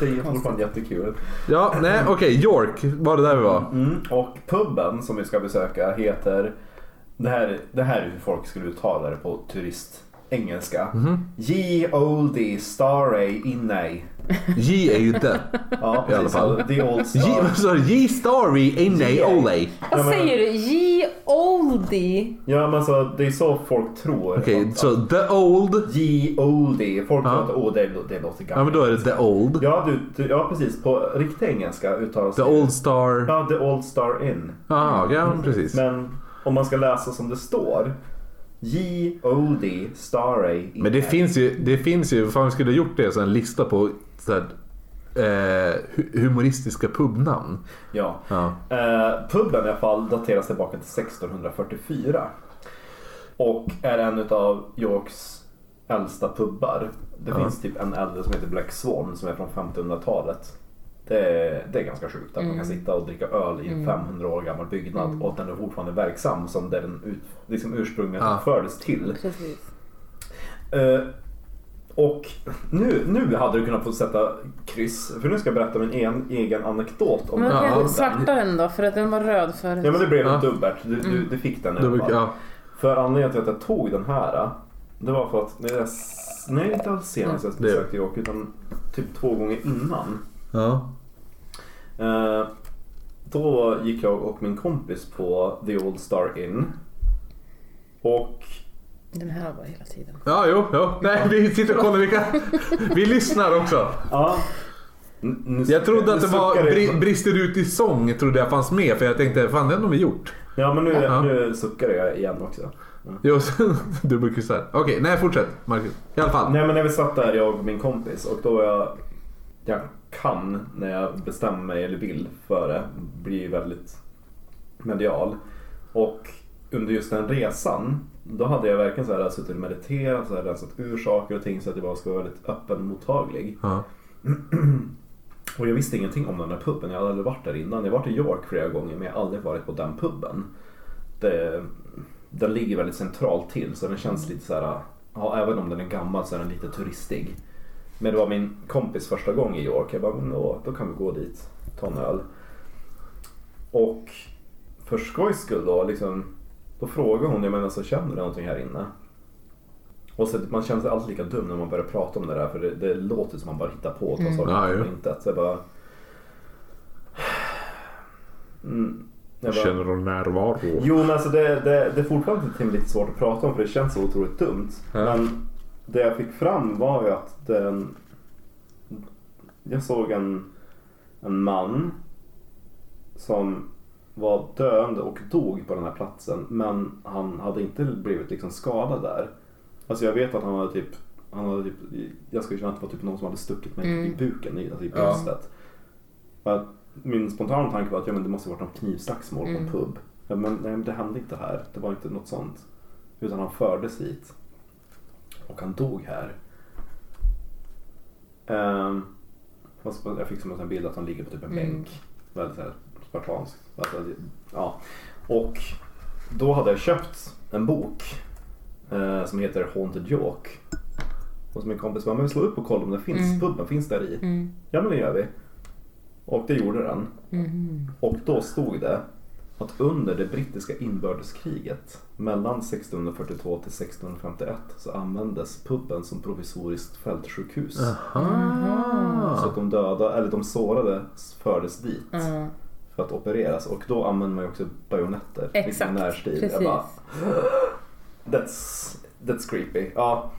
C: det är fortfarande jättekul.
B: ja nej okej, York var det där vi var.
C: Mm, och puben som vi ska besöka heter... Det här, det här är hur folk skulle uttala det på turistengelska.
B: Mhm.
C: Ye oldie staray innay.
B: J är ju dö.
C: Ja,
B: I alla
C: precis.
B: fall.
C: The old
B: J,
C: star.
B: vad sa du? J starry inne ole.
C: Ja,
F: Vad
C: men-
F: säger du? Ye oldie?
C: Ja, men så, det är så folk tror.
B: Okej,
C: att-
B: så the old.
C: Ye oldie. Folk tror
B: Ja.
C: att åh, det, det låter
B: Ja men
C: gammalt.
B: då är det the old.
C: Ja, du, du, ja, precis. På riktig engelska uttalas
B: The old star.
C: Ja, the old star inn.
B: Ah, ja, precis.
C: Ehm, Men om man ska läsa som det står. Ye oldie staray
B: Men det
C: innay.
B: finns ju, det finns ju, fan vi skulle ha gjort det, så en lista på så här, eh, hu- humoristiska pubnamn.
C: Ja.
B: Ja.
C: Eh, puben i alla fall dateras tillbaka till 1644. Och är en utav Yorks äldsta pubbar. Det
B: Ja.
C: finns typ en äldre som heter Black Swan som är från 1500-talet. Det är, det är ganska sjukt att man kan sitta och dricka öl i en 500 år gammal byggnad och att den är fortfarande verksam som det den ut, liksom ursprungligen
B: Ja.
C: fördes till.
A: Precis.
C: Eh, och nu, nu hade du kunnat få sätta kryss för nu ska jag berätta min en, egen anekdot om
A: Men
C: den
A: då
C: här
B: Ja.
A: kan jag
C: puben.
A: svarta Mm. den då för att den var röd förut.
C: Ja men det blev
B: Ja.
C: dubbelt. Du, du, du fick den i
B: Då
C: alla
B: brukar,
C: fall.
B: ja.
C: För anledningen till att jag tog den här. Det var för att, när jag, s- nej inte alls senast jag
B: Mm, det-
C: besökte York utan typ två gånger innan.
B: ja.
C: Eh, då gick jag och min kompis på The Old Star Inn. Och
A: Den här var hela tiden.
B: Ja, jo, jo. Nej, vi sitter och kollar vilka... [LAUGHS] Vi lyssnar också.
C: ja. n- nu
B: Jag trodde att
C: nu
B: det var
C: suckar
B: bri- brister ut i sång trodde jag fanns med för jag tänkte fan den har vi gjort.
C: Ja men nu,
B: Ja.
C: nu suckar jag igen också.
B: Jo, du brukar så [LAUGHS] här. Okej, nej fortsätt Marcus. I alla fall.
C: Nej men när vi satt där jag och min kompis och då var jag, jag kan när jag bestämmer mig eller vill för det bli väldigt medial. Och under just den resan då hade jag verkligen så här suttit och mediterat, så här, rensat ur saker och ting så att jag bara skulle vara väldigt öppen och mottaglig.
B: Ja.
C: Och jag visste ingenting om den där puben, jag hade aldrig varit där innan. Jag har varit i York flera gånger men jag har aldrig varit på den puben. Det, eh, den ligger väldigt centralt till så den känns lite så här, ja även om den är gammal så är den lite turistig. Men det var min kompis första gång i York, jag bara men då, då kan vi gå dit, ta en öl. Och för skojs skull då, liksom, då frågar hon, jag menar så känner du någonting här inne? Och så, man känner sig alltid lika dum när man börjar prata om det där för det, det låter som man bara hittar på och tar saker
B: Ja,
C: från
B: jo.
C: intet. Så jag bara... [SIGHS] Mm. Jag bara...
B: Känner du närvaro?
C: Jo men alltså det, det, det är fortfarande till och med lite svårt att prata om för det känns så otroligt dumt.
B: Ja.
C: Men det jag fick fram var ju att den... Jag såg en, en man som var döende och dog på den här platsen men han hade inte blivit liksom skadad där. Alltså jag vet att han hade typ, han hade typ jag skulle känna att det var typ någon som hade stuckit mig i buken, i- alltså i
B: Mm. Ja.
C: bröstet. Men Min spontana tanke var att ja, men det måste ha varit något knivslagsmål på en pub. Ja, men nej, men det hände inte här, det var inte något sånt. Utan han fördes hit. Och han dog här. Ehm, och så- jag fick som en sån bild att han ligger på typ en bänk. Väldigt så här spartanskt. Alltså, ja. Och då hade jag köpt en bok eh, som heter Haunted York. Och som min kompis bara, men slå upp och kolla om den finns. Puben finns där i.
A: Mm,
C: Ja men det gör vi. Och det gjorde den.
A: mm-hmm.
C: Och då stod det att under det brittiska inbördeskriget mellan 1642 till 1651 så användes puben som provisoriskt fältsjukhus. Så att de döda, eller de sårade fördes dit
A: Mm.
C: för att opereras och då använder man ju också bajonetter. vilket
A: Exakt,
C: närstil. Jag
A: precis.
C: bara, That's, that's creepy. Ja.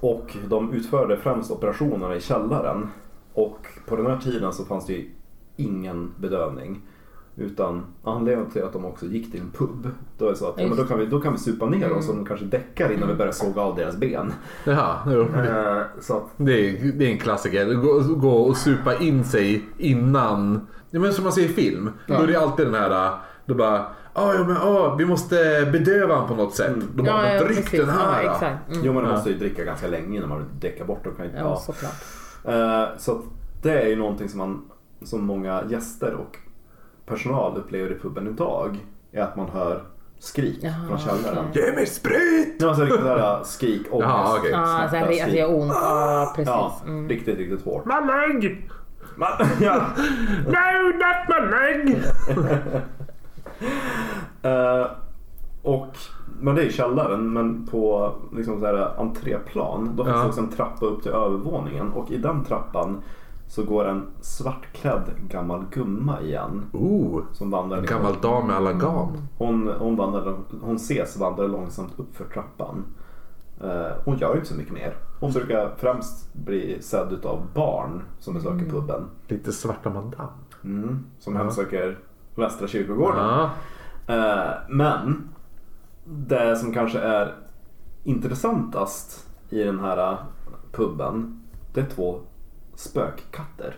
C: Och de utförde främst operationerna i källaren. Och på den här tiden så fanns det ju ingen bedövning. Utan anledningen till att de också gick till en pub, då är det så att ja, men
A: Just.
C: då, kan vi, då kan vi supa ner oss och
A: Mm.
C: de kanske däckar innan vi börjar såga av deras ben.
B: Jaha, jo.
A: Mm.
C: Eh, Så att
B: Det är, det är en klassiker. Gå, gå och supa in sig innan. Ja, men som man ser i film. Då är det alltid den här. äh, Då bara. "Ah, ja, men, ah, vi måste bedöva honom på något sätt. Då bara,
A: Ja, ja,
B: men dryck
A: precis.
B: den här. äh."
A: Ja, exakt. Mm.
C: Jo men de måste ju dricka ganska länge innan man däckar bort. De kan ju inte
A: Ja,
C: ha.
A: såklart.
C: Eh, Så att det är ju någonting som, man, som många gäster och personal upplever i puben idag. Är att man hör skrik
A: Jaha,
C: från källaren.
A: okej.
B: Ge mig sprit!
C: Ja, alltså riktigt sådär skrik, ångest.
B: Jaha, okej.
A: Ja,
C: smärta,
A: så här, alltså
C: skrik.
A: jag ont. Ja,
C: Ja,
A: precis. Mm.
C: riktigt, riktigt hårt.
B: My leg!
C: [LAUGHS] ja.
B: No, not my leg!
C: Eh, och, men det är i källaren, men på liksom så här, entréplan då finns
B: Ja.
C: det också en trappa upp till övervåningen och i den trappan så går en svartklädd gammal gumma igen.
B: Oh,
C: Som vandrar
B: en gammal dam med amalgam.
C: hon, hon, vandrar, hon ses vandra långsamt upp för trappan. Eh, hon gör ju inte så mycket mer. Hon brukar främst bli sedd utav barn som besöker
B: Mm.
C: puben.
B: Lite svarta madam.
C: Mm, som hemsöker Västra kyrkogården.
B: Ja.
C: Eh, men det som kanske är intressantast i den här puben, det är två spökkatter.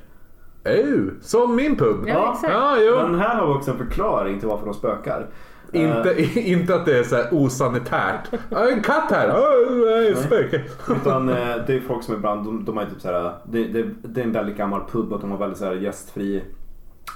B: Ew, som min pub.
A: Ja, exakt. Mm.
B: ja jo.
C: Men här har vi också en förklaring till varför de spökar. Eh,
B: Inte, [LAUGHS] inte att det är så här osanitärt. Ja, en katt här! Oh, nej, spöke.
C: [LAUGHS] Utan eh, det är folk som ibland, de, de har ju typ såhär, det, det, det är en väldigt gammal pub och de har väldigt såhär gästfri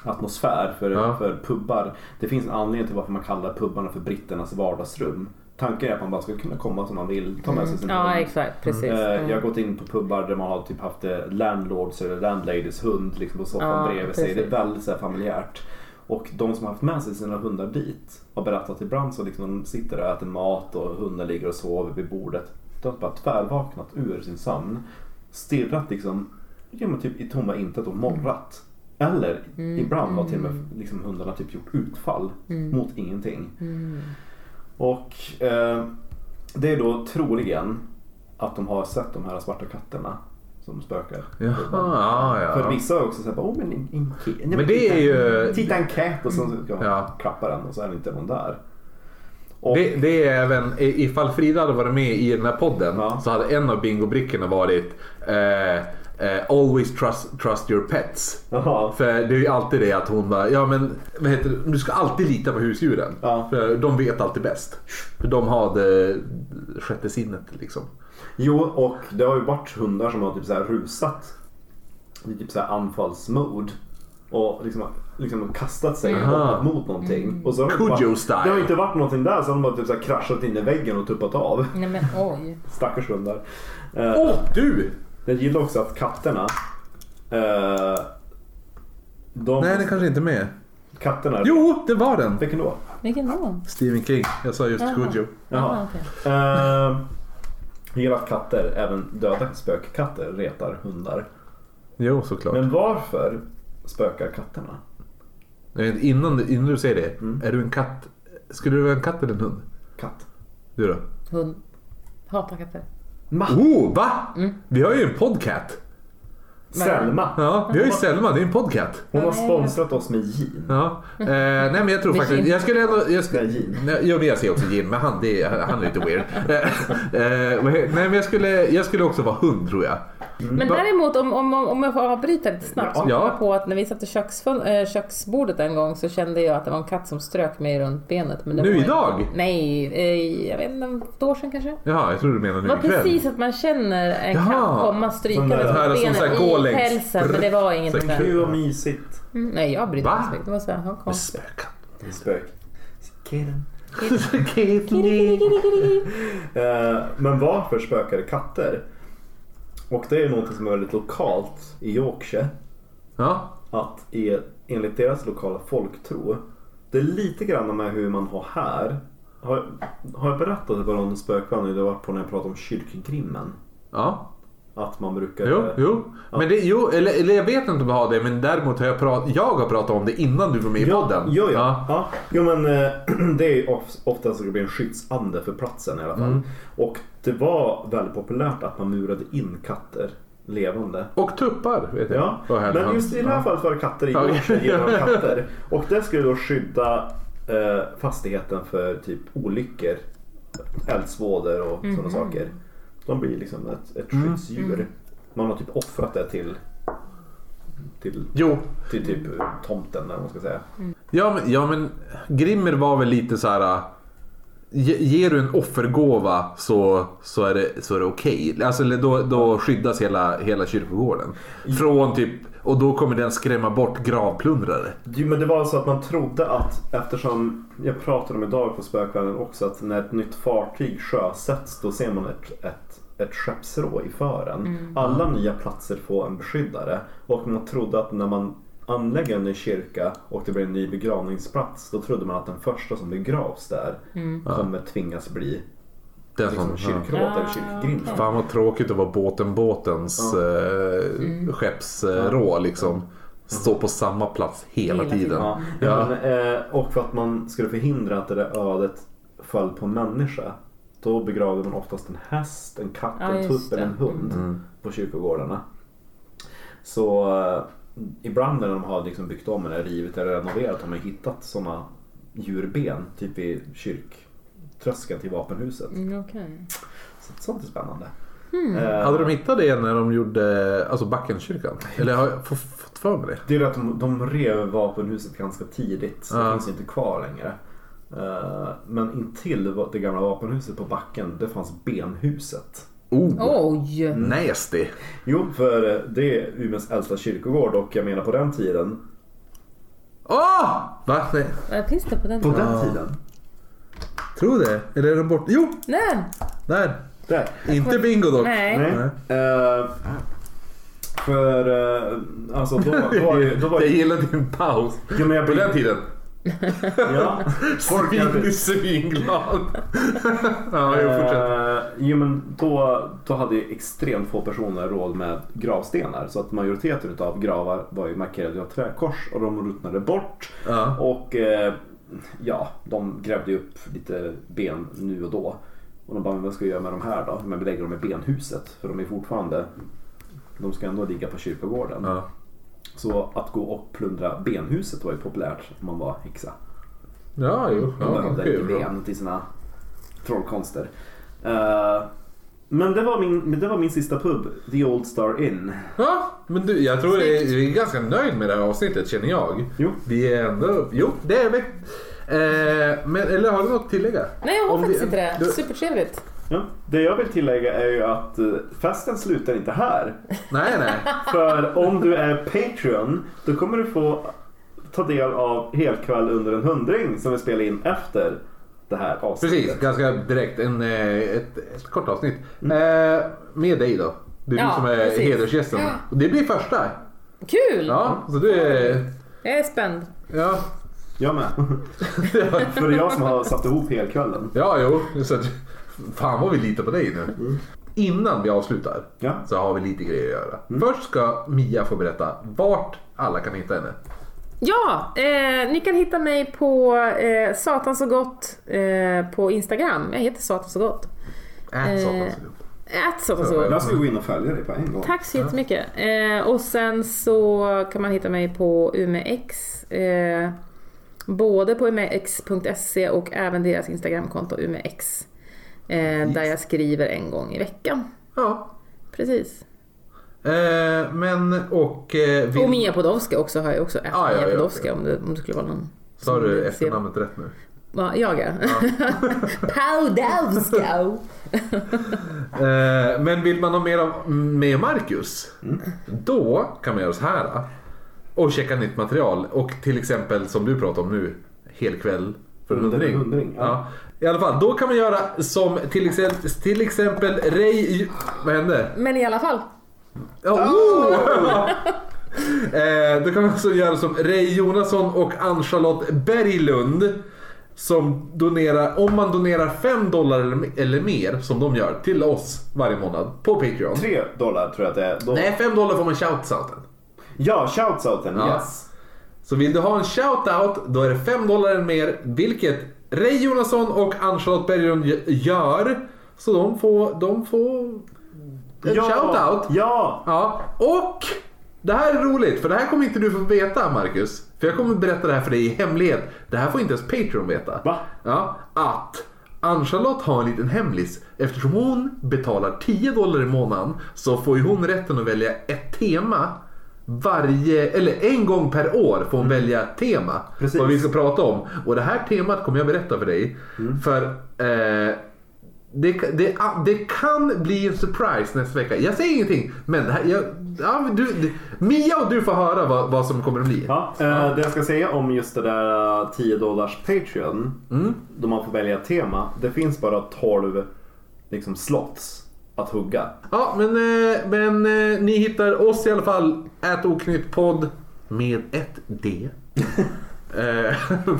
C: atmosfär för,
B: Ja.
C: för pubbar. Det finns en anledning till varför man kallar pubbarna för britternas vardagsrum. Tanken är att man bara ska kunna komma som man vill, ta med sig sin
A: Ja,
C: hund.
A: exakt. Precis.
C: Eh,
A: Mm.
C: Jag har gått in på pubbar där man har typ haft eh, landlords eller landladies hund liksom på soffan
A: Ja,
C: bredvid sig. Det är
A: precis.
C: väldigt så här, familjärt. Och de som har haft med sig sina hundar dit har berättat ibland så liksom de sitter där och äter mat och hunden ligger och sover vid bordet. De har bara tvärvaknat ur sin sömn. Stirrat liksom, ja, men typ i tomma intet och morrat. Eller
A: Mm.
C: ibland har till och med liksom, hundarna typ gjort utfall mot ingenting. Och eh, det är då troligen att de har sett de här svarta katterna som spökar.
B: Jaha, ja,
C: För
B: ja.
C: vissa har också sagt åh men en, en ke- nej,
B: Men det
C: titta-
B: är ju... Mm.
C: Titta en cat och sen ska man
B: Ja.
C: klappa den och så är det inte någon där. Och,
B: Det, det är även, i- ifall Frida hade varit med i den här podden
C: Ja.
B: så hade en av bingobrickorna varit eh, eh, Always trust, trust your pets.
C: Jaha.
B: För det är ju alltid det att hon bara, ja men vad heter det? du ska alltid lita på husdjuren.
C: Ja.
B: För de vet alltid bäst. För de har det sjätte sinnet liksom.
C: Jo och det har ju varit hundar som har typ så här rusat i typ så här anfallsmode. Och liksom, liksom kastat sig
B: Aha.
C: bakåt mot någonting. Och så har de
B: Cujo
C: bara-
B: style.
C: Det har inte varit någonting där så har de bara typ så här kraschat in i väggen och tuppat av.
A: Nej men oj.
C: Stackars hundar. Eh,
B: Åh du!
C: Jag gillar också att katterna... Eh, de,
B: Nej den kanske inte är med.
C: Katterna...
B: Jo, det var den!
C: Vilken då?
A: Vilken då?
B: Stephen King. Jag sa just
A: Jaha.
B: Cujo.
A: Jaha,
C: Jaha.
A: okej.
C: Eh, jag gillar att katter, även döda spökkatter, retar hundar.
B: Jo, såklart.
C: Men varför spökar katterna?
B: Men... Innan, innan du säger det.
C: Mm.
B: Är du en katt? Skulle du vara en katt eller en hund?
C: Katt.
B: Du då?
A: Hund. Hatar katter.
C: Ma-
B: Oh, va? Vi har ju en podcast.
C: Selma!
B: Ja, vi har ju Selma, det är en podcast.
C: Hon har
A: Nej.
C: sponsrat oss med gin.
B: Ja. Eh, nej men jag tror
A: Det är
B: faktiskt...
A: gin.
B: Jag skulle ändå... Jag
C: Det är
B: skulle,
C: gin.
B: nej, jo, men jag säger också gin, men han, det, är- han är lite weird. Eh, eh, vad he- nej men jag skulle, jag skulle också vara hund tror jag.
A: Men
B: Va-
A: däremot om, om, om om jag får avbryta lite snabbt. så
B: Ja.
A: kom jag på att när vi satt i köksfön- eh, köksbordet en gång så kände jag att det var en katt som strök mig runt benet. Men det
B: Nu
A: var
B: idag?
A: Nej, eh, jag vet inte, ett år sedan kanske.
B: Jaha, jag tror du menar nu
A: Det var
B: ikväll.
A: precis att man känner en
B: Jaha.
A: katt komma
C: Sån
A: strykandes
C: där-
B: Här
A: mot
B: som så här
A: benet
B: går
A: i
B: längs.
A: pälsen. Men det var ingenting
B: Så
A: där.
C: Gud vad mysigt.
A: Mm, nej, jag brydde mig
B: Va?
A: inte så mycket. Det var så här, han kom.
B: Spökkatt.
C: Spök. Kitten.
B: Kitten.
C: Eh, Men varför spökar det katter? Och det är ju någonting som är väldigt lokalt i Yorkshire.
B: Ja,
C: Att i, enligt deras lokala folktro. Det är lite grann med hur man har här. Har, har jag berättat vad de spökvandring det var på när jag pratade om kyrkgrimmen?
B: ja.
C: Att man brukar...
B: Jo, jo. Men det, jo eller, eller jag vet inte om jag har det, men däremot har jag, prat, jag har pratat om det innan du var med i
C: Ja,
B: podden.
C: Jo, ja. Ja. Jo, men eh, [CLEARS THROAT] det är ju of- ofta så det blir en
B: Mm.
C: skyddsande för platsen i alla fall. Och det var väldigt populärt att man murade in katter levande.
B: Och tuppar vet jag.
C: Ja,
B: Vad händer
C: men just i det här
B: Ja.
C: fallet var det katter i
B: Ja.
C: Yorkshire
B: [LAUGHS]
C: genom katter. Och det skulle då skydda eh, fastigheten för typ olyckor, eldsvådor och sådana saker. De blir liksom ett,
B: Mm.
C: ett skyddsdjur. Man har typ offrat det till, till,
B: Jo,
C: till typ tomten eller vad man ska säga.
B: Ja men, ja, men Grimmer var väl lite så här. äh, ge- Ger du en offergåva så, så är det, så är det okej. Alltså, eller då, då skyddas hela, hela kyrkogården. Från typ, och då kommer den skrämma bort gravplundrare.
C: Jo, men det var så att man trodde att eftersom jag pratade om idag på spökvärlden också att när ett nytt fartyg sjösätts då ser man ett, ett, ett skeppsrå i fören. Alla nya platser får en beskyddare och man trodde att när man anlägger en ny kyrka och det blir en ny begravningsplats då trodde man att den första som begravs där kommer tvingas bli
B: Den
C: liksom,
B: som,
C: kyrkråd eller kyrkgrind.
B: ja. Fan vad tråkigt att vara båten båtens eh, skeppsrå liksom. Stå på samma plats hela,
A: Hela
B: tiden.
A: tiden.
C: Ja.
B: Ja.
C: Men, eh, och för att man skulle förhindra att det där ödet föll på en människa. Då begravde man oftast en häst, en katt,
A: Ja,
C: en
A: just
C: tupp eller en
A: det.
C: hund på kyrkogårdarna. Så eh, ibland när de har liksom byggt om eller rivit eller renoverat har man hittat sådana djurben typ i kyrktröskeln till vapenhuset.
A: Mm, okej.
C: Så, sånt är spännande. Eh,
B: Hade de hittat det när de gjorde alltså Backenkyrkan? Eller har jag fått fått för mig det?
C: Det är att de, de rev vapenhuset ganska tidigt. Så det
B: Ja.
C: finns inte kvar längre. Eh, men intill va- det gamla vapenhuset på backen, det fanns benhuset.
B: Oh,
A: Oj!
B: nasty!
C: Jo, för eh, det är Umeås äldsta kyrkogård och jag menar på den tiden.
B: Åh! Va? Nej.
A: Vad finns det på den?
C: På den tiden?
B: Tror det? Eller är den borta? Jo!
A: Nej!
B: Där!
C: Där.
B: Inte bingo dock.
A: Nej.
C: Nej. Eh, för eh, alltså då, då var ju...
B: [LAUGHS]
C: Då var
B: Jag
C: ju
B: gillar din paus.
C: jo, men jag
B: På
C: blir,
B: den tiden.
C: ja. [LAUGHS]
B: Svin, svinglad. ja, jag fortsätter.
C: Eh, jo, men då, då hade ju extremt få personer råd med gravstenar så att majoriteten utav gravar var ju markerade av träkors och de ruttnade bort.
B: Ja.
C: Och eh, ja, de grävde ju upp lite ben nu och då. Och de bara, men vad ska vi göra med de här då? Men vi lägger dem i benhuset för de är fortfarande, de ska ändå ligga på kyrkogården.
B: Ja.
C: Så att gå och plundra benhuset var ju populärt om man var häxa.
B: Ja, jo.
C: De
B: Ja,
C: behövde
B: okej,
C: inte
B: bra.
C: ben till sina trollkonster. Eh, men, det var min, men det var min sista pub, The Old Star Inn.
B: Ja, men du, jag tror jag är, jag är ganska nöjd med det här avsnittet känner jag.
C: Jo.
B: Vi är ändå... Jo, det är vi. Eh, men, eller har du något att tillägga?
A: Nej, jag har
B: Om
A: faktiskt
B: vi-
A: inte det.
B: du-
A: Supertrevligt.
C: Ja. Det jag vill tillägga är ju att eh, festen slutar inte här.
B: Nej, nej.
C: För om du är Patreon då kommer du få ta del av Helkväll under en hundring som vi spelar in efter det här avsnittet.
B: Precis, ganska direkt. En, eh, ett, ett kort avsnitt. Eh, med dig då. Det är
A: Ja,
B: du som är
A: precis.
B: hedersgästen. Och det blir första.
A: Kul!
B: Ja, så du är...
A: Jag är spänd.
B: Ja,
C: Jag med. [LAUGHS] För det är jag som har satt ihop Helkvällen.
B: ja jo. Så att, fan vad vi litar på dig nu. Innan vi avslutar
C: Ja.
B: så har vi lite grejer att göra. Först ska Mia få berätta vart alla kan hitta henne.
A: Ja, eh, ni kan hitta mig på eh, Satan så gott eh, på Instagram. Jag heter Satan så gott.
B: Ät
A: Eh,
B: Satans
A: Ät Satan så gott.
C: Jag ska gå in och följa dig på en gång.
A: Tack så jättemycket. Eh, och sen så kan man hitta mig på UmeX. Eh, både på umex.se och även deras Instagramkonto UmeX. Eh, Där jag skriver en gång i veckan.
B: Ja.
A: Precis.
B: Eh, men och... Eh,
A: Och
B: vill,
A: Mia Podowska också har jag också. Ätit
B: Ah, ja,
A: Mia
B: ja,
A: Podowska om, det, om det skulle vara någon.
B: sa du efternamnet rätt nu?
A: Ja, jag ja. [LAUGHS] Podowska.
B: Eh, men vill man ha mer av med Marcus,
C: Mm.
B: då kan man göra så här. eh, Och checka nytt material. Och till exempel som du pratar om nu, helkväll för en
C: Hundring,
B: hundring.
C: hundring, ja.
B: ja. I alla fall, då kan man göra som till exempel, till exempel Ray... Vad hände?
A: Men i alla fall.
B: Ja, oh! [LAUGHS] eh, då kan man också göra som Ray Jonasson och Ann-Charlotte Berglund. Som donerar, om man donerar 5 dollar eller, eller mer som de gör till oss varje månad på Patreon.
C: Tre dollar tror jag att det är. Då...
B: Nej, 5 dollar får man shoutouten.
C: Ja, shoutouten.
B: Ja.
C: Yes.
B: Så vill du ha en shoutout då är det 5 dollar eller mer. Vilket Ray Jonasson och Ann-Charlotte Berglund gö- gör. Så de får, de får en shoutout.
C: Ja!
B: Ja, och det här är roligt för det här kommer inte du få veta Marcus. För jag kommer berätta det här för dig i hemlighet. Det här får inte ens Patreon veta.
C: Va?
B: Ja, att Ann-Charlotte har en liten hemlis. Eftersom hon betalar 10 dollar i månaden så får ju hon rätten att välja ett tema varje, eller en gång per år får hon välja ett tema.
C: Mm. Precis.
B: Vad vi ska prata om. Och det här temat kommer jag berätta för dig. För eh, det, det, ah, det kan bli en surprise nästa vecka. Jag säger ingenting, men det här, jag, ja, men du, det, Mia och du får höra vad, vad som kommer att bli.
C: Ja, eh, det jag ska säga om just det där eh, 10 dollars Patreon,
B: Mm.
C: då man får välja ett tema. Det finns bara 12 liksom, slots att hugga.
B: Ja, men, eh, men eh, ni hittar oss i alla fall, ät oknytt podd med ett
C: [LAUGHS]
B: D. Eh,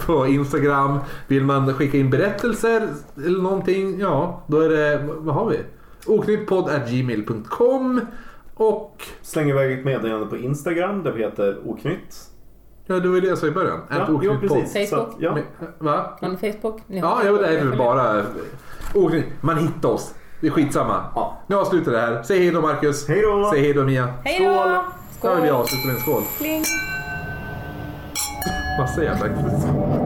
B: på Instagram. Vill man skicka in berättelser eller någonting, ja, då är det, vad har vi? Oknyttpodd.gmail.com och
C: Släng iväg ett meddelande på Instagram där vi heter Oknytt.
B: Ja, det var ju det jag sa i början. Ät
C: Ja, jo,
B: oknytt podd.
C: precis. Så att,
A: Facebook.
C: ja.
B: Va?
A: Har ni Facebook? Ni har
B: Ja, ja det är väl
A: Facebook,
B: bara... Och man hittar oss. Det är skitsamma.
C: Ja.
B: Nu avslutar det här. Säg hej då Marcus.
C: Hej då!
B: Säg hej då Mia.
A: Hej då!
B: Ja, vi
A: Skål!
B: avslutar med en skål.
A: Kling!
B: Massa jävla skål.